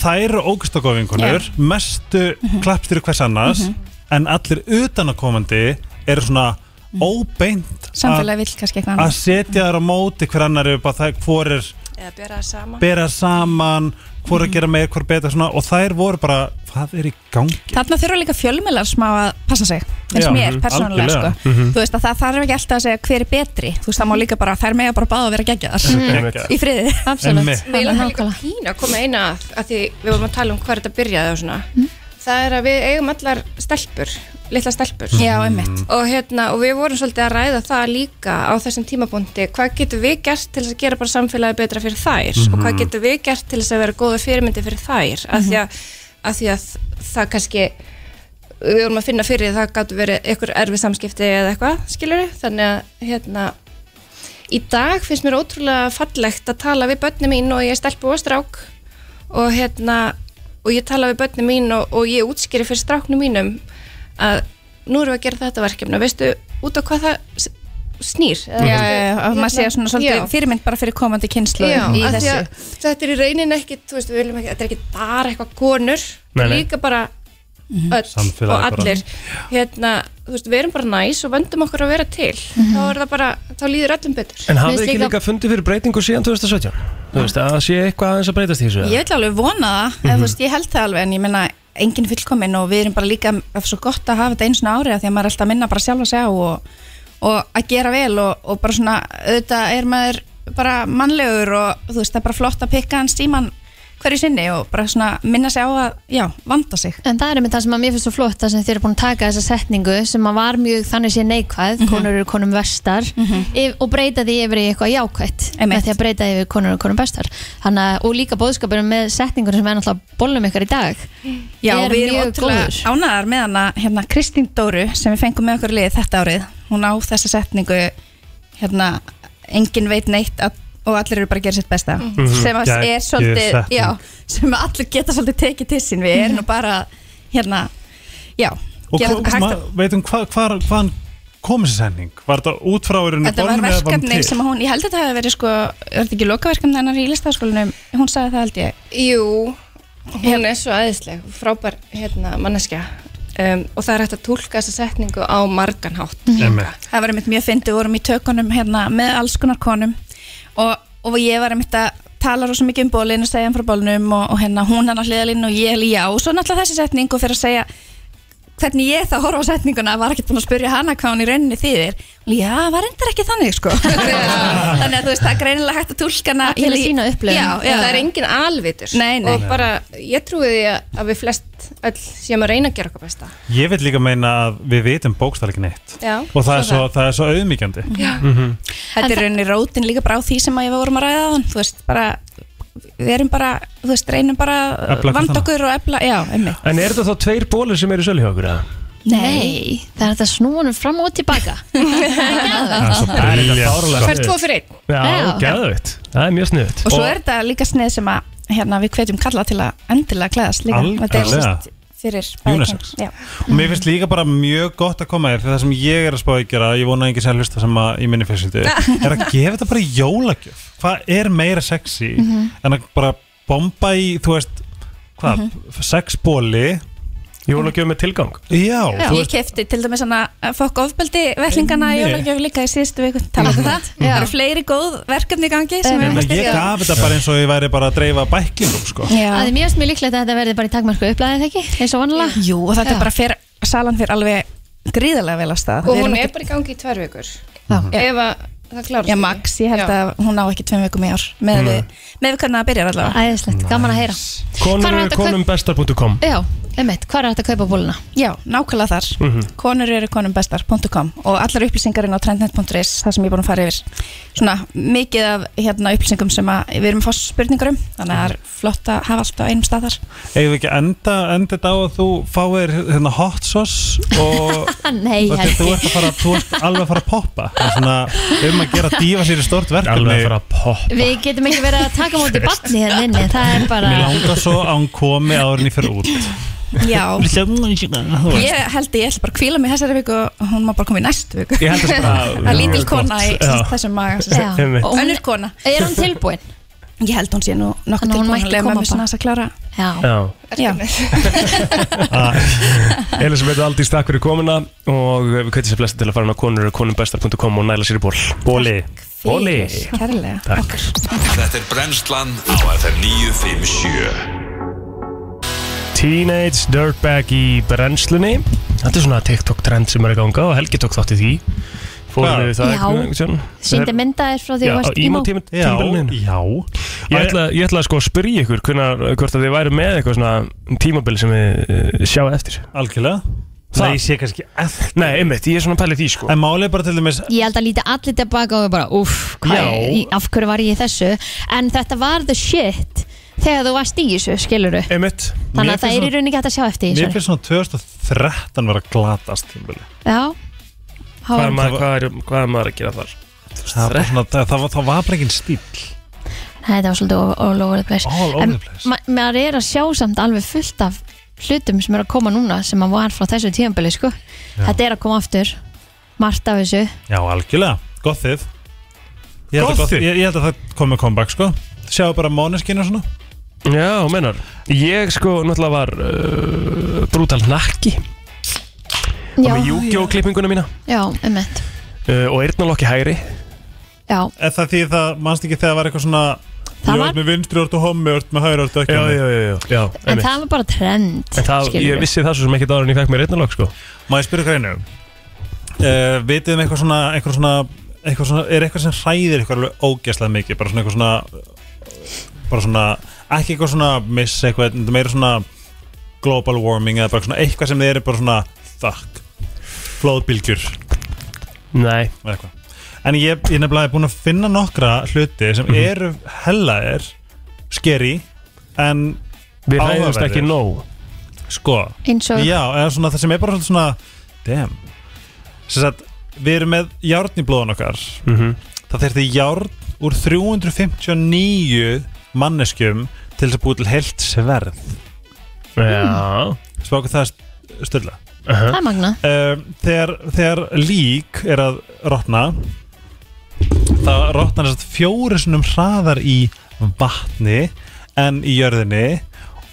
Speaker 3: þær eru ógustagófingunur
Speaker 2: Mhm.
Speaker 13: Já.
Speaker 3: Mestu klappstýri hvers annars
Speaker 11: Mhm.
Speaker 3: En allir utanakomandi eru svona
Speaker 2: Mhm.
Speaker 3: óbeint
Speaker 11: samfélagi
Speaker 3: að-
Speaker 11: vill kannski
Speaker 3: Að
Speaker 11: eitthvað annað
Speaker 3: setja þær á móti hver annar eru bara það hvor er
Speaker 11: eða bera það saman Mhm.
Speaker 3: bera saman hvor að gera meir, hvor betur svona og þær voru bara, hvað er í gangi?
Speaker 11: Þarna þurfa líka fjölmiðlar smá að passa sig finnst
Speaker 3: Já,
Speaker 11: mér
Speaker 3: mhm,
Speaker 11: persónulega
Speaker 3: algjörlega.
Speaker 11: sko.
Speaker 3: Mhm.
Speaker 11: þú veist að það þarf ekki alltaf að segja hver er betri þú veist það má líka bara, þær mega bara báða að vera geggjaðar
Speaker 3: Mhm. Geggjaðar.
Speaker 11: í friði
Speaker 3: Absolutt. Einmitt.
Speaker 12: Mér langar líka pínu að koma eina að, að því við vorum að tala um hvað þetta byrjaði og svona
Speaker 11: Mm.
Speaker 12: það er að við eigum allar stelpur litla stelpur
Speaker 11: Mm. Já, einmitt.
Speaker 1: Mm.
Speaker 12: og, hérna, og við vorum svolítið að ræða það líka á þessum tímabúndi hvað getum við gert til þess að gera bara samfélagi betra fyrir þær og hvað
Speaker 11: Mhm.
Speaker 12: getum við gert til þess að vera góða fyrirmyndi fyrir þær af því að, að, því að það kannski við vorum að finna fyrir það gætu verið einhver erfið samskipti eða eitthvað skilur þannig að hérna, í dag finnst mér ótrúlega fallegt að tala við börnum mín og ég er stelpu og strák og hérna og ég tala við börnum mín og, og ég útskýri fyrir stráknum mínum að nú erum við að gera þetta verkefni veistu út á hvað það s- snýr
Speaker 11: Já, já, já, að maður sé svona svolítið fyrirmynd bara fyrir komandi kynslu
Speaker 12: Hérna- Já,
Speaker 11: í
Speaker 12: af því
Speaker 11: þessu
Speaker 12: að þetta er í raunin ekkit, þú veist, við viljum ekki, þetta er ekki bara eitthvað konur,
Speaker 11: Nei, nei.
Speaker 12: líka bara
Speaker 11: Mhm.
Speaker 12: öll
Speaker 11: Samfélagið
Speaker 12: og
Speaker 11: bara.
Speaker 12: allir hérna, þú veist, við erum bara næs og vendum okkur að vera til,
Speaker 11: Mhm.
Speaker 12: þá er það bara þá líður öllum betur
Speaker 4: En hafið ekki líka fundið fyrir breytingu síðan 2017? Þú veist, að það sé eitthvað aðeins að breytast í þessu eða?
Speaker 11: ég vil alveg vona það, mm
Speaker 4: Mhm.
Speaker 11: þú veist, ég held það alveg en ég minna enginn fullkominn og við erum bara líka það er svo gott að hafa þetta einu svona árið því að maður er alltaf að minna bara sjálfa sig á og, og að gera vel og, og bara svona auðvitað er maður bara mannlegur og þú veist, það er bara flott að pikka hann síman hverju sinni og bara svona minna sig á að, já, vanda sig
Speaker 2: En það er með það sem að mér finnst svo flott það sem þið eru búin að taka þessa setningu sem að var mjög þannig sé neikvæð,
Speaker 11: Mhm.
Speaker 2: konur eru konum vestar yf- og breyta því yfir í eitthvað jákvætt með því að breyta því yfir konur eru konum bestar Hanna, og líka bóðskapurinn með setningunum sem er náttúrulega bólum ykkar í dag
Speaker 11: Já,
Speaker 2: er
Speaker 11: við erum
Speaker 2: mjög
Speaker 11: ótrúlega
Speaker 2: góður.
Speaker 11: ánæðar með hana hérna, Kristín Dóru sem við fengum með okkur liðið þetta árið hún á þessa setningu hérna, engin veit neitt að, og allir eru bara að gera sitt besta
Speaker 12: Mhm.
Speaker 11: sem að
Speaker 12: Geggjuð
Speaker 11: er svolítið
Speaker 12: setning.
Speaker 11: já, sem að allir geta svolítið tekið til sín við erum nú bara hérna, já,
Speaker 3: Og
Speaker 11: gera
Speaker 3: hvað-
Speaker 11: þetta hægt
Speaker 3: ma- veitum hvað, hvað, hvaðan kom þessi sending? Var þetta útfráurinn
Speaker 11: Þetta var verkefni sem að hún, ég held að það hefði verið sko, er þetta ekki lokaverkefni hennar í listaskólanum hún sagði það held ég
Speaker 12: Jú, hún er svo aðeinsleg frábær hérna, manneskja um, og það er hægt að tólka þessa setningu á margan hátt
Speaker 11: Einmitt. Það var einmitt mjög fyndið, við vorum í tökunum hérna, með alls konar konum og, og ég var einmitt að tala rosa mikið um bólinn og segja hann frá bólnum og, og hérna hún hann á hliðalinn og ég já og svo náttúrulega þessi setning og fyrir að segja hvernig ég þá horfa á setninguna var ekkert búin að spyrja hana hvað hún í rauninni þýðir og já, var endur ekki þannig sko þannig að þú veist, það er greinilega hægt að tólka hana
Speaker 2: Allir með
Speaker 11: í-
Speaker 2: sína upplifun.
Speaker 11: já, já,
Speaker 12: það er engin alvitur
Speaker 11: Nei, nei.
Speaker 12: og bara, ég trúi því að að við flest öll séum að reyna að gera okkar besta
Speaker 3: Ég vil líka meina að við vitum bókstall ekki neitt
Speaker 12: Já,
Speaker 3: Og það er svo, það er svo auðmíkjandi
Speaker 12: Já.
Speaker 3: -hmm.
Speaker 11: þetta er rauninni rótin líka bara á því sem að ég vorum að ræða á þú veist, bara við erum bara, þú veist, reynum bara
Speaker 4: Efla hvert
Speaker 11: vand
Speaker 4: annað.
Speaker 11: okkur og efla, já, einmitt
Speaker 4: En er þetta þá tveir bólur sem eru í sölu hjá okkur? eða?
Speaker 2: Nei, það er þetta snúanum fram og tilbaka
Speaker 4: Það er svo brilljant, sko.
Speaker 11: Fær tvo fyrir einn.
Speaker 4: Já,
Speaker 11: Já.
Speaker 4: gæðvitt, það er mjög sniðut
Speaker 11: og svo er þetta líka snið sem að hérna, við hvetjum kalla til að endilega klæðast líka
Speaker 3: Algjörlega.
Speaker 11: Þetta er sem sagt fyrir bæði
Speaker 3: Unisex.
Speaker 11: kyn. Já.
Speaker 3: Og mér finnst líka bara mjög gott að koma þér Fyrir það sem ég er að spá ekki að Ég vona að enginn sem hlusta sem að í minni fyrstu Er að gefa þetta bara í jólagjöf Hvað er meira sexy
Speaker 13: Mhm.
Speaker 3: En að bara bomba í, þú veist Hvað, mm
Speaker 13: Mhm.
Speaker 3: sex bóli
Speaker 4: Jólagjöf með tilgang
Speaker 3: Já,
Speaker 11: Já,
Speaker 3: þú
Speaker 11: ég kefti til dæmis hana eh, fokk ofbeldi vellingana
Speaker 3: Nei.
Speaker 11: í jólagjöf líka í síðustu viku talaðu það, það eru fleiri góð verkefni í gangi sem við erum
Speaker 3: Meina,
Speaker 11: að
Speaker 3: ég
Speaker 11: styðja.
Speaker 3: gaf þetta bara eins og ég væri bara að dreifa bæklingum sko.
Speaker 2: Það er mjög mjög líklegt að þetta verði bara í takmarku upplæðið ekki, eins og vanlega
Speaker 11: Jú, og þetta er bara fyrir, salan fyrir alveg gríðarlega vel að stað
Speaker 12: og hún er bara í gangi í tvær vikur ef að það klárast
Speaker 11: Já, Max, ég held að hún á ekki tveim vikum í ár
Speaker 1: Nei.
Speaker 11: með við, með við hvernig það byrjar allavega
Speaker 2: Æðislegt, gaman að heyra Hvar var
Speaker 1: Mm. Konur,
Speaker 2: þetta kaup-
Speaker 1: konumbestar.com
Speaker 2: Já, einmitt, hvað er þetta að kaupa bóluna?
Speaker 11: Já, nákvæmlega þar
Speaker 1: Mhm.
Speaker 11: konur eru konumbestar.com og allar upplýsingarinn á trendnet.is það sem ég er búin að fara yfir svona mikið af hérna, upplýsingum sem að, við erum að fá spurningar um þannig að það er flott að hafa allt á einum stað þar
Speaker 3: Eigum við ekki að enda, enda þetta á að þú fáir hérna hot sauce og
Speaker 2: Ah, Nei,
Speaker 3: og þú ert að fara, þú ert alveg að fara að poppa Það er svona, við erum að gera dífa sér í stort verkefni
Speaker 1: Alveg að fara
Speaker 3: að poppa
Speaker 2: Við getum ekki verið að taka móti batni hérna inni Það er bara
Speaker 3: Mér langar svo að hún komi árinni fyrir út
Speaker 11: Já,
Speaker 3: Þú veist.
Speaker 11: ég held að ég ætla bara að kvíla mig þessari viku og hún má bara koma í næstu viku
Speaker 3: Ég held þessu bara-
Speaker 11: Það er lítil
Speaker 3: Já,
Speaker 11: kona í
Speaker 3: gott. Já.
Speaker 11: þessum maga
Speaker 3: Já. Einmitt.
Speaker 11: Og önnur kona
Speaker 2: Er hún tilbúin?
Speaker 11: Ég held hún sé nú nokkuð
Speaker 2: Þannig að hún
Speaker 11: tilbúin
Speaker 2: mætti
Speaker 11: að leyfa
Speaker 2: koma
Speaker 11: mömmu sinni
Speaker 2: bara.
Speaker 11: aðeins að klára
Speaker 2: Já,
Speaker 1: Já
Speaker 11: Já.
Speaker 1: Elisabeth Aldís, takk fyrir komuna og við kveitum sér flesta til að fara inn á konur konumbestar.com og næla sér í ból Bóli Bóli
Speaker 11: Kærlega
Speaker 1: Takk
Speaker 7: Þetta er brennslan á FM 957
Speaker 1: Teenage Dirtbag í brennslunni Þetta er svona TikTok trend sem er í ganga og Helgi tók þátt í því Fórum við það
Speaker 2: Já. Sýndi myndaðir frá því
Speaker 1: Já,
Speaker 2: að varst
Speaker 1: ímó
Speaker 2: ímó
Speaker 1: tímabilinu Já Ég ætla, ég ætla sko að spyrja ykkur hvenar, hvort að þið væri með eitthvað svona tímabili sem við sjá eftir
Speaker 3: Algjörlega
Speaker 1: Það?
Speaker 3: Nei, ég sé kannski eftir
Speaker 1: Nei, einmitt, ég er svona að pæla í því sko
Speaker 3: En málið er bara til dæmis
Speaker 2: Ég held að líti allir tilbaka og við bara Uff,
Speaker 3: Já.
Speaker 2: af hverju var ég í þessu En þetta var the shit Þegar þú varst í þessu, skiluru
Speaker 1: Einmitt
Speaker 2: Þannig
Speaker 3: Mér
Speaker 2: að það er í
Speaker 3: finnst
Speaker 2: rauninni ekki hægt að sjá eftir
Speaker 3: Mér
Speaker 2: þessu
Speaker 3: finnst svona 2013 var að glatast tímabili.
Speaker 2: Já
Speaker 1: Hvað
Speaker 2: Há-
Speaker 1: er maður, hvað er, hvað er maður að gera þar?
Speaker 3: Það var bara svona- það- það var- það var bara ekki stíl
Speaker 2: Nei, þetta var svolítið all- all over the place
Speaker 3: All over
Speaker 2: En
Speaker 3: the place.
Speaker 2: ma- Maður er að sjá samt alveg fullt af hlutum sem er að koma núna sem að var frá þessu tíðanbili sko. Þetta er að koma aftur margt af þessu
Speaker 3: Já, algjörlega, gott þið Ég held að
Speaker 1: Gott
Speaker 3: gott-
Speaker 1: þið?
Speaker 3: Ég ég held að það komi comeback sko Sjáðu bara Måneskinu og svona
Speaker 1: Já, menar Ég sko náttúrulega var uh, brútal nakki
Speaker 2: Já,
Speaker 1: með Yu-Gi-Oh! klippinguna mína
Speaker 2: já, emmett
Speaker 1: uh, og eyrnalokki hægri
Speaker 2: Já,
Speaker 3: Er það því það, mannst ekki þegar það var eitthvað svona
Speaker 2: Það
Speaker 3: Ég
Speaker 2: var-
Speaker 3: var með vinstri orð og hommi orð með hægri orð ekki
Speaker 1: Já,
Speaker 3: hommi
Speaker 1: já, já, já, já
Speaker 2: en
Speaker 1: einmitt.
Speaker 2: það var bara trend
Speaker 1: En það,
Speaker 2: skilurðu.
Speaker 1: ég vissi það svo sem ekkert ára en ég fekk mér eyrnalokk sko
Speaker 3: Má ég spyrja ykkur einu uh, Vitið um eitthvað svona, eitthvað svona, eitthvað svona Er eitthvað sem hræðir ykkur alveg ógæslega mikið Bara svona eitthvað svona Bara svona, ekki eitthvað svona Miss eitthvað, þetta er meira svona Global warming eða bara svona eitthvað sem þið eru bara svona Fuck Flóðbylgjur eða
Speaker 1: Nei,
Speaker 3: eitthvað En ég, ég nefnilega er búin að finna nokkra hluti
Speaker 1: Mhm.
Speaker 3: sem eru hella er skeri en
Speaker 1: við hræðumst
Speaker 3: Áhugaverðir.
Speaker 1: ekki nóg
Speaker 3: sko
Speaker 2: Eins og,
Speaker 3: Já, eða svona það sem er bara svolítið svona Damn Sem sagt, við erum með járn í blóðan okkar
Speaker 1: Mhm.
Speaker 3: Það þurfti járn úr 359 manneskjum til þess að búið til heilt sverð
Speaker 1: Já
Speaker 3: Spáku það stölla
Speaker 2: það er magna
Speaker 3: um, þegar, þegar lík er að rotna Það rotnar þess að fjóri sinnum hraðar í vatni en í jörðinni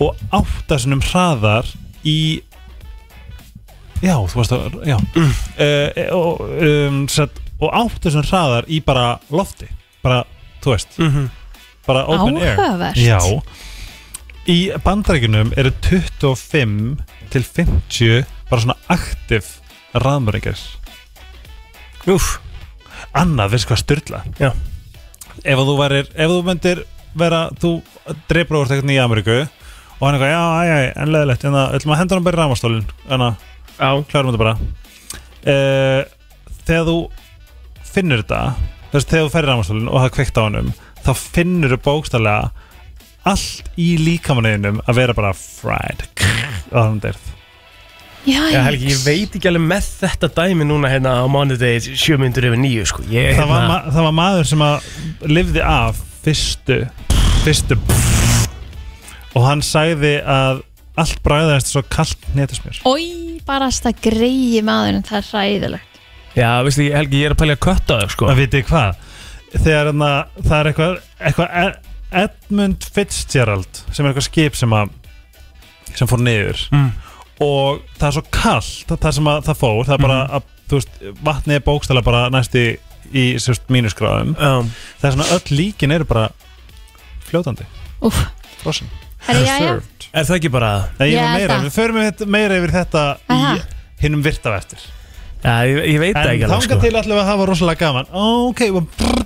Speaker 3: og átta sinnum hraðar í Já, þú veist að, já mm. og, um, set, og átta sinnum hraðar í bara lofti Bara, þú veist
Speaker 1: mm -hmm.
Speaker 3: bara open
Speaker 2: Áhugavert.
Speaker 3: air Já Í bandarækjunum eru 25 til 50 bara svona aktiv raðmöringar
Speaker 1: Úf,
Speaker 3: Annað, veist hvað styrla
Speaker 1: Já.
Speaker 3: Ef að þú verir, ef þú myndir vera, þú dreipur úr eitthvað í Ameríku og hann eitthvað, já, já, já, en leðilegt en það, ætlum að henda hann bara í rámastólin en að
Speaker 1: á
Speaker 3: klárum þetta bara uh, Þegar þú finnur þetta þess, þegar þú ferð í rámastólinn og það er kveikt á honum þá finnur þú bókstaflega allt í líkamanuðinum að vera bara fried og hann derð
Speaker 2: Já,
Speaker 1: Já, Helgi, ég veit ekki alveg með þetta dæmi núna hérna á mánudegi 7 myndur yfir 9 sko ég,
Speaker 3: það, var
Speaker 1: hérna,
Speaker 3: ma- það var maður sem að lifði af fyrstu fyrstu og hann sagði að allt bræðaðist svo kalt netismjör
Speaker 2: Ói, barasta greiði maðurinn, það er ræðilegt
Speaker 1: Já, veistu, ég- Helgi, ég er að pælja að kötta þau sko
Speaker 3: að viti hvað þegar hana, það er eitthvað, eitthvað Ed- Edmund Fitzgerald sem er eitthvað skip sem að sem fór niður
Speaker 1: Mm.
Speaker 3: og það er svo kallt það sem að það fór það er
Speaker 1: Mm.
Speaker 3: bara að, þú veist, vatnið er bókstæla bara næst í, í sérst mínusgráðum
Speaker 1: Já,
Speaker 3: það er svona öll líkin eru bara fljótandi
Speaker 2: Úf,
Speaker 3: frosin
Speaker 2: herri, já, já
Speaker 1: Er það ekki bara
Speaker 3: Nei, ég
Speaker 2: Ég
Speaker 3: er með
Speaker 2: held
Speaker 3: meira,
Speaker 2: að-
Speaker 3: við förum með þetta- meira yfir þetta í
Speaker 2: Aha.
Speaker 3: hinnum virta á eftir
Speaker 1: ja, ég, ég veit það ekki alveg
Speaker 3: En þanga
Speaker 1: sko.
Speaker 3: til allavega að hafa rosalega gaman Ó, Ok, og brr,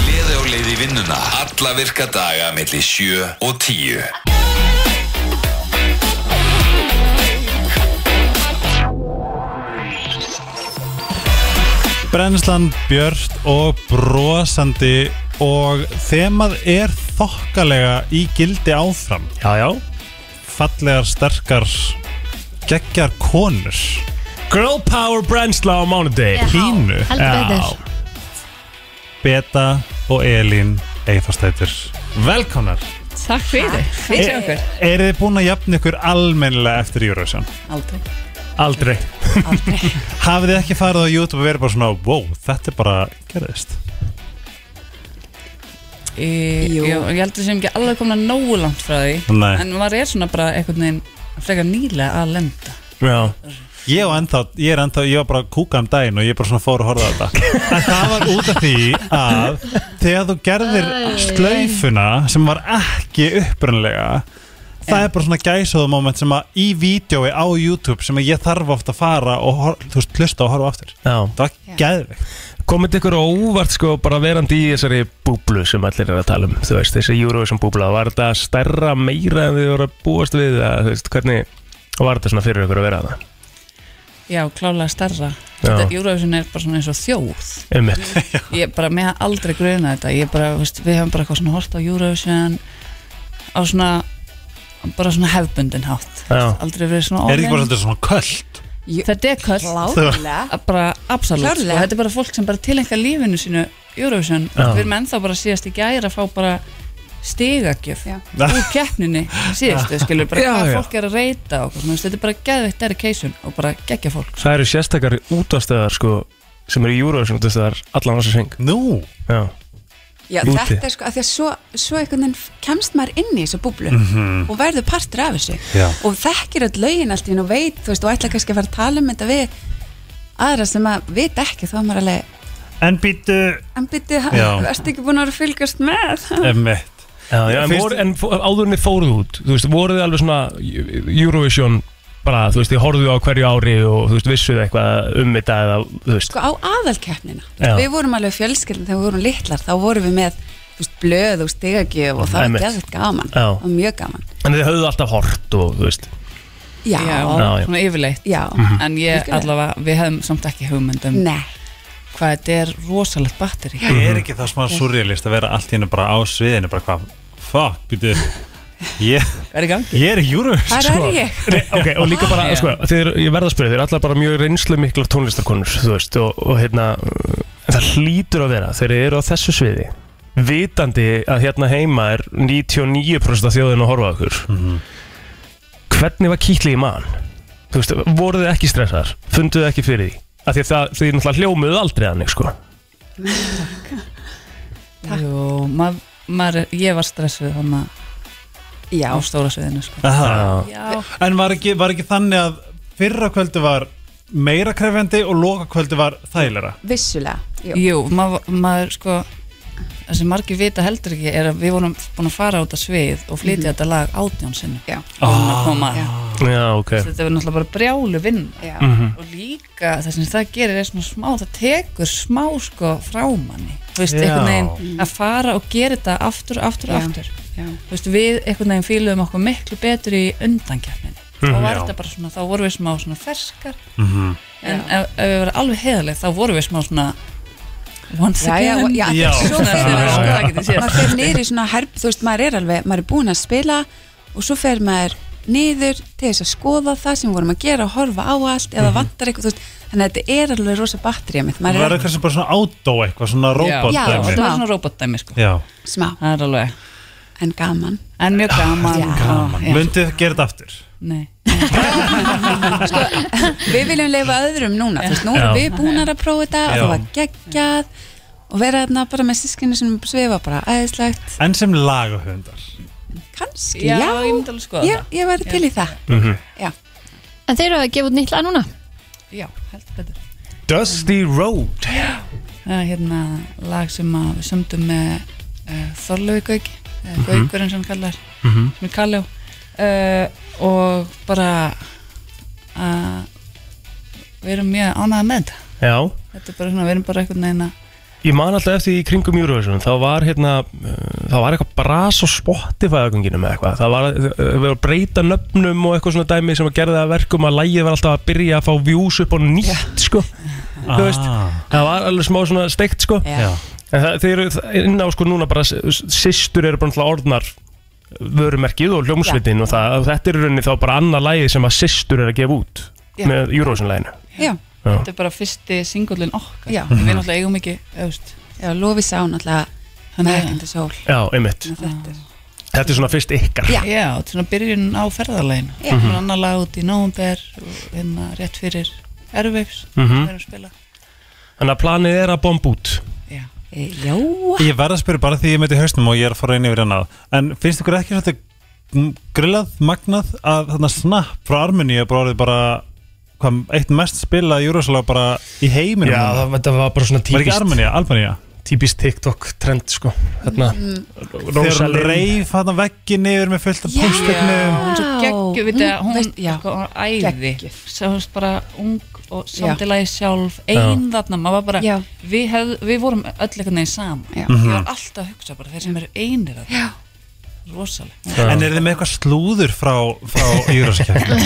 Speaker 7: Gleði og leiði vinnuna Alla virka daga millir 7 og 10
Speaker 3: Brennslan, Björst og brosandi og þemað er þokkalega í gildi áfram
Speaker 1: Já, já
Speaker 3: Fallegar, sterkar, geggjar konur
Speaker 1: Girl Power Brennsla á mánudegi
Speaker 3: Já, Pínu. heldur betur. Beta og Elín Eithastættir Velkomnar
Speaker 13: Takk fyrir, fyrir okkur
Speaker 3: Er þið búin að jafna ykkur almennilega eftir Eurovision?
Speaker 13: Aldrei
Speaker 3: Aldrei Hafið þið ekki farið á YouTube og verið bara svona Wow, þetta er bara gerðist
Speaker 13: e, Jú Ég heldur sem ekki alveg komin að nógu langt frá því
Speaker 3: Nei.
Speaker 13: En maður er svona bara einhvern veginn frekar nýlega að lenda
Speaker 1: Já
Speaker 3: Ég, var ennþá, ég er ennþá, ég var bara að kúka um daginn og ég bara svona fór að horfa á þetta En það var út af því að þegar þú gerðir slaufuna sem var ekki upprunlega það er bara svona gæsaðu moment sem að í vídjói á YouTube sem að ég þarf ofta að fara og hor- þú veist, hlusta og horfa aftur
Speaker 1: Já.
Speaker 3: Það var geðvikt
Speaker 1: Komið ykkur á óvart sko bara verandi í þessari búblu sem allir er að tala um Þú veist, þessi Eurovision búbla Var þetta stærra meira en þið voru að búast við að, Þú veist, hvernig var þetta svona fyrir ykkur að vera það?
Speaker 13: Já, klálega starra
Speaker 1: Já.
Speaker 13: Þetta Eurovision er bara svona eins og þjóð
Speaker 1: Einmitt.
Speaker 13: Ég bara, mér hafði aldrei grunað þetta Ég bara, veist, við hefum bara eitthvað svona hort á Eurovision Á svona Bara svona hefbundin hátt
Speaker 3: Já.
Speaker 13: Aldrei verið svona
Speaker 3: Er þetta ekki bara
Speaker 13: online.
Speaker 3: svolítið svona köld?
Speaker 13: Þetta er köll
Speaker 3: Klárlega.
Speaker 13: Bara absolutt sko.
Speaker 3: Klárlega.
Speaker 13: Þetta er bara fólk sem bara tilenga lífinu sínu Eurovision
Speaker 3: Já.
Speaker 13: Við erum ennþá bara síðast í gæri að fá bara stigagjöf úr keppninni síðastu skilur bara
Speaker 1: Já,
Speaker 13: hvað
Speaker 1: já.
Speaker 13: fólk er að reyta og, svona, þú veist, þetta er bara geðveitt dedication og bara geggja fólk
Speaker 1: Það eru sérstakar útastöðar sko sem eru í Eurovision útastöðar allan ásins heng
Speaker 3: Nú?
Speaker 1: Já
Speaker 14: Já,
Speaker 1: Úti.
Speaker 14: þetta er sko, af því að svo, svo einhvern veginn kemst maður inn í þessu búblu
Speaker 1: Mhm.
Speaker 14: og verður partur af þessu
Speaker 1: Já.
Speaker 14: og þekkir öll lögin allt í hennu og veit, þú veist, og ætla kannski að fara að tala um þetta við aðra sem að vita ekki, þá er maður alveg,
Speaker 3: En býtu
Speaker 14: en byrju,
Speaker 3: Já.
Speaker 14: ertu ekki búin að vera að fylgjast með?
Speaker 3: Emmett
Speaker 1: Já, já, en,
Speaker 3: Fyrst-
Speaker 1: voru, en fó- áðurinni fóruð út Þú veist, voruð þið alveg svona Eurovision bara, þú veist, þið horfðuð á hverju ári og þú veist, vissuð eitthvað um þetta eða, þú veist,
Speaker 14: Sko, á aðalkeppnina,
Speaker 1: Já.
Speaker 14: við vorum alveg fjölskyldin þegar við vorum litlar, þá vorum við með, þú veist, blöð og stigagjöf og það var
Speaker 1: Einmitt.
Speaker 14: geðvægt gaman,
Speaker 1: Já.
Speaker 14: það var mjög gaman.
Speaker 1: en þið höfðu alltaf hort og, þú veist
Speaker 14: Já,
Speaker 1: Já, já.
Speaker 13: svona yfirleitt
Speaker 14: Já.
Speaker 1: Mhm.
Speaker 13: en ég
Speaker 14: Algjörlega.
Speaker 13: allavega, við hefum samt ekki hugmyndum
Speaker 14: Nei.
Speaker 13: hvað þetta er rosalegt batteri
Speaker 3: Er ekki það smá surrealist að vera allt í hennu bara á sviðinu bara hvað, fuck, býtu Ég
Speaker 13: Hvað er í gangi?
Speaker 3: Ég er í Eurovision
Speaker 13: Hvar er
Speaker 3: sko.
Speaker 13: ég?
Speaker 1: Nei, ok, og líka bara,
Speaker 13: Já.
Speaker 1: sko, þeir, ég verða að spyrja, þeir eru allar bara mjög reynslu miklar tónlistarkonur, þú veist, og, og hérna, uh, það hlýtur að vera, þeir eru á þessu sviði, vitandi að hérna heima er 99% af þjóðin að horfa á okkur. Hvernig var kýtli í mann? Þú veist, voruð þið ekki stressaðar? Funduð þið ekki fyrir því? Af því að það, þið náttúrulega hljómuðu aldrei þannig, sko.
Speaker 13: Jú, ma maður, er- ég var stressuð þannig
Speaker 14: Já.
Speaker 13: á stóra sviðinu sko.
Speaker 3: Aha.
Speaker 13: Já.
Speaker 3: En var ekki, var ekki þannig að fyrra kvöldu var meira krefjandi og loka kvöldu var þægilega
Speaker 14: Vissulega, jú.
Speaker 13: Jú, maður, maður sko það sem margir vita heldur ekki er að við vorum búin að fara út að svið og flytja þetta lag átjón sinni
Speaker 14: Mhm. Já.
Speaker 13: að koma að
Speaker 1: Já, ok.
Speaker 13: þetta verður náttúrulega bara brjálu vinn
Speaker 1: Mhm.
Speaker 13: og líka það sem það gerir er svona smá það tekur smá sko frá manni þú veist,
Speaker 14: Já.
Speaker 13: einhvern veginn að fara og gera þetta aftur, aftur,
Speaker 14: Mm. Já.
Speaker 13: aftur
Speaker 14: Já.
Speaker 13: þú veist, við einhvern veginn fíluðum okkur miklu betur í undankjarninni þá
Speaker 14: Mhm.
Speaker 13: var
Speaker 14: Já.
Speaker 13: þetta bara svona, þá vorum við smá svona ferskar
Speaker 14: Mhm.
Speaker 13: en ef, ef við verðum alveg heiðarleg þá vorum við smá svona once
Speaker 14: já,
Speaker 13: again
Speaker 14: já, já, svo
Speaker 13: Svona, svona, svona, það getið séð.
Speaker 14: maður fer niður í svona herp þú veist, maður er alveg, maður er búin að spila og svo fer maður niður til þess að skoða það sem við vorum að gera og horfa á allt
Speaker 3: Mhm.
Speaker 14: eða vantar eitthvað þú veist, þannig að þetta er alveg rosa batterið mitt
Speaker 3: Það
Speaker 14: maður
Speaker 3: var
Speaker 14: er
Speaker 3: eitthvað sem bara svona átó eitthvað, svona robot
Speaker 14: Já,
Speaker 3: dæmi.
Speaker 14: þetta var
Speaker 13: svona robotdæmi sko.
Speaker 3: Já,
Speaker 14: smá
Speaker 13: það er alveg
Speaker 14: en gaman
Speaker 13: en mjög gaman, gaman.
Speaker 3: Mundið þið gera þetta aftur
Speaker 13: Nei.
Speaker 14: sko, við viljum leifa öðrum núna þú veist, nú
Speaker 3: Já.
Speaker 14: erum við búnar að prófa þetta og
Speaker 3: Já.
Speaker 14: það var geggjað og vera þarna bara með sískinu sem svifa bara æðislegt,
Speaker 3: En sem lagahöndar
Speaker 14: kannski,
Speaker 13: Já,
Speaker 14: já,
Speaker 13: ég myndi alveg skoða
Speaker 14: ég,
Speaker 13: Sko, það.
Speaker 14: ég væri til í það
Speaker 1: Mhm.
Speaker 14: já,
Speaker 2: En þeir eru að gefa út nýtt lag núna
Speaker 13: Já, heldur betur
Speaker 1: Dusty Road
Speaker 13: það er hérna lag sem að við sömdum með uh, Þorlöfi Gauk uh,
Speaker 1: Mhm.
Speaker 13: Gaukurinn sem hann kallar
Speaker 1: Mhm.
Speaker 13: sem er Eh, Kalljó uh, og bara að við erum mjög ánægða með þetta
Speaker 1: Já,
Speaker 13: þetta er bara svona, við erum bara einhvern veginn að
Speaker 1: ég man alltaf eftir í kringum Eurovision þá var hérna, uh, þá var eitthvað bras á Spotify-ögunginu með eitthvað það var, það var að breyta nöfnum og eitthvað svona dæmi sem að gerða að verkum að lægið var alltaf að byrja að fá views upp á nýtt sko, þú veist það var alveg smá svona steikt sko
Speaker 13: Já.
Speaker 1: en það, þeir eru það- inn á sko núna bara sýstur eru bara náttúrulega orðnar vörumerkið og hljómsveitin og það, og þetta er í rauninni þá bara annað lægið sem að sýstur eru að gefa út
Speaker 13: Já.
Speaker 1: með Eurovision-læginu
Speaker 14: Já.
Speaker 1: Já.
Speaker 13: þetta er bara fyrsti singullin okkar
Speaker 14: Já.
Speaker 13: við náttúrulega eigum ekki, auðvist
Speaker 14: Já, Lofís á náttúrulega hann er ekkert sól
Speaker 1: Já, einmitt
Speaker 14: Þetta er
Speaker 1: Þetta er svona fyrst ykkar
Speaker 13: Já, þetta er svona byrjun á ferðarlegin
Speaker 1: Já.
Speaker 13: Það er annar lag út í nóvumber og hérna rétt fyrir Airwaves
Speaker 1: Mhm.
Speaker 13: sem við erum að spila
Speaker 1: Þannig að planið er að bomba út
Speaker 13: Já,
Speaker 14: E, Já
Speaker 3: Ég verð að spyrja bara því ég meiti hausnum og ég er að fara inn yfir hann á En finnst ykkur ekki svolítið grillað, magnað að þarna snapp frá Armeníu er bara orðið bara hvað, eitt mest spilað júraslega bara í heiminum
Speaker 1: Já, það, þetta var bara svona
Speaker 3: Var ekki
Speaker 1: típist
Speaker 3: Armenía, Albanía
Speaker 1: Típist TikTok trend sko Þarna mm.
Speaker 3: Þegar hún reif hann veggin yfir með fullt af póstögnum
Speaker 13: hún er svo geggju, við þetta, hún
Speaker 14: Veist- já.
Speaker 13: sko, hún er æði sem hún er bara ung og samtilega sjálf
Speaker 14: Já.
Speaker 13: ein þarna, maður var bara
Speaker 14: Já.
Speaker 13: við, hef, við vorum öll einhvern veginn saman
Speaker 14: Já.
Speaker 13: ég
Speaker 3: Mhm.
Speaker 13: var alltaf að hugsa bara þeir sem eru einir þarna rosalega
Speaker 3: En er þið með eitthvað slúður frá, frá júraslega?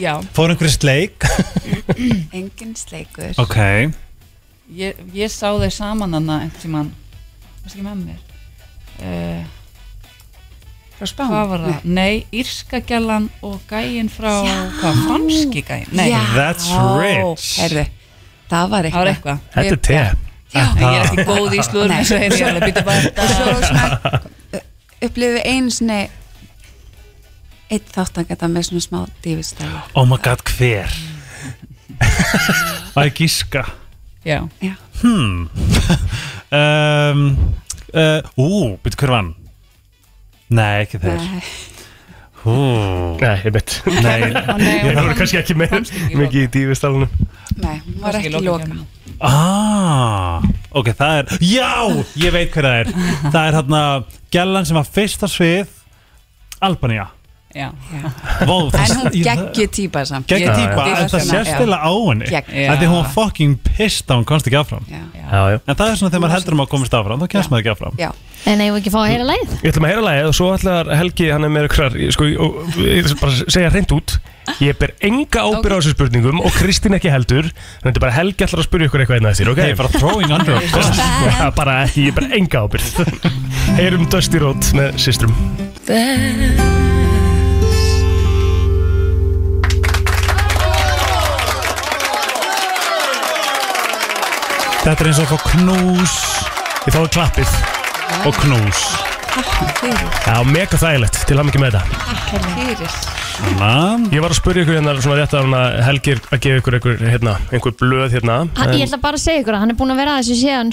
Speaker 13: Já.
Speaker 3: Fór einhverju sleik?
Speaker 13: engin sleikur
Speaker 3: Ok
Speaker 13: ég, ég sá þeir saman hann einhvern tímann, varst ekki með mér uh, frá Spán hvað var það? Nei, Írska gælan og gæin frá hvað, franski gæin? Nei,
Speaker 14: Já. That's rich. Heyrðu, það var eitthvað.
Speaker 13: Það var eitthvað.
Speaker 1: Þetta er te
Speaker 13: Já, ég er ekki góð í slúður
Speaker 14: Nei.
Speaker 13: eins og þeir eru býta bara
Speaker 14: upplifið einu sinni eitt þáttangata með svona smá divistæði
Speaker 3: Oh my god, hver? Að gíska
Speaker 13: Já,
Speaker 14: Já.
Speaker 3: Hmm um, uh, Ú, betur hver vann? Nei, ekki þeir
Speaker 14: Nei.
Speaker 3: Hú Nei, ég bet Nei,
Speaker 14: Ó, nei,
Speaker 1: Ég voru kannski ekki með mikið í dífistalunum
Speaker 14: Nei, hún var
Speaker 13: Kannski
Speaker 14: ekki
Speaker 13: í
Speaker 14: loka
Speaker 3: Ah, ok, það er Já, ég veit hver það er Það er hérna gælan sem var fyrsta svið Albanía
Speaker 13: Já.
Speaker 3: Vó, það-
Speaker 14: En hún
Speaker 3: ég-
Speaker 14: geggju típa samt
Speaker 3: Geggju
Speaker 14: Ég-
Speaker 3: típa,
Speaker 14: ég-
Speaker 3: en það
Speaker 14: já.
Speaker 3: sést eða á henni
Speaker 14: Gegg-
Speaker 3: Það því hún var fucking pissed að hún komst ekki affram
Speaker 14: já.
Speaker 1: Já, já.
Speaker 3: En það er svona þegar maður heldur um að komast affram þá kemst maður ekki affram
Speaker 14: Já
Speaker 2: En eigum við ekki að fá að heyra læð?
Speaker 1: Við ætlum að heyra lagið og svo ætlar Helgi hann er með ykkur sko, og ég ætla bara að segja hreint út Ég ber enga ábyrð á þessum spurningum og Kristín ekki heldur en þetta er bara Helgi ætlar að spyrja ykkur eitthvað einn að þessir okay?
Speaker 3: Hey, bara throwing under a bus.
Speaker 1: Já, bara ekki, ég ber enga ábyrð Heyrum Dusty Road með systrum
Speaker 3: Þetta er eins og að fá knús Ég fáið klappið og knús
Speaker 14: Takk fyrir
Speaker 1: Já, mega þægilegt, til hann með þetta
Speaker 14: Takk fyrir
Speaker 3: Man.
Speaker 1: Ég var að spyrja ykkur hérna svona rétt að hún að Helgi að gefa ykkur einhver, hérna, einhver blöð hérna
Speaker 2: Hann,
Speaker 1: en-
Speaker 2: ég ætla bara að segja ykkur að hann er búin að vera að þessu síðan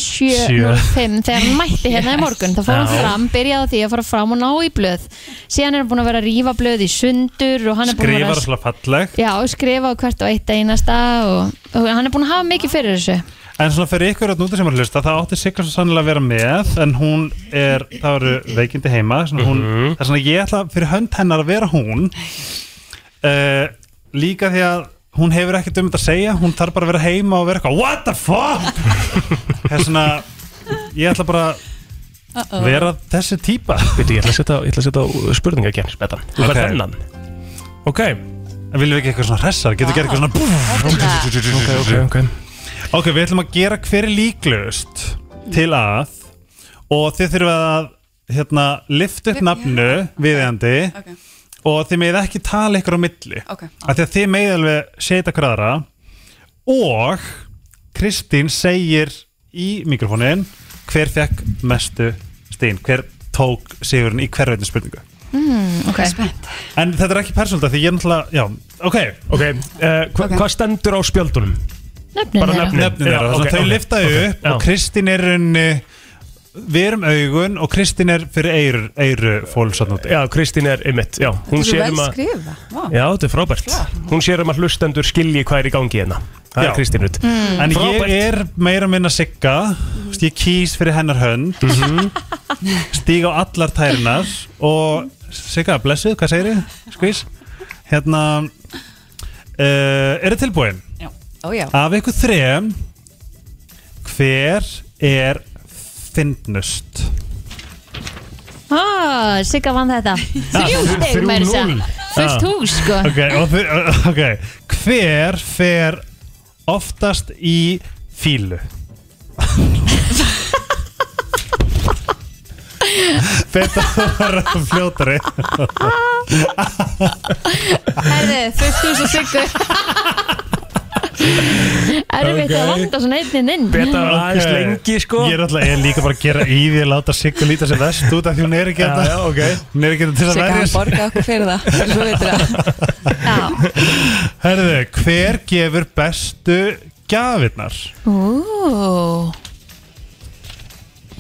Speaker 2: 7.05 þegar hann mætti hérna í morgun þá fór hann
Speaker 1: Já.
Speaker 2: fram, byrjaði á því að fara fram og ná í blöð síðan er hann búin að vera að rífa blöð í sundur og hann er búin að
Speaker 3: Skrifar
Speaker 2: vera
Speaker 3: svona falleg
Speaker 2: já, skrifa á hvert og eitt einasta og, og hann er búin að hafa mikið fyrir þessu
Speaker 3: En svona fyrir ykkur að núti sem er að hlusta Það átti Sigga svo sannlega að vera með En hún er, það eru veikindi heima svona hún,
Speaker 1: Mhm.
Speaker 3: Það er svona ég ætla fyrir hönd hennar að vera hún uh, Líka því að hún hefur ekkert um þetta að segja Hún þarf bara að vera heima og vera eitthvað What the fuck Það er svona Ég ætla bara að vera þessi típa
Speaker 1: Veitu, ég ætla að setja, ég ætla að setja spurningakefnis með þetta Þú fær
Speaker 3: Ok.
Speaker 1: þennan Ok
Speaker 3: En viljum við ekki eitthvað svona hressar Getur gerð eitthvað svona
Speaker 1: Ok, ok, ok
Speaker 3: Ok, við ætlum að gera hver er líklaust til
Speaker 14: Mm.
Speaker 3: að og þið þurfum að hérna, lifta upp nafnu viðeigandi
Speaker 14: Ok.
Speaker 3: og þið megið ekki tala ykkur á milli
Speaker 14: Ok.
Speaker 3: af því að þið megið alveg setja hver aðra og Kristín segir í mikrofónin hver fekk mestu stín hver tók sigurinn í hverveitni spurningu
Speaker 1: Hmm,
Speaker 2: mm, ok
Speaker 14: Spennt
Speaker 3: en þetta er ekki persónulegt af því ég er náttúrulega já, ok,
Speaker 1: Ok, uh, hva,
Speaker 14: Ok.
Speaker 1: hvað stendur á spjöldunum?
Speaker 2: nöfnin
Speaker 1: Bara
Speaker 2: þeirra
Speaker 1: nöfnin.
Speaker 3: nefnir
Speaker 1: Já,
Speaker 3: þeirra,
Speaker 1: ok,
Speaker 3: okay, þau
Speaker 1: ok,
Speaker 3: lifta
Speaker 1: ok,
Speaker 3: upp
Speaker 1: já.
Speaker 3: og Kristín er unni við erum augun og Kristín er fyrir eiru, eiru fólksatnúti
Speaker 1: Já, Kristín er ymmit, já Hún
Speaker 14: Þú
Speaker 1: sér
Speaker 14: vel
Speaker 1: um að
Speaker 14: skrifa Vá.
Speaker 1: Já, þetta er frábært Hún sér um að hlustendur skilji hvað er í gangi hérna Það
Speaker 3: Já.
Speaker 1: er Kristín Rutt
Speaker 2: Mm.
Speaker 3: en
Speaker 1: Frábært.
Speaker 3: ég er meira minna sigga mm. ég kýs fyrir hennar hönd stíg á allar tærinar og sigga, blessuð, hvað segir þið? skvís hérna uh, er þið tilbúin?
Speaker 13: Já.
Speaker 14: Ójá
Speaker 3: Af ykkur þrem Hver er fyndnust?
Speaker 2: Ah, Sigga vann þetta Þrjú
Speaker 3: þrjú-
Speaker 2: steg
Speaker 3: þrjú
Speaker 2: með þess að
Speaker 3: núll.
Speaker 2: Fullt
Speaker 3: Ah.
Speaker 2: hús sko
Speaker 3: Ok, og þi- uh, ok Hver fer oftast í fílu? Þetta var fljótari
Speaker 2: Herði, fullt hús og Siggu Erfitt að
Speaker 3: Ok.
Speaker 2: vanda svona einn inn
Speaker 3: Betra var aðeins lengi sko Ég er alltaf, ég er líka bara að gera í því að láta Sigga líta sér vest út af því hún er ekki
Speaker 14: Já,
Speaker 3: þetta
Speaker 14: já,
Speaker 3: Hún er ekki þetta til þess að
Speaker 14: Sigga
Speaker 3: verja
Speaker 14: hann
Speaker 3: sig.
Speaker 14: borgaði okkur fyrir það Svo veitir það
Speaker 3: Herðu, hver gefur bestu gafirnar?
Speaker 2: Ú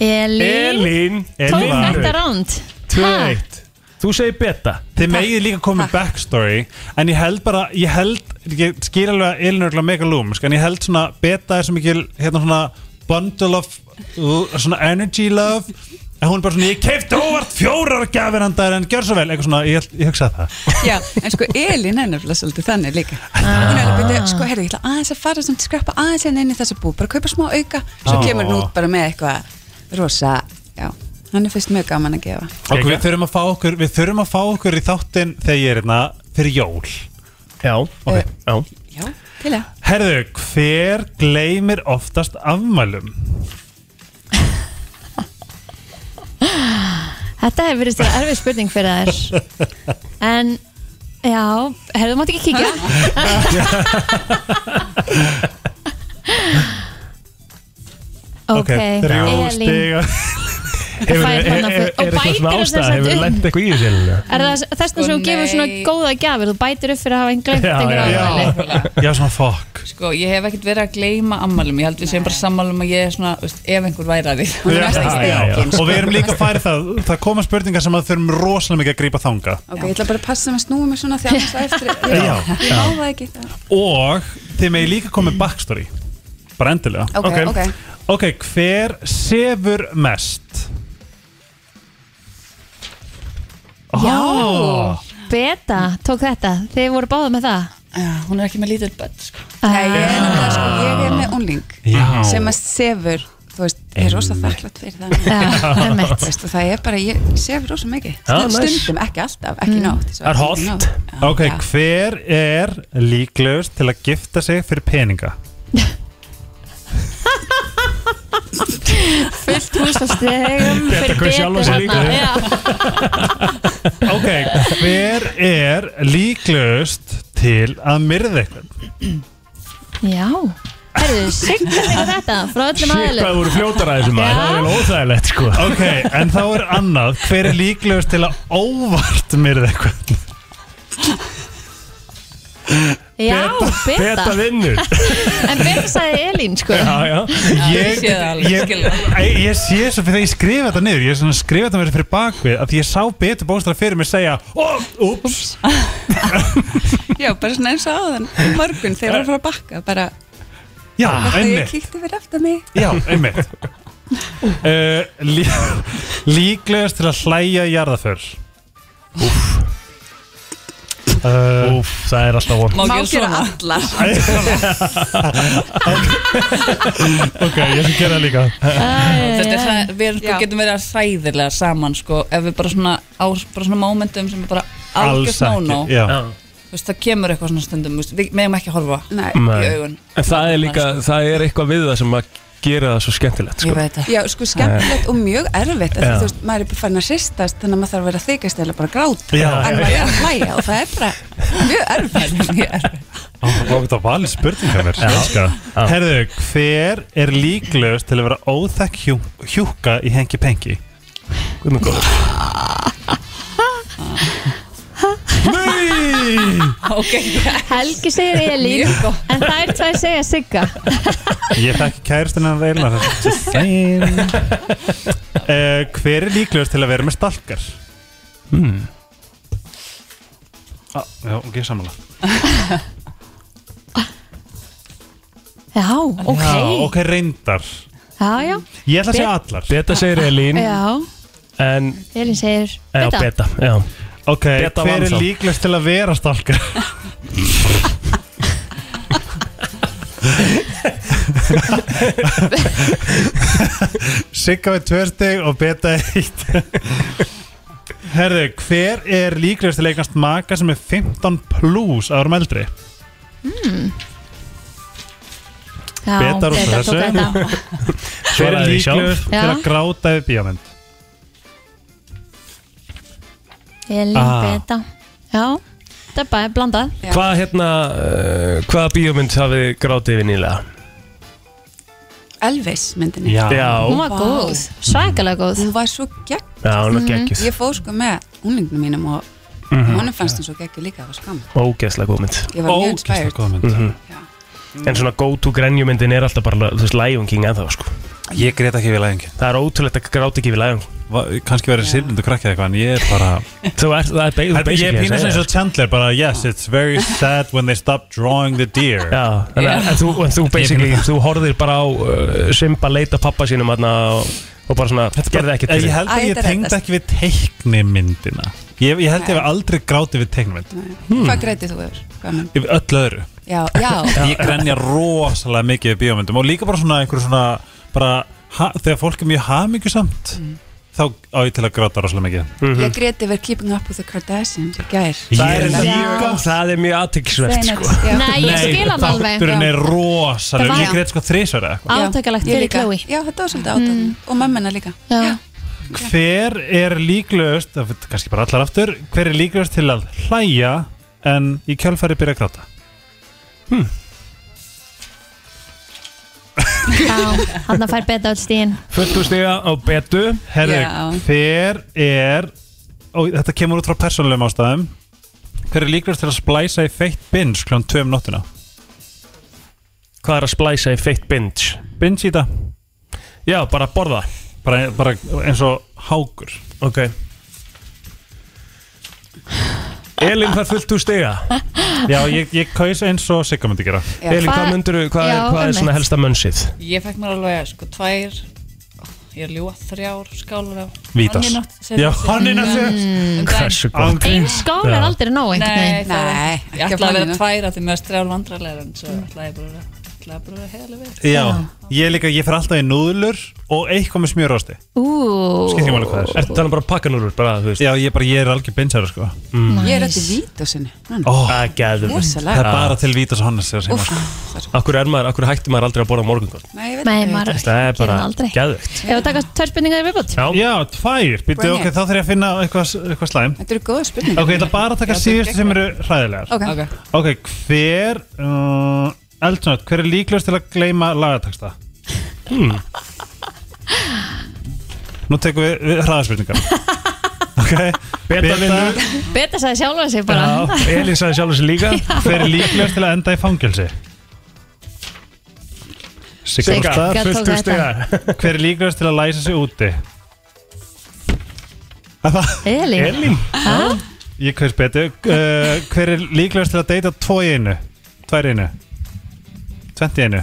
Speaker 2: Elín Tók
Speaker 3: Elín.
Speaker 2: þetta ránd
Speaker 3: 2-1 Þú segir beta Þið megið líka komið með backstory En ég held bara, ég held Ég skil alveg að Elin er örugglega mega lúmsk En ég held svona beta er svo mikil Hérna svona bundle of l- Svona energy love En hún er bara svona, ég keipti óvart fjórar gafir handar En gjör svo vel, eitthvað svona, ég, ég hugsaði það
Speaker 14: Já, en sko Elin er nefnilega svolítið þannig líka Hún er alveg byrjuð, sko herri, ég ætla aðeins að fara samt skrappa aðeins hérna inn í þessa bú bara kaupa smá auka, svo
Speaker 3: Ó.
Speaker 14: kemur hún út bara með eitthvað rosa, já hann er fyrst mjög gaman að gefa
Speaker 3: Ok, við þurfum að fá okkur Við þurfum að fá okkur í þáttinn þegar ég er hérna Fyrir jól
Speaker 1: Já,
Speaker 3: okay.
Speaker 1: já.
Speaker 14: Já, til það
Speaker 3: Herðu, hver gleymir oftast afmælum?
Speaker 2: Þetta hefur verið stíða erfið spurning fyrir þær En Já, herðu mátt ekki kíkja Ok,
Speaker 1: þrjú
Speaker 2: Elín.
Speaker 1: stiga.
Speaker 2: Fær
Speaker 1: Hefur, er, er,
Speaker 2: hana
Speaker 1: er
Speaker 2: fyrir- og
Speaker 1: eitthvað svona
Speaker 2: bætir þess
Speaker 1: ástæð,
Speaker 2: að
Speaker 1: hefur
Speaker 2: setja
Speaker 1: lent eitthvað í þessu Elín? eða?
Speaker 2: Er það þess að þú gefur svona góða gjafir Þú bætir upp fyrir að hafa einn glemt
Speaker 1: Já,
Speaker 2: einhver
Speaker 1: já, já.
Speaker 2: ára
Speaker 3: Já, svona fokk
Speaker 13: Sko, ég hef ekkert verið að gleyma ammalum, ég held við séum bara sammálum að ég er svona, veist, ef einhver væri að því.
Speaker 3: Já, já, já.
Speaker 14: sko.
Speaker 3: Og við erum líka að færa það Það koma spurningar sem að þurfum rosalega mikið að grípa þanga
Speaker 14: Ok, ég ætla bara að passa með snúið mig svona því annars á eftir ég,
Speaker 3: Já.
Speaker 14: ég má það ekki það.
Speaker 3: Og þið megi líka koma með backstory Bara endilega
Speaker 14: Ok, Ok. ok.
Speaker 3: Ok, hver sefur mest?
Speaker 2: Já, beta tók þetta Þið voru báðið með það
Speaker 13: Já, hún er ekki með lítill börn sko.
Speaker 14: Nei, ég er nefnilega sko,
Speaker 3: Ah.
Speaker 14: ég er með ungling
Speaker 13: Já.
Speaker 14: sem að sefur, þú veist, ég er rosa þakklátt fyrir það
Speaker 13: Já, einmitt.
Speaker 14: Þú veist, og það er bara, ég sefur rosa mikið
Speaker 3: Já, nice.
Speaker 14: stundum, ekki alltaf,
Speaker 13: Mm.
Speaker 14: ekki nátt svo ekki nótt. Já,
Speaker 3: Ok,
Speaker 14: já.
Speaker 3: hver er líklegust til að gifta sig fyrir peninga?
Speaker 2: Fullt hús af stegum
Speaker 3: Beta
Speaker 2: fyrir
Speaker 3: hvað sjálfa sig
Speaker 2: betur
Speaker 3: líka.
Speaker 2: hérna.
Speaker 3: Ok, hver er líklegust til að myrða eitthvað?
Speaker 2: Já, já. Herðu, signa þegar þetta frá öllum
Speaker 1: Shit, hvað
Speaker 2: aðlum
Speaker 1: voru fljótar að þessu maður, það er vel óþægilegt sko
Speaker 3: Ok, en þá er annað Hver er líklegust til að óvart myrða eitthvað?
Speaker 2: Já, beta
Speaker 3: Beta vinnur.
Speaker 2: En beta sagði Elín sko
Speaker 3: Ég, ég, ég, ég sé svo fyrir þegar ég skrifa þetta niður Ég er svona að skrifa þetta mér fyrir bakvið af Því ég sá betur bóstra fyrir mig segja oh, Úps
Speaker 14: Já, bara svona eins og áðan um morgun þegar það er að fara að bakka bara,
Speaker 3: Já,
Speaker 14: þetta ég
Speaker 3: Ah, einmitt
Speaker 14: kíkti fyrir aftur mig
Speaker 3: Já, einmitt uh, lí, Líklegast til að hlæja í jarðaför Úf uh, Úf, það er alltaf von
Speaker 14: Má gera allar
Speaker 3: Ok, ég skal gera það líka
Speaker 13: Þetta er það, við erum sko,
Speaker 14: Já.
Speaker 13: getum verið að sæðilega saman sko, ef við bara svona, á, bara svona momentum sem er bara algjörst nónó.
Speaker 1: já.
Speaker 13: Þú veist, það kemur eitthvað svona stundum, þú veist, við meðum ekki að horfa í augun.
Speaker 1: En það er líka, það er eitthvað við það sem að gera það svo skemmtilegt sko.
Speaker 14: Já, sko, skemmtilegt og mjög erfitt af því,
Speaker 1: Já.
Speaker 14: Þú veist, maður er bara farin að hristast þannig að maður þarf að vera að þykast eða bara að gráta
Speaker 3: Já, já,
Speaker 14: en maður
Speaker 3: já.
Speaker 14: er að hlæja og það er bara mjög erfitt Mjög erfitt.
Speaker 3: Það var þetta valið spurningar mér elska. Herðu, hver er líklegust til að vera óþekk hjú, hjúka í hengi pengi? Guðmund góð Nei
Speaker 2: Helgi segir Elín En þær tvær segja Sigga
Speaker 3: Ég þekki kæristinn en reyla uh, Eh, Hver er líklegust til að vera með stalkar?
Speaker 1: Hmm.
Speaker 3: Ah, já, ok, samanlega
Speaker 2: Já, ok
Speaker 3: já, Ok, reyndar
Speaker 2: Já, já
Speaker 3: Ég ætla að segja allar
Speaker 1: Beta segir Elín
Speaker 2: Já,
Speaker 1: En,
Speaker 2: Elín segir
Speaker 1: já,
Speaker 2: beta
Speaker 1: beta já.
Speaker 3: Ok,
Speaker 1: Beta vann
Speaker 3: Eh, hver er
Speaker 1: þá.
Speaker 3: líklegust til að vera stalkar? Sigga með tvö stig og beta eitt Herðu, hver er líklegast að leikast maka sem er 15 pluss árum eldri?
Speaker 2: Mm. Já, Beta
Speaker 3: Beta er út af
Speaker 2: tók þetta
Speaker 3: þessu Hver
Speaker 1: Svaraði
Speaker 3: er
Speaker 1: því
Speaker 3: líklegast
Speaker 1: sjálf.
Speaker 3: til að
Speaker 2: Já.
Speaker 3: gráta við bíómynd?
Speaker 2: Elín
Speaker 1: Ah.
Speaker 2: Beta Já, þetta er bara blandað
Speaker 1: Hvað hérna, uh, hvaða bíómynd hafið þið grátið við nýlega?
Speaker 14: Elvis myndinni
Speaker 1: Já. Já.
Speaker 2: Hún var góð, svakalega góð
Speaker 14: Hún var svo gegn
Speaker 1: Já, hún var geggjuð.
Speaker 14: Mhm. Ég fóð sko með úlingnum mínum og mm
Speaker 1: Mhm.
Speaker 14: honum fannst hún svo geggjuð líka, það var skam
Speaker 1: Ógeðslega góð mynd
Speaker 14: Ég var mjög inspired
Speaker 1: mm En svona go to grenjumyndin er alltaf bara, þú veist, Lion King ennþá sko
Speaker 3: Ég grét ekki við læðingin
Speaker 1: Það er ótrúlegt að gráta ekki við læðum
Speaker 3: Kanski verið sirnund og krakkið eitthvað en ég er bara
Speaker 1: Þú er, það er beig-
Speaker 3: Þetta- Ég
Speaker 1: basically
Speaker 3: er
Speaker 1: að
Speaker 3: pínus
Speaker 1: segja
Speaker 3: eins og
Speaker 1: það.
Speaker 3: Chandler bara Yes, it's very sad when they stop drawing the deer
Speaker 1: Já, en, en, þú, en þú basically, þú horfðir bara á uh, Simba leita pappa sínum aðna og, og bara svona, gerði ekkert
Speaker 3: Ég held að
Speaker 14: Æ,
Speaker 3: ég
Speaker 14: þetta er
Speaker 3: tengd
Speaker 14: réttast.
Speaker 3: ekki við teiknimyndina Ég, ég held að ég hef aldrei grátið við teiknimynd
Speaker 14: Hvað greitið þú yfir? Hvað mynd?
Speaker 3: Yfir öll öðru
Speaker 14: Já, já
Speaker 3: Ég grenja rosalega mikið við bíómyndum og líka bara svona einhver svona bara, ha, þegar fólk er mjög hamingjusamt þá á ég til að gráta rosalega mikið
Speaker 14: Mm.
Speaker 1: Mhm.
Speaker 14: Ég greitið yfir Keeping Up with the Kardashians í gær
Speaker 3: Það er
Speaker 14: Já.
Speaker 3: líka
Speaker 1: Það er mjög aðtyggsvert
Speaker 14: Sveinat,
Speaker 1: sko
Speaker 14: já.
Speaker 2: Nei, ég skil hann alveg.
Speaker 3: Þátturinn er
Speaker 2: Það
Speaker 3: rosalega,
Speaker 2: var-
Speaker 3: ég greit sko þrísvara
Speaker 2: Átakalegt
Speaker 14: Ég
Speaker 2: fyrir
Speaker 14: líka.
Speaker 2: Chloe
Speaker 14: Já, þetta var svolítið átökum Og mömmina líka
Speaker 2: Já.
Speaker 3: Hver er líklegust, það fyrir kannski bara allar aftur Hver er líklegust til að hlæja en í kjálfæri byrja að gráta?
Speaker 2: Já, hann fær Beta öll stíðin
Speaker 1: Fullu stiga á betu
Speaker 3: Herðu,
Speaker 2: Já.
Speaker 3: hver er og þetta kemur út frá persónulegum ástæðum Hver er líklegust til að splæsa í feitt binge kljón 2 um nóttina?
Speaker 1: Hvað er að splæsa í feitt binge?
Speaker 3: Binge í það
Speaker 1: Já, bara borða
Speaker 3: bara, bara eins og hákur
Speaker 1: Ok Elin, hvað fullt þú stiga?
Speaker 3: Já, ég, ég kaus eins og Sigga myndi gera
Speaker 1: Elin, hvað
Speaker 13: Hvað-
Speaker 1: myndur, hvað,
Speaker 13: Já,
Speaker 1: er, hvað er
Speaker 13: einmitt.
Speaker 1: svona helsta mönnsið?
Speaker 13: Ég fekk mér alveg sko tvær Ég er ljúa þrjár skálar af
Speaker 1: Vítas.
Speaker 13: Honeynut
Speaker 1: Já,
Speaker 13: Celsius.
Speaker 1: Honeynut Celsius.
Speaker 13: Mm.
Speaker 1: Hversu
Speaker 13: Dæmi.
Speaker 1: gott. Ein
Speaker 2: skál er aldrei nóg einhvern
Speaker 13: Nei,
Speaker 2: veginn.
Speaker 13: það er-
Speaker 2: Nei,
Speaker 13: Ég
Speaker 2: ekki
Speaker 13: ætlaði að vera
Speaker 2: Honeynut.
Speaker 13: tvær af því mér er strjál vandrarlegar en svo ætlaði ég bara að vera- ætlaði bara að vera heiðaleg við
Speaker 3: Já, ég líka, ég fer alltaf í núðlur og eitthvað með smjörosti Skilur ég
Speaker 2: Ú
Speaker 3: máli hvað það er
Speaker 1: Ertu talað bara pakkanúlur, bara, þú veist Mm.
Speaker 3: Já, ég, bara, ég er algjör bingeara sko
Speaker 14: Ég er eftir Vítosinu
Speaker 3: Ó,
Speaker 1: Það er gæðum
Speaker 14: Rosalega.
Speaker 3: Það er bara til Vítas og Hannes er að segja
Speaker 14: Úff.
Speaker 3: sko.
Speaker 1: Akkur er maður, akkur hættir maður aldrei að borða morgungóð
Speaker 14: Nei, ég veit
Speaker 2: Nei,
Speaker 14: ekki.
Speaker 2: maður
Speaker 1: Það er bara
Speaker 2: gerir það aldrei
Speaker 1: gæðugt
Speaker 2: Ef við taka tvær spurningar í viðbútt
Speaker 1: Já,
Speaker 3: Já, tvær, býttu
Speaker 14: Bring
Speaker 3: ok,
Speaker 14: it.
Speaker 3: þá þarf ég að finna eitthvað, eitthvað slæm
Speaker 14: Þetta eru góða spurningar
Speaker 3: Ok, ég ætla bara að taka síðustu sem eru hræðilegar
Speaker 14: Ok. Ok.
Speaker 3: Ok, hver uh, Eldsnöð, hver er líklegust til að gleyma lagataksta? Hmm. Nú tekum við, við hraðaspurningar Ok,
Speaker 1: Beta vinnur.
Speaker 2: Beta sagði sjálfa sig bara
Speaker 1: Já, Elin sagði sjálf þessi líka
Speaker 3: Hver er líklegast til að enda í fangelsi? Sigga
Speaker 2: Sigga
Speaker 3: Rósta.
Speaker 2: tók
Speaker 1: fullt þú
Speaker 2: þetta.
Speaker 1: stiga
Speaker 3: Hver er líklegast til að læsa sig úti? Er Það
Speaker 2: Elín
Speaker 1: Elin
Speaker 2: Ha?
Speaker 3: Ég kaus betur uh, Hver er líklegast til að deyta tvo í einu? Tvær í einu? Tvent í einu?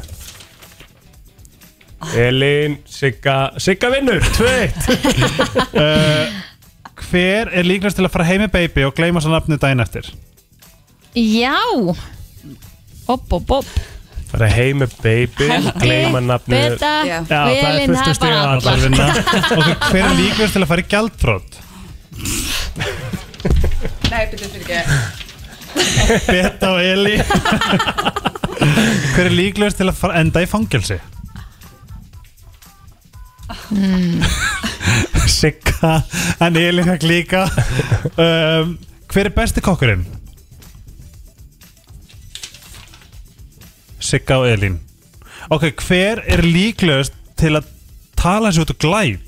Speaker 1: Elin, Sigga, Sigga vinnur 2-1
Speaker 3: Eh, Hver er líklegast til að fara heim með baby og gleyma svo nafni daginn eftir?
Speaker 2: Já Opp, opp, opp
Speaker 1: Bara heim með baby, gleyma nafnu
Speaker 2: Beta,
Speaker 14: Já.
Speaker 1: Já, það er
Speaker 2: Elín,
Speaker 1: fullt
Speaker 2: það
Speaker 1: þú
Speaker 2: er
Speaker 1: stiga
Speaker 2: bara
Speaker 1: allar
Speaker 2: allar
Speaker 1: vinna
Speaker 3: Og hver er líklegast til að fara í gjaldfrótt?
Speaker 14: Nei, byrjuð fyrir ekki
Speaker 3: Betta og Eli Hver er líklegast til að fara enda í fangelsi?
Speaker 2: Mm.
Speaker 3: Sigga En Eli fekk líka um, Hver er besti kokkurinn? Sigga og Elín Ok, hver er líklegast til að tala sér út og glæp?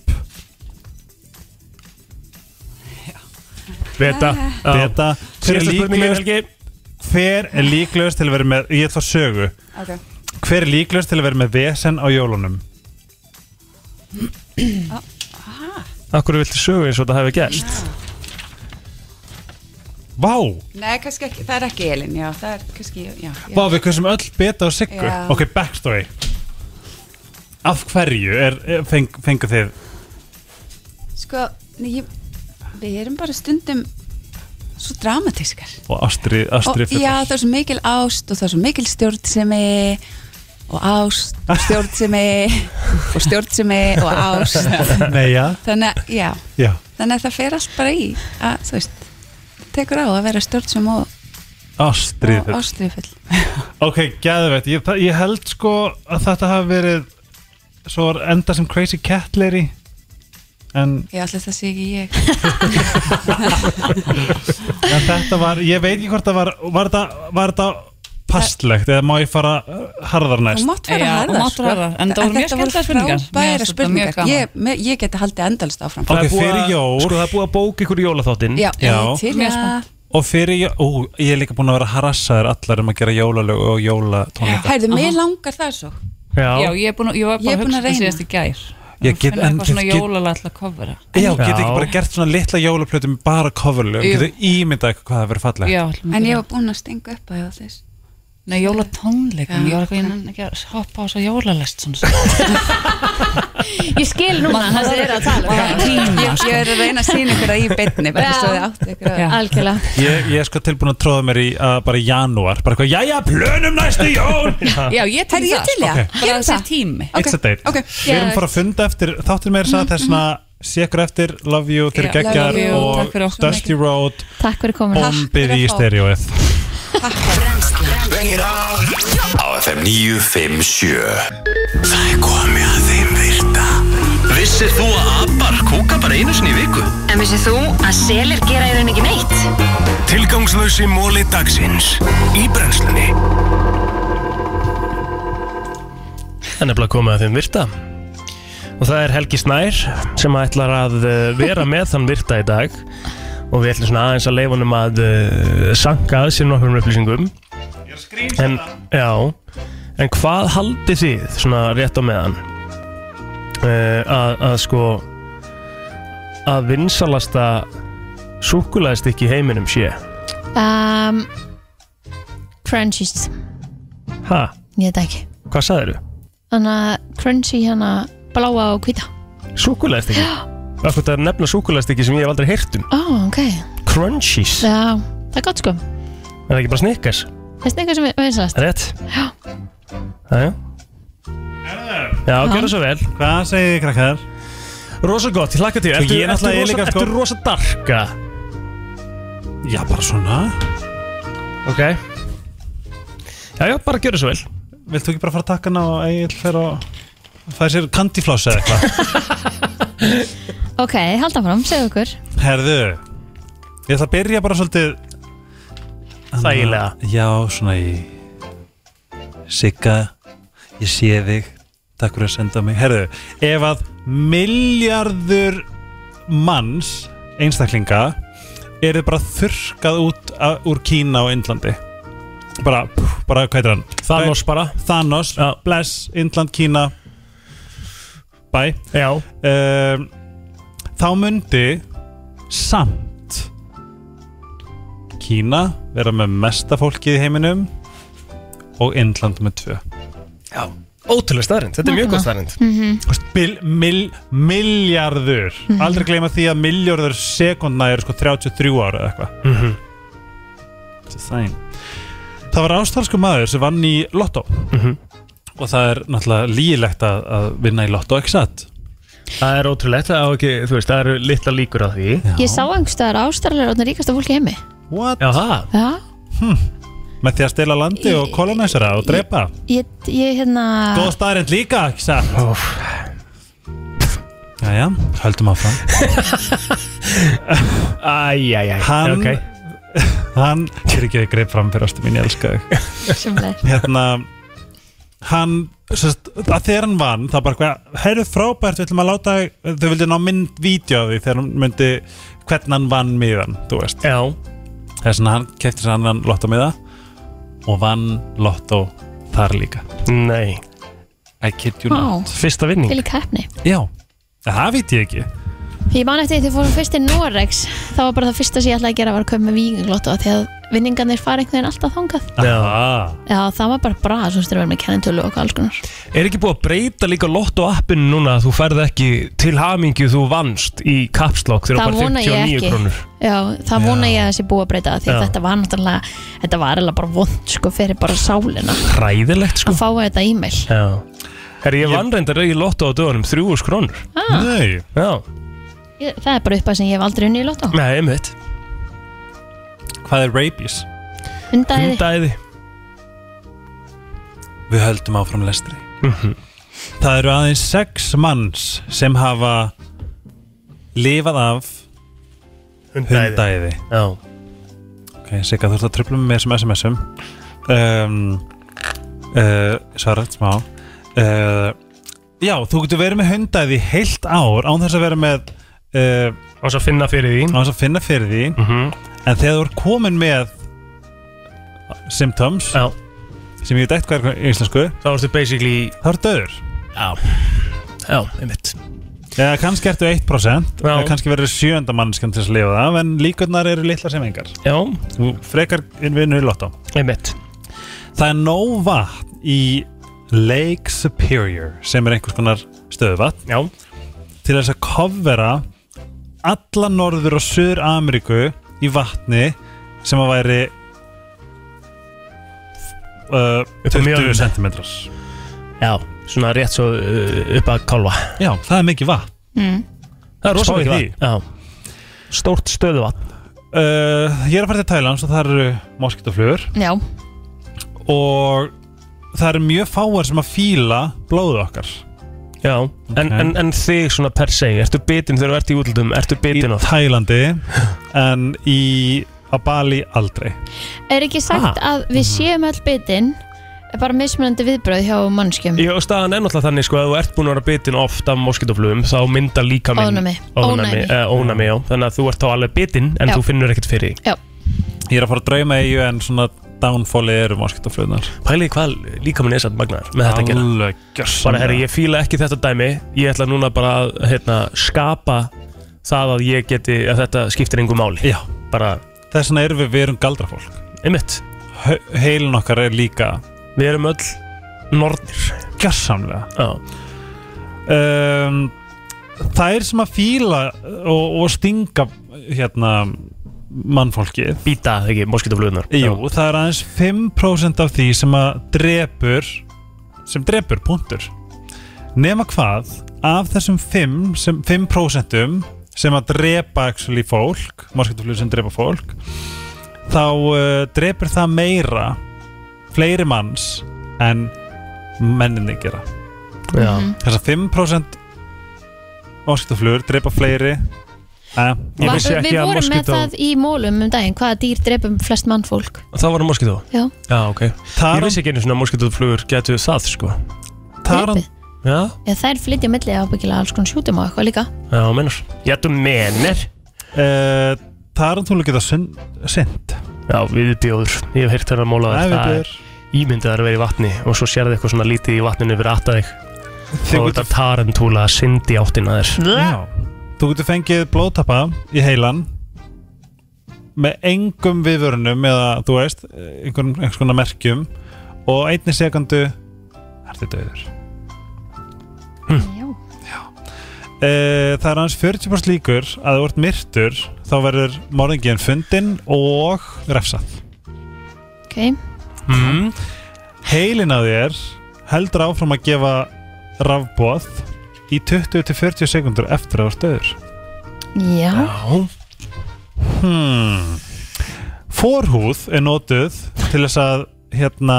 Speaker 1: Beta
Speaker 3: Beta Hver er
Speaker 1: Sérsta spurningin,
Speaker 3: líklegast
Speaker 1: Helgi
Speaker 3: Hver er líklegast til að vera með Ég ætla að sögu
Speaker 14: Ok
Speaker 3: Hver er líklegast til að vera með vesen á jólunum?
Speaker 1: Akkur viltu sögu eins og þetta hefur gæst
Speaker 3: Vá,
Speaker 14: Nei, kannski ekki, það er ekki Elin, já, það er kannski, já, já.
Speaker 3: vá við kursum öll beta og siggu
Speaker 14: Já.
Speaker 3: Ok, backstory Af hverju er, er- feng, fengu þið
Speaker 14: Sko, nei, ég, við erum bara stundum svo dramatískar
Speaker 3: og ástrið
Speaker 14: og,
Speaker 3: ástri
Speaker 14: Já, það er svo mikil ást og það er svo mikil stjórn sem er og ást og stjórnsemi og stjórnsemi og ást
Speaker 3: Nei, já.
Speaker 14: þannig að, já,
Speaker 3: Já.
Speaker 14: þannig að það fer allt bara í að, þú veist, tekur á að vera stjórnsemi og, og
Speaker 3: Ástriður
Speaker 14: ástriðfull
Speaker 3: Ok, gæðveit, ég, það- ég held sko að þetta hafi verið svo var enda sem Crazy Cat Lady en,
Speaker 14: ég ætla það sé ekki ég
Speaker 3: en þetta var, ég veit ekki hvort það var var þetta, var þetta pastlegt eða má ég fara uh, harðar næst
Speaker 14: þú mátt fara
Speaker 13: Já,
Speaker 14: harðar
Speaker 13: þú mátt fara harðar. En þetta voru mjög skemmtilega spurningar. Mér
Speaker 14: frábæra
Speaker 13: fannst þetta mjög
Speaker 14: spurningar
Speaker 13: gaman.
Speaker 14: ég, me- ég geti haldið endalist áfram
Speaker 3: Ok,
Speaker 1: búið
Speaker 3: fyrir
Speaker 1: að-
Speaker 3: jól
Speaker 1: Sko það er búið að bóka ykkur í jólaþáttinn
Speaker 14: já, ég til í að
Speaker 3: Og fyrir jól, ó, ég er líka búin að vera harassaður allar um að gera jólalög og jólatónleika
Speaker 14: Hæðu, mig langar það svo
Speaker 13: Já, ég er búin að, ég var
Speaker 14: Ég
Speaker 13: bara
Speaker 14: er
Speaker 13: að
Speaker 14: búin
Speaker 13: hugsa
Speaker 14: að
Speaker 13: það
Speaker 14: reyna.
Speaker 13: síðast í gær
Speaker 3: Ég get-
Speaker 13: Finna
Speaker 3: en
Speaker 13: eitthvað svona
Speaker 3: get-
Speaker 13: jólalega til að kofvera
Speaker 3: Já, get ekki bara gert svona litla jólaplötu með bara coverlög,
Speaker 13: Jú.
Speaker 3: getur ímyndað eitthvað hvað það verið fallegt
Speaker 13: Já,
Speaker 14: en ég var búin að stinga upp að þess
Speaker 13: Nei, jólatónleikum, ég var eitthvað, ég nenni ekki að hoppa á svo jólalest svona
Speaker 2: Ég skil núna það sem þið eru að tala um.
Speaker 14: ég, ég er að reyna að sína ykkur að í beinni bara svo þið átti ykkur að
Speaker 2: Algjörlega
Speaker 3: Ég, ég er sko tilbúin að tróða mér í að bara í janúar bara eitthvað, jæja, plönum næstu jól
Speaker 13: Já, ég til í
Speaker 14: Herri,
Speaker 3: Ok.
Speaker 13: það Bara
Speaker 14: ég til ég
Speaker 13: þessi tími
Speaker 3: It's a date
Speaker 14: Ok.
Speaker 3: Við erum bara að funda eftir, þáttir meira sagði þess að sé ykkur eftir, love you, þeir
Speaker 13: Já,
Speaker 3: geggjar
Speaker 13: love you, takk fyrir
Speaker 3: og
Speaker 13: okkur.
Speaker 3: Dusty Road
Speaker 2: Takk fyrir komin
Speaker 3: bombið í stereoið
Speaker 7: Bengir á Á FM 957 Það er komið að þeim virta Vissir þú að abar kúka bara einu sinni í viku?
Speaker 6: En vissið þú að selir gera í raun ekki neitt?
Speaker 7: Tilgangslösi móli dagsins Í brennslunni
Speaker 4: Það er nefnilega komið að þeim virta og það er Helgi Snær sem ætlar að eh, vera með þann virta í dag og við ætlum svona aðeins að leifa honum að uh, sanka að sér nokkrum upplýsingum en, já, en hvað haldið þið svona rétt á meðan uh, að, að sko að vinsalasta súkulæðist í heiminum sé
Speaker 2: um, Crunchies
Speaker 4: ha,
Speaker 2: Ég veit það ekki
Speaker 4: hvað sagðið þau?
Speaker 2: Þannig að crunchy hérna bláa og hvita
Speaker 4: Súkulæðist ekki? Akkur það er að nefna súkulæðist sem ég hef aldrei heyrt um
Speaker 2: Ó, ok
Speaker 4: Crunchies,
Speaker 2: Já, það er gott sko
Speaker 4: er það ekki bara snikkars?
Speaker 2: Það er eitthvað sem við veist
Speaker 4: Rétt
Speaker 2: Já.
Speaker 4: Jæja. Já,
Speaker 2: Já.
Speaker 4: gjör það svo vel
Speaker 3: Hvað segir þið krakkar?
Speaker 4: Rosa gott, ég hlakka til
Speaker 3: Sko,
Speaker 4: Ertu,
Speaker 3: ég er
Speaker 4: ertu,
Speaker 3: náttúrulega- ég er
Speaker 4: rosa,
Speaker 3: líka, sko-
Speaker 4: ertu rosa darka
Speaker 3: Já, bara svona
Speaker 4: Ok Já, já, bara gjör það svo vel
Speaker 3: Vilt þú ekki bara fara að taka hana og Egil fer og fæði sér kandiflás eða eitthvað?
Speaker 2: Ok, halda fram, segðu okkur
Speaker 3: Herðu, ég ætla að byrja bara svolítið
Speaker 4: Þægilega.
Speaker 3: Já, svona í Sigga, ég sé þig Takk fyrir að senda mig Herðu, ef að miljardur manns einstaklinga eru bara þurrkað út a, úr Kína og Indlandi bara, bara hvað heitir hann?
Speaker 4: Thanos bara
Speaker 3: Thanos,
Speaker 4: Já.
Speaker 3: Bless, Indland, Kína Bæ
Speaker 4: Já
Speaker 3: um, Þá myndi samt Kína vera með mesta fólkið í heiminum og Indland með tvö
Speaker 4: Já Ótrúlega staðrind, þetta er mjög góð staðrind mm.
Speaker 2: Mhm.
Speaker 3: Kost, bil, mil, Miljarður
Speaker 2: Mm.
Speaker 3: Aldrei gleyma því að miljarður sekundna eru sko 33 ára eða eitthvað
Speaker 4: Mm -hmm.
Speaker 3: Sæn. Það var ástralsku maður sem vann í lottó
Speaker 4: Mhm.
Speaker 3: og það er náttúrulega lígilegt að, að vinna í lottó, ekki satt?
Speaker 4: Það er ótrúlegt, það, á ekki, þú veist, það eru litla líkur að því
Speaker 2: Ég sá einhverstaðar ástralir og það ríkasta fólki í heimi
Speaker 3: What?
Speaker 4: Já, það
Speaker 2: Já,
Speaker 3: Með því að stela landi og kolonisera og drepa
Speaker 2: ég, ég hérna
Speaker 3: Góð staðarind líka, ekki satt?
Speaker 4: Óf.
Speaker 3: Jæja, höldum áfram
Speaker 4: Æj, æj, æj
Speaker 3: Hann-
Speaker 4: Ok.
Speaker 3: Hann, hér ekki að greip fram fyrir ástu mín, ég elska þig
Speaker 2: Sjómleir
Speaker 3: hérna hann sest, að þegar hann vann það bara hvað, heyrðu frábært við ætlum að láta þau vildi ná mynd vídeo af því þegar hann myndi hvernig hann vann miðan, þú veist
Speaker 4: Já
Speaker 3: þess vegna hann kefti sér annan lottó miða og vann lottó þar líka
Speaker 4: Nei
Speaker 3: I kid you not
Speaker 2: Vá,
Speaker 4: Fyrsta vinning
Speaker 2: fyrir keppni
Speaker 3: já, það veit ég ekki
Speaker 2: Ég man eftir því þegar fórum fyrst í Norex þá var bara það fyrsta sem ég ætlaði að gera var að köpa með víkinglótt og því að vinningarnir fara einhvern veginn alltaf þangað
Speaker 1: Já.
Speaker 2: Já, það var bara bra, svo styrir við með kennitölu og alls konar
Speaker 1: Er ekki búið að breyta líka lotto appinu núna að þú færð ekki til hamingju þú vannst í kapslokk þegar
Speaker 2: það
Speaker 1: bara
Speaker 2: vona ég
Speaker 1: 59
Speaker 2: ekki
Speaker 1: krónur
Speaker 2: Já, það
Speaker 1: Já.
Speaker 2: vona ég að það sé búið að breyta það því að
Speaker 1: Já.
Speaker 2: þetta var náttúrulega þetta var eiginlega bara vond sko fyrir bara sálina
Speaker 1: Hræðilegt sko
Speaker 2: að fá þetta e-mail
Speaker 1: Já Herri, ég vann reyndar í lotto á dögunum 3000 krónur
Speaker 2: Ah.
Speaker 1: Nei Já
Speaker 2: ég, Það er bara upp sem ég hef aldrei unni í lotto
Speaker 1: Nei, einmitt
Speaker 3: Hvað er rabies?
Speaker 2: Hundæði
Speaker 1: Hundæði
Speaker 3: Við höldum áfram lestri
Speaker 1: Mhm.
Speaker 3: Það eru aðeins sex manns sem hafa lifað af
Speaker 1: Hundæði.
Speaker 3: hundæði.
Speaker 1: Já
Speaker 3: Ok, Sigga þú ert að tröfla með þessum SMS-um um, uh, Svarað smá uh, Já, þú getur verið með hundæði í heilt ár án þess að vera með uh,
Speaker 1: Án þess að finna fyrir því Mhm.
Speaker 3: Án þess að finna fyrir því En þegar þú ert komin með symptoms
Speaker 1: Já
Speaker 3: sem ég veit eitthvað er í íslensku
Speaker 1: þá ertu basically
Speaker 3: þá ertu döður
Speaker 1: já já, einmitt
Speaker 3: eða kannski ertu 1%
Speaker 1: Já.
Speaker 3: eða kannski verður sjönda mannskjönd til þess að lifa það en líkurnar eru litla sem engar
Speaker 1: já
Speaker 3: þú frekar vinnu í lottó
Speaker 1: einmitt
Speaker 3: það er nóg vatn í Lake Superior sem er einhvers konar stöðuvatn
Speaker 1: já
Speaker 3: til þess að kofvera alla norður og söður Ameríku í vatni sem að væri uh,
Speaker 1: Upp á
Speaker 3: 20
Speaker 1: mjöðmina.
Speaker 3: cm
Speaker 1: já svona rétt svo uh, upp að kálfa
Speaker 3: já, það er mikið vatn
Speaker 2: mm.
Speaker 1: það er rosa
Speaker 3: Spáið
Speaker 1: mikið
Speaker 3: því.
Speaker 1: vatn já stórt stöðuvatn
Speaker 3: uh, ég er að fara til Thailand og það eru moskitoflugur
Speaker 2: Já,
Speaker 3: og það eru mjög fáar sem að fíla blóðu okkar
Speaker 1: já en, en, en þig svona per se ertu bitin þegar þú ert í útlundum ertu bitin
Speaker 3: í Þælandi en í á Bali aldrei
Speaker 2: er ekki sagt
Speaker 1: Ah.
Speaker 2: að við
Speaker 1: Mhm.
Speaker 2: séum öll bitin bara mismunandi viðbröð hjá mannskjum
Speaker 1: Já, staðan er náttúrulega þannig sko að þú ert búin að vera bitin oft af moskitoflugum þá mynda líka minn
Speaker 2: Ónæmi.
Speaker 1: ónæmi,
Speaker 2: Ónæmi.
Speaker 1: eh, ónæmi já. þannig að þú ert þá alveg bitin en
Speaker 2: Já.
Speaker 1: þú finnur ekkert fyrir því.
Speaker 2: Já,
Speaker 3: ég er að fara að drauma eigu en svona downfallið eru moskitoflugunar
Speaker 1: pæliði hvað líka minn er satt magnaður með þetta að gera
Speaker 3: alveg
Speaker 1: bara
Speaker 3: gjörsamlega.
Speaker 1: herri, ég fíla ekki þetta dæmi ég ætla núna bara að hérna, skapa það að ég geti að þetta skiptir einhver máli
Speaker 3: Já.
Speaker 1: bara,
Speaker 3: þess vegna erum við, við erum galdrafólk
Speaker 1: einmitt
Speaker 3: heilin okkar er líka
Speaker 1: við erum öll nornir
Speaker 3: gjörsamlega
Speaker 1: Já.
Speaker 3: um, þær sem að fíla og, og stinga hérna mannfólkið
Speaker 1: býta ekki moskitoflugunar
Speaker 3: Jú, það er aðeins 5% af því sem að drepur sem drepur, punktur nema hvað af þessum 5, sem, 5% sem að drepa actually fólk morskjölduflug sem drepa fólk þá uh, drepur það meira fleiri manns en menninni gera
Speaker 1: Já.
Speaker 3: þessar 5% morskjölduflugur drepa fleiri eh,
Speaker 2: Var, við vorum með það í mólum um daginn hvaða dýr drefum flest mannfólk
Speaker 1: það var moskitó
Speaker 2: Já.
Speaker 1: ok ég vissi ekki einu svona moskitoflugur getu það sko
Speaker 3: Taran
Speaker 1: já,
Speaker 2: Eða þær flytja milli ábyggilega alls konar sjútum á eitthvað líka
Speaker 1: já, mennur já, þú mennir
Speaker 3: uh, Tarantúlu geta synd
Speaker 1: já, við bjóður ég hef heyrt þennan móla
Speaker 3: Nei,
Speaker 1: það
Speaker 3: viðbjóður.
Speaker 1: er ímyndið að vera í vatni og svo sérðu eitthvað svona lítið í vatninu fyrir aðta þig þá
Speaker 3: Þau
Speaker 1: er þetta tarantúla að syndi áttina þér
Speaker 3: Já, þú getur fengið blóðtappa í heilan með engum viðvörunum eða þú veist, einhvern, einhvers konar merkjum og einni sekundu ertu döður
Speaker 2: Já.
Speaker 3: e, Það er aðeins 40% líkur að þú ert myrtur þá verður morðingin fundin og refsað
Speaker 2: Ok,
Speaker 1: mm.
Speaker 3: Heilin að þér heldur áfram að gefa rafbóð í 20-40 sekundur eftir að þú ert döður
Speaker 2: já,
Speaker 1: já
Speaker 3: Hmm. Forhúð er notuð til þess að hérna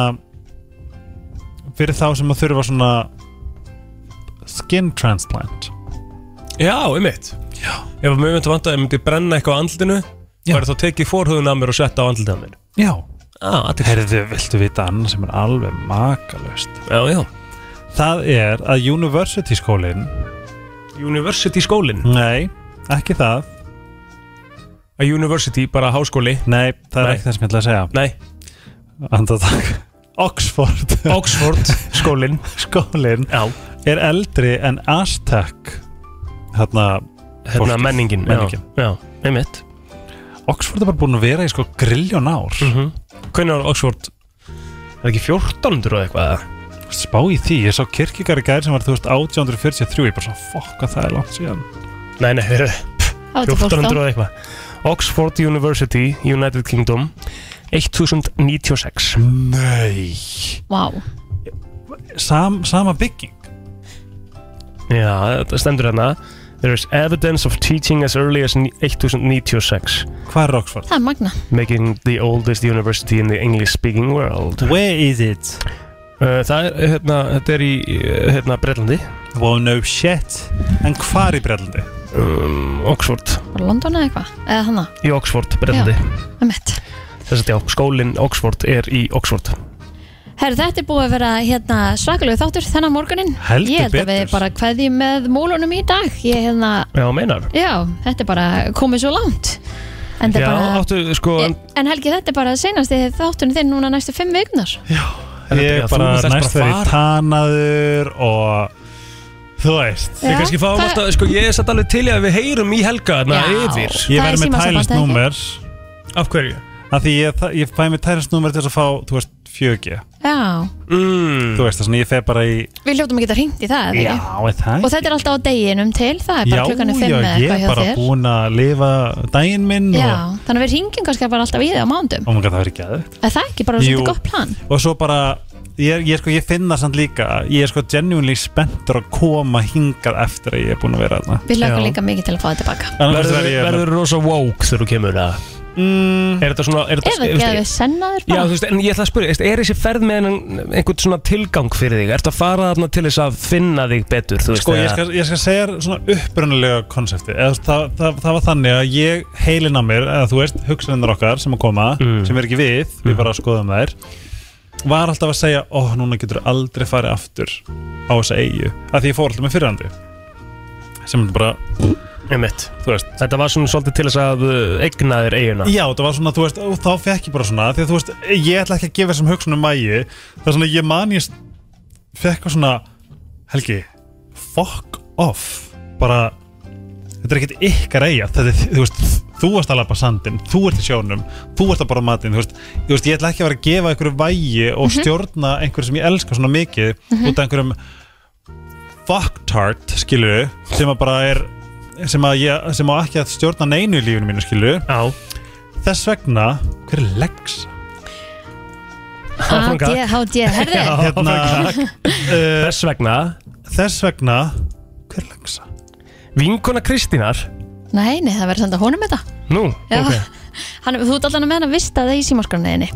Speaker 3: fyrir þá sem að þurfa svona skin transplant
Speaker 1: Já, einmitt Já. Ef mjög myndi vant að ég myndi brenna eitthvað á andlinu
Speaker 3: Já.
Speaker 1: Var þá tekið fórhugðun af mér og setta á andlinu af mér
Speaker 3: Já
Speaker 1: ah,
Speaker 3: Herðu, viltu vita annað sem er alveg makalöst
Speaker 1: Já, já
Speaker 3: Það er að university skólin
Speaker 1: University skólin
Speaker 3: Nei, ekki það
Speaker 1: A university, bara háskóli
Speaker 3: Nei, það er
Speaker 1: Nei.
Speaker 3: ekki það sem ég ætla að segja
Speaker 1: Nei,
Speaker 3: Andatak Oxford
Speaker 1: Oxford skólin
Speaker 3: skólin
Speaker 1: Já,
Speaker 3: er eldri en Aztec Þarna
Speaker 1: hérna
Speaker 3: fólkið,
Speaker 1: menningin
Speaker 3: menningin.
Speaker 1: Já, já einmitt
Speaker 3: Oxford er bara búin að vera í sko grilljón ár mm -hmm.
Speaker 1: Hvernig Mhm. var Oxford? Er ekki 1400 og eitthvað?
Speaker 3: Spá í því, ég sá kirkikar í gær sem var þú veist 1843, ég bara svona fokka það er langt síðan
Speaker 1: Nei, nei, heyrðu
Speaker 2: Á, þetta er
Speaker 1: 1400 og
Speaker 2: fólk
Speaker 1: eitthvað Oxford University, United Kingdom 1096
Speaker 3: Nei
Speaker 2: Vá
Speaker 3: Sam, Sama bygging
Speaker 1: Já, þetta stendur hérna There is evidence of teaching as early as 1096
Speaker 3: Hvað er Oxford?
Speaker 2: Það er magna
Speaker 1: Making the oldest university in the English speaking world
Speaker 3: Where is it?
Speaker 1: Uh, það er, hérna, þetta er í, uh, hérna, Breitlandi
Speaker 3: Well, no shit En hvað er í Breitlandi?
Speaker 1: Um, Oxford
Speaker 2: Var London eða eitthvað? Eða hana?
Speaker 1: Í Oxford, Breitlandi
Speaker 2: Það er mitt
Speaker 1: Þess að já, skólinn Oxford er í Oxford
Speaker 2: Herru, þetta er búið að vera hérna, svakalegu þáttur þennan morgunin
Speaker 1: Heldur
Speaker 2: Ég held að
Speaker 1: betur.
Speaker 2: við bara kveðjum með mólunum í dag Ég hérna,
Speaker 1: Já, meinar
Speaker 2: já, þetta er bara komið svo langt En, þetta
Speaker 1: Já,
Speaker 2: er bara,
Speaker 1: áttu, sko en,
Speaker 2: en Helgi, þetta er bara senast þáttunum þinn núna næstu fimm viknar
Speaker 3: Ég
Speaker 1: já, þú
Speaker 3: bara
Speaker 1: þarft bara
Speaker 3: næst
Speaker 1: að
Speaker 3: verið
Speaker 1: fara.
Speaker 3: tanaður og þú veist
Speaker 1: Við kannski fáum alltaf, sko, ég er satt alveg til í að við heyrum í helga þarna
Speaker 3: Já.
Speaker 1: yfir
Speaker 3: Ég verði með tælinsnúmer
Speaker 1: Af hverju?
Speaker 3: Af því ég, þa- ég fæ með tælinsnúmer til þess að fá, þú veist, 4G
Speaker 2: Já,
Speaker 1: mm.
Speaker 3: Þú veist, þess að ég fer bara í
Speaker 2: við hljóttum að geta hringt í það eða
Speaker 3: Já,
Speaker 2: ekki?
Speaker 3: er það
Speaker 2: Og þetta er alltaf á deginum til, það er bara klukkan er
Speaker 3: já,
Speaker 2: fimm eða
Speaker 3: ég
Speaker 2: eitthvað
Speaker 3: er
Speaker 2: hjá
Speaker 3: bara
Speaker 2: þér
Speaker 3: búin að lifa daginn minn
Speaker 2: Já,
Speaker 3: og
Speaker 2: þannig að við hringjum kannski bara alltaf í það á mándum
Speaker 3: Ó, maður, það verður ekki aðeins
Speaker 2: Er það ekki bara
Speaker 3: Jú.
Speaker 2: svolítið gott plan?
Speaker 3: og svo bara ég, er- ég, sko, ég finna samt líka ég er sko genuinely spenntur að koma hingað eftir að ég er búin að vera þarna
Speaker 2: Við lögum líka mikið til að fá þetta baka
Speaker 3: Annars
Speaker 1: Verður,
Speaker 3: verður ég-
Speaker 1: verður rosa woke þegar þú kemur það
Speaker 3: mm.
Speaker 1: Er þetta svona er
Speaker 2: Ef
Speaker 1: þetta,
Speaker 2: ekki að við sennaður
Speaker 1: Já,
Speaker 2: bara
Speaker 1: þú veist, en ég ætla að spyrja, veist, er þessi ferð með einhvern, einhvern svona tilgang fyrir þig? Ertu að fara þarna til þess að finna þig betur? Þú veist,
Speaker 3: sko ég
Speaker 1: eða-
Speaker 3: skal, ég skal segja þér svona upprunalega konsepti eða, þú veist, það, það, það var þannig að ég heilin að mér eða þú veist hugsanirnar okkar sem að koma
Speaker 1: Mm.
Speaker 3: sem er ekki við, við bara skoðum þær var alltaf að segja ó núna getur aldrei farið aftur á þessa eigu að því ég fór alltaf með fyrrandi sem er bara
Speaker 1: Einmitt. Þetta var svona svolítið til þess að uh, eigna þér eiguna
Speaker 3: Já, það var svona, þú veist, og þá fekk ég bara svona því að þú veist, ég ætla ekki að gefa þessum hugsunum mægi það er svona, ég man ég st- fekk á svona, Helgi fuck off bara, þetta er ekkert ykkar eiga þetta er, þú veist, þú varst að lappa sandin þú ert í sjónum, þú ert að borða matinn þú veist, þú veist, ég ætla ekki að vera að gefa einhverju vægi og stjórna einhverju sem ég elska svona mikið
Speaker 15: Mhm.
Speaker 3: út af einhverjum fucktart, skilur sem að bara er sem, að ég, sem á ekki að stjórna neinu í lífinu mínu, skilur
Speaker 1: Já.
Speaker 3: þess vegna, hver er Lex?
Speaker 2: HD, HD, herðu
Speaker 3: hérna,
Speaker 1: Þess vegna
Speaker 3: Þess vegna Hver er Lexa?
Speaker 1: Vinkona Kristínar
Speaker 2: Nei, nei, það verður senda honum þetta
Speaker 1: Nú,
Speaker 2: Já.
Speaker 1: ok
Speaker 2: Hann, þú ert allan að meðan að vista það í símaskroniðinni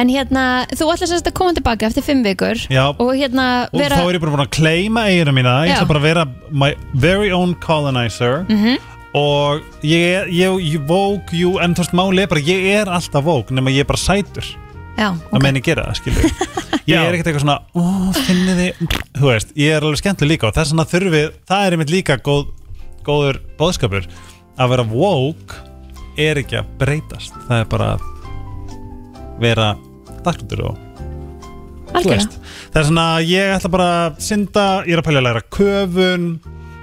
Speaker 2: En hérna, þú ætlar semst að koma tilbaka eftir fimm vikur
Speaker 3: Já.
Speaker 2: Og hérna,
Speaker 3: og
Speaker 2: vera
Speaker 3: þá er ég bara búin að kleima eiginu mína ég
Speaker 2: Já.
Speaker 3: ætla bara að vera my very own colonizer
Speaker 2: Mhm.
Speaker 3: og ég, ég, ég vók jú, en þú veist máli er bara, ég er alltaf vók nema ég er bara sætur
Speaker 2: Já,
Speaker 3: að meina ég gera það, skilur ég er ekkert eitthvað svona, ó, finni þið þú veist, ég er alveg skemmtileg líka og þess vegna þurfi, það er einmitt líka góð, góður bóðskapur að vera vók er ekki að breytast það er bara að vera daglutur og Þú
Speaker 2: algjörlega
Speaker 3: veist, Það er svona, ég ætla bara að synda, ég er að pælja að læra köfun,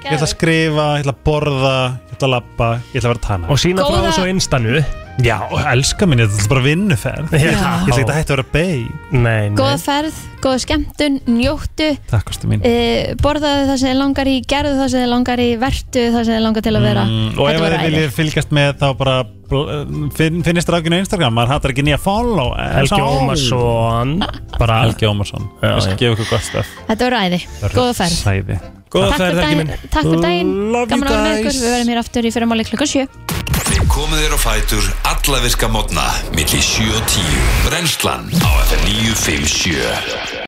Speaker 3: ég ætla að skrifa, ég ætla að borða, ég ætla að lappa, ég ætla að vera tana.
Speaker 1: Og sína frá þessu á instanu
Speaker 3: Já, og elska mín, þetta er bara vinnuferð.
Speaker 1: Já.
Speaker 3: Ég ætla ekki að hætta að vera beig.
Speaker 1: Nei,
Speaker 2: Góða ferð, góða skemmtun, njóttu
Speaker 3: Takk, kostu mín.
Speaker 2: uh, Borðaðu það sem þið langar í, gerðu það sem þið langar í Vertu það sem þið langar til að vera
Speaker 3: Mm, og
Speaker 2: Þetta
Speaker 3: ef þið
Speaker 2: voru æði
Speaker 3: viljið fylgjast með þá bara bl- finn, finnist rákinu á Instagram, maður hattar ekki nýja follow.
Speaker 1: Helgi Ómarsson
Speaker 3: Bara Helgi Ómarsson. Ég skal gefa ykkur gott stöf.
Speaker 2: Þetta voru æði, góða ferð
Speaker 3: Sæði.
Speaker 2: Takk fyrir daginn, takk fyrir daginn Gaman að vera með ykkur, við verðum hér aftur í fyrramáli klukkan 7
Speaker 7: Við komum þér á fætur alla virka mótna milli 7 og 10 Brennslan á FM 957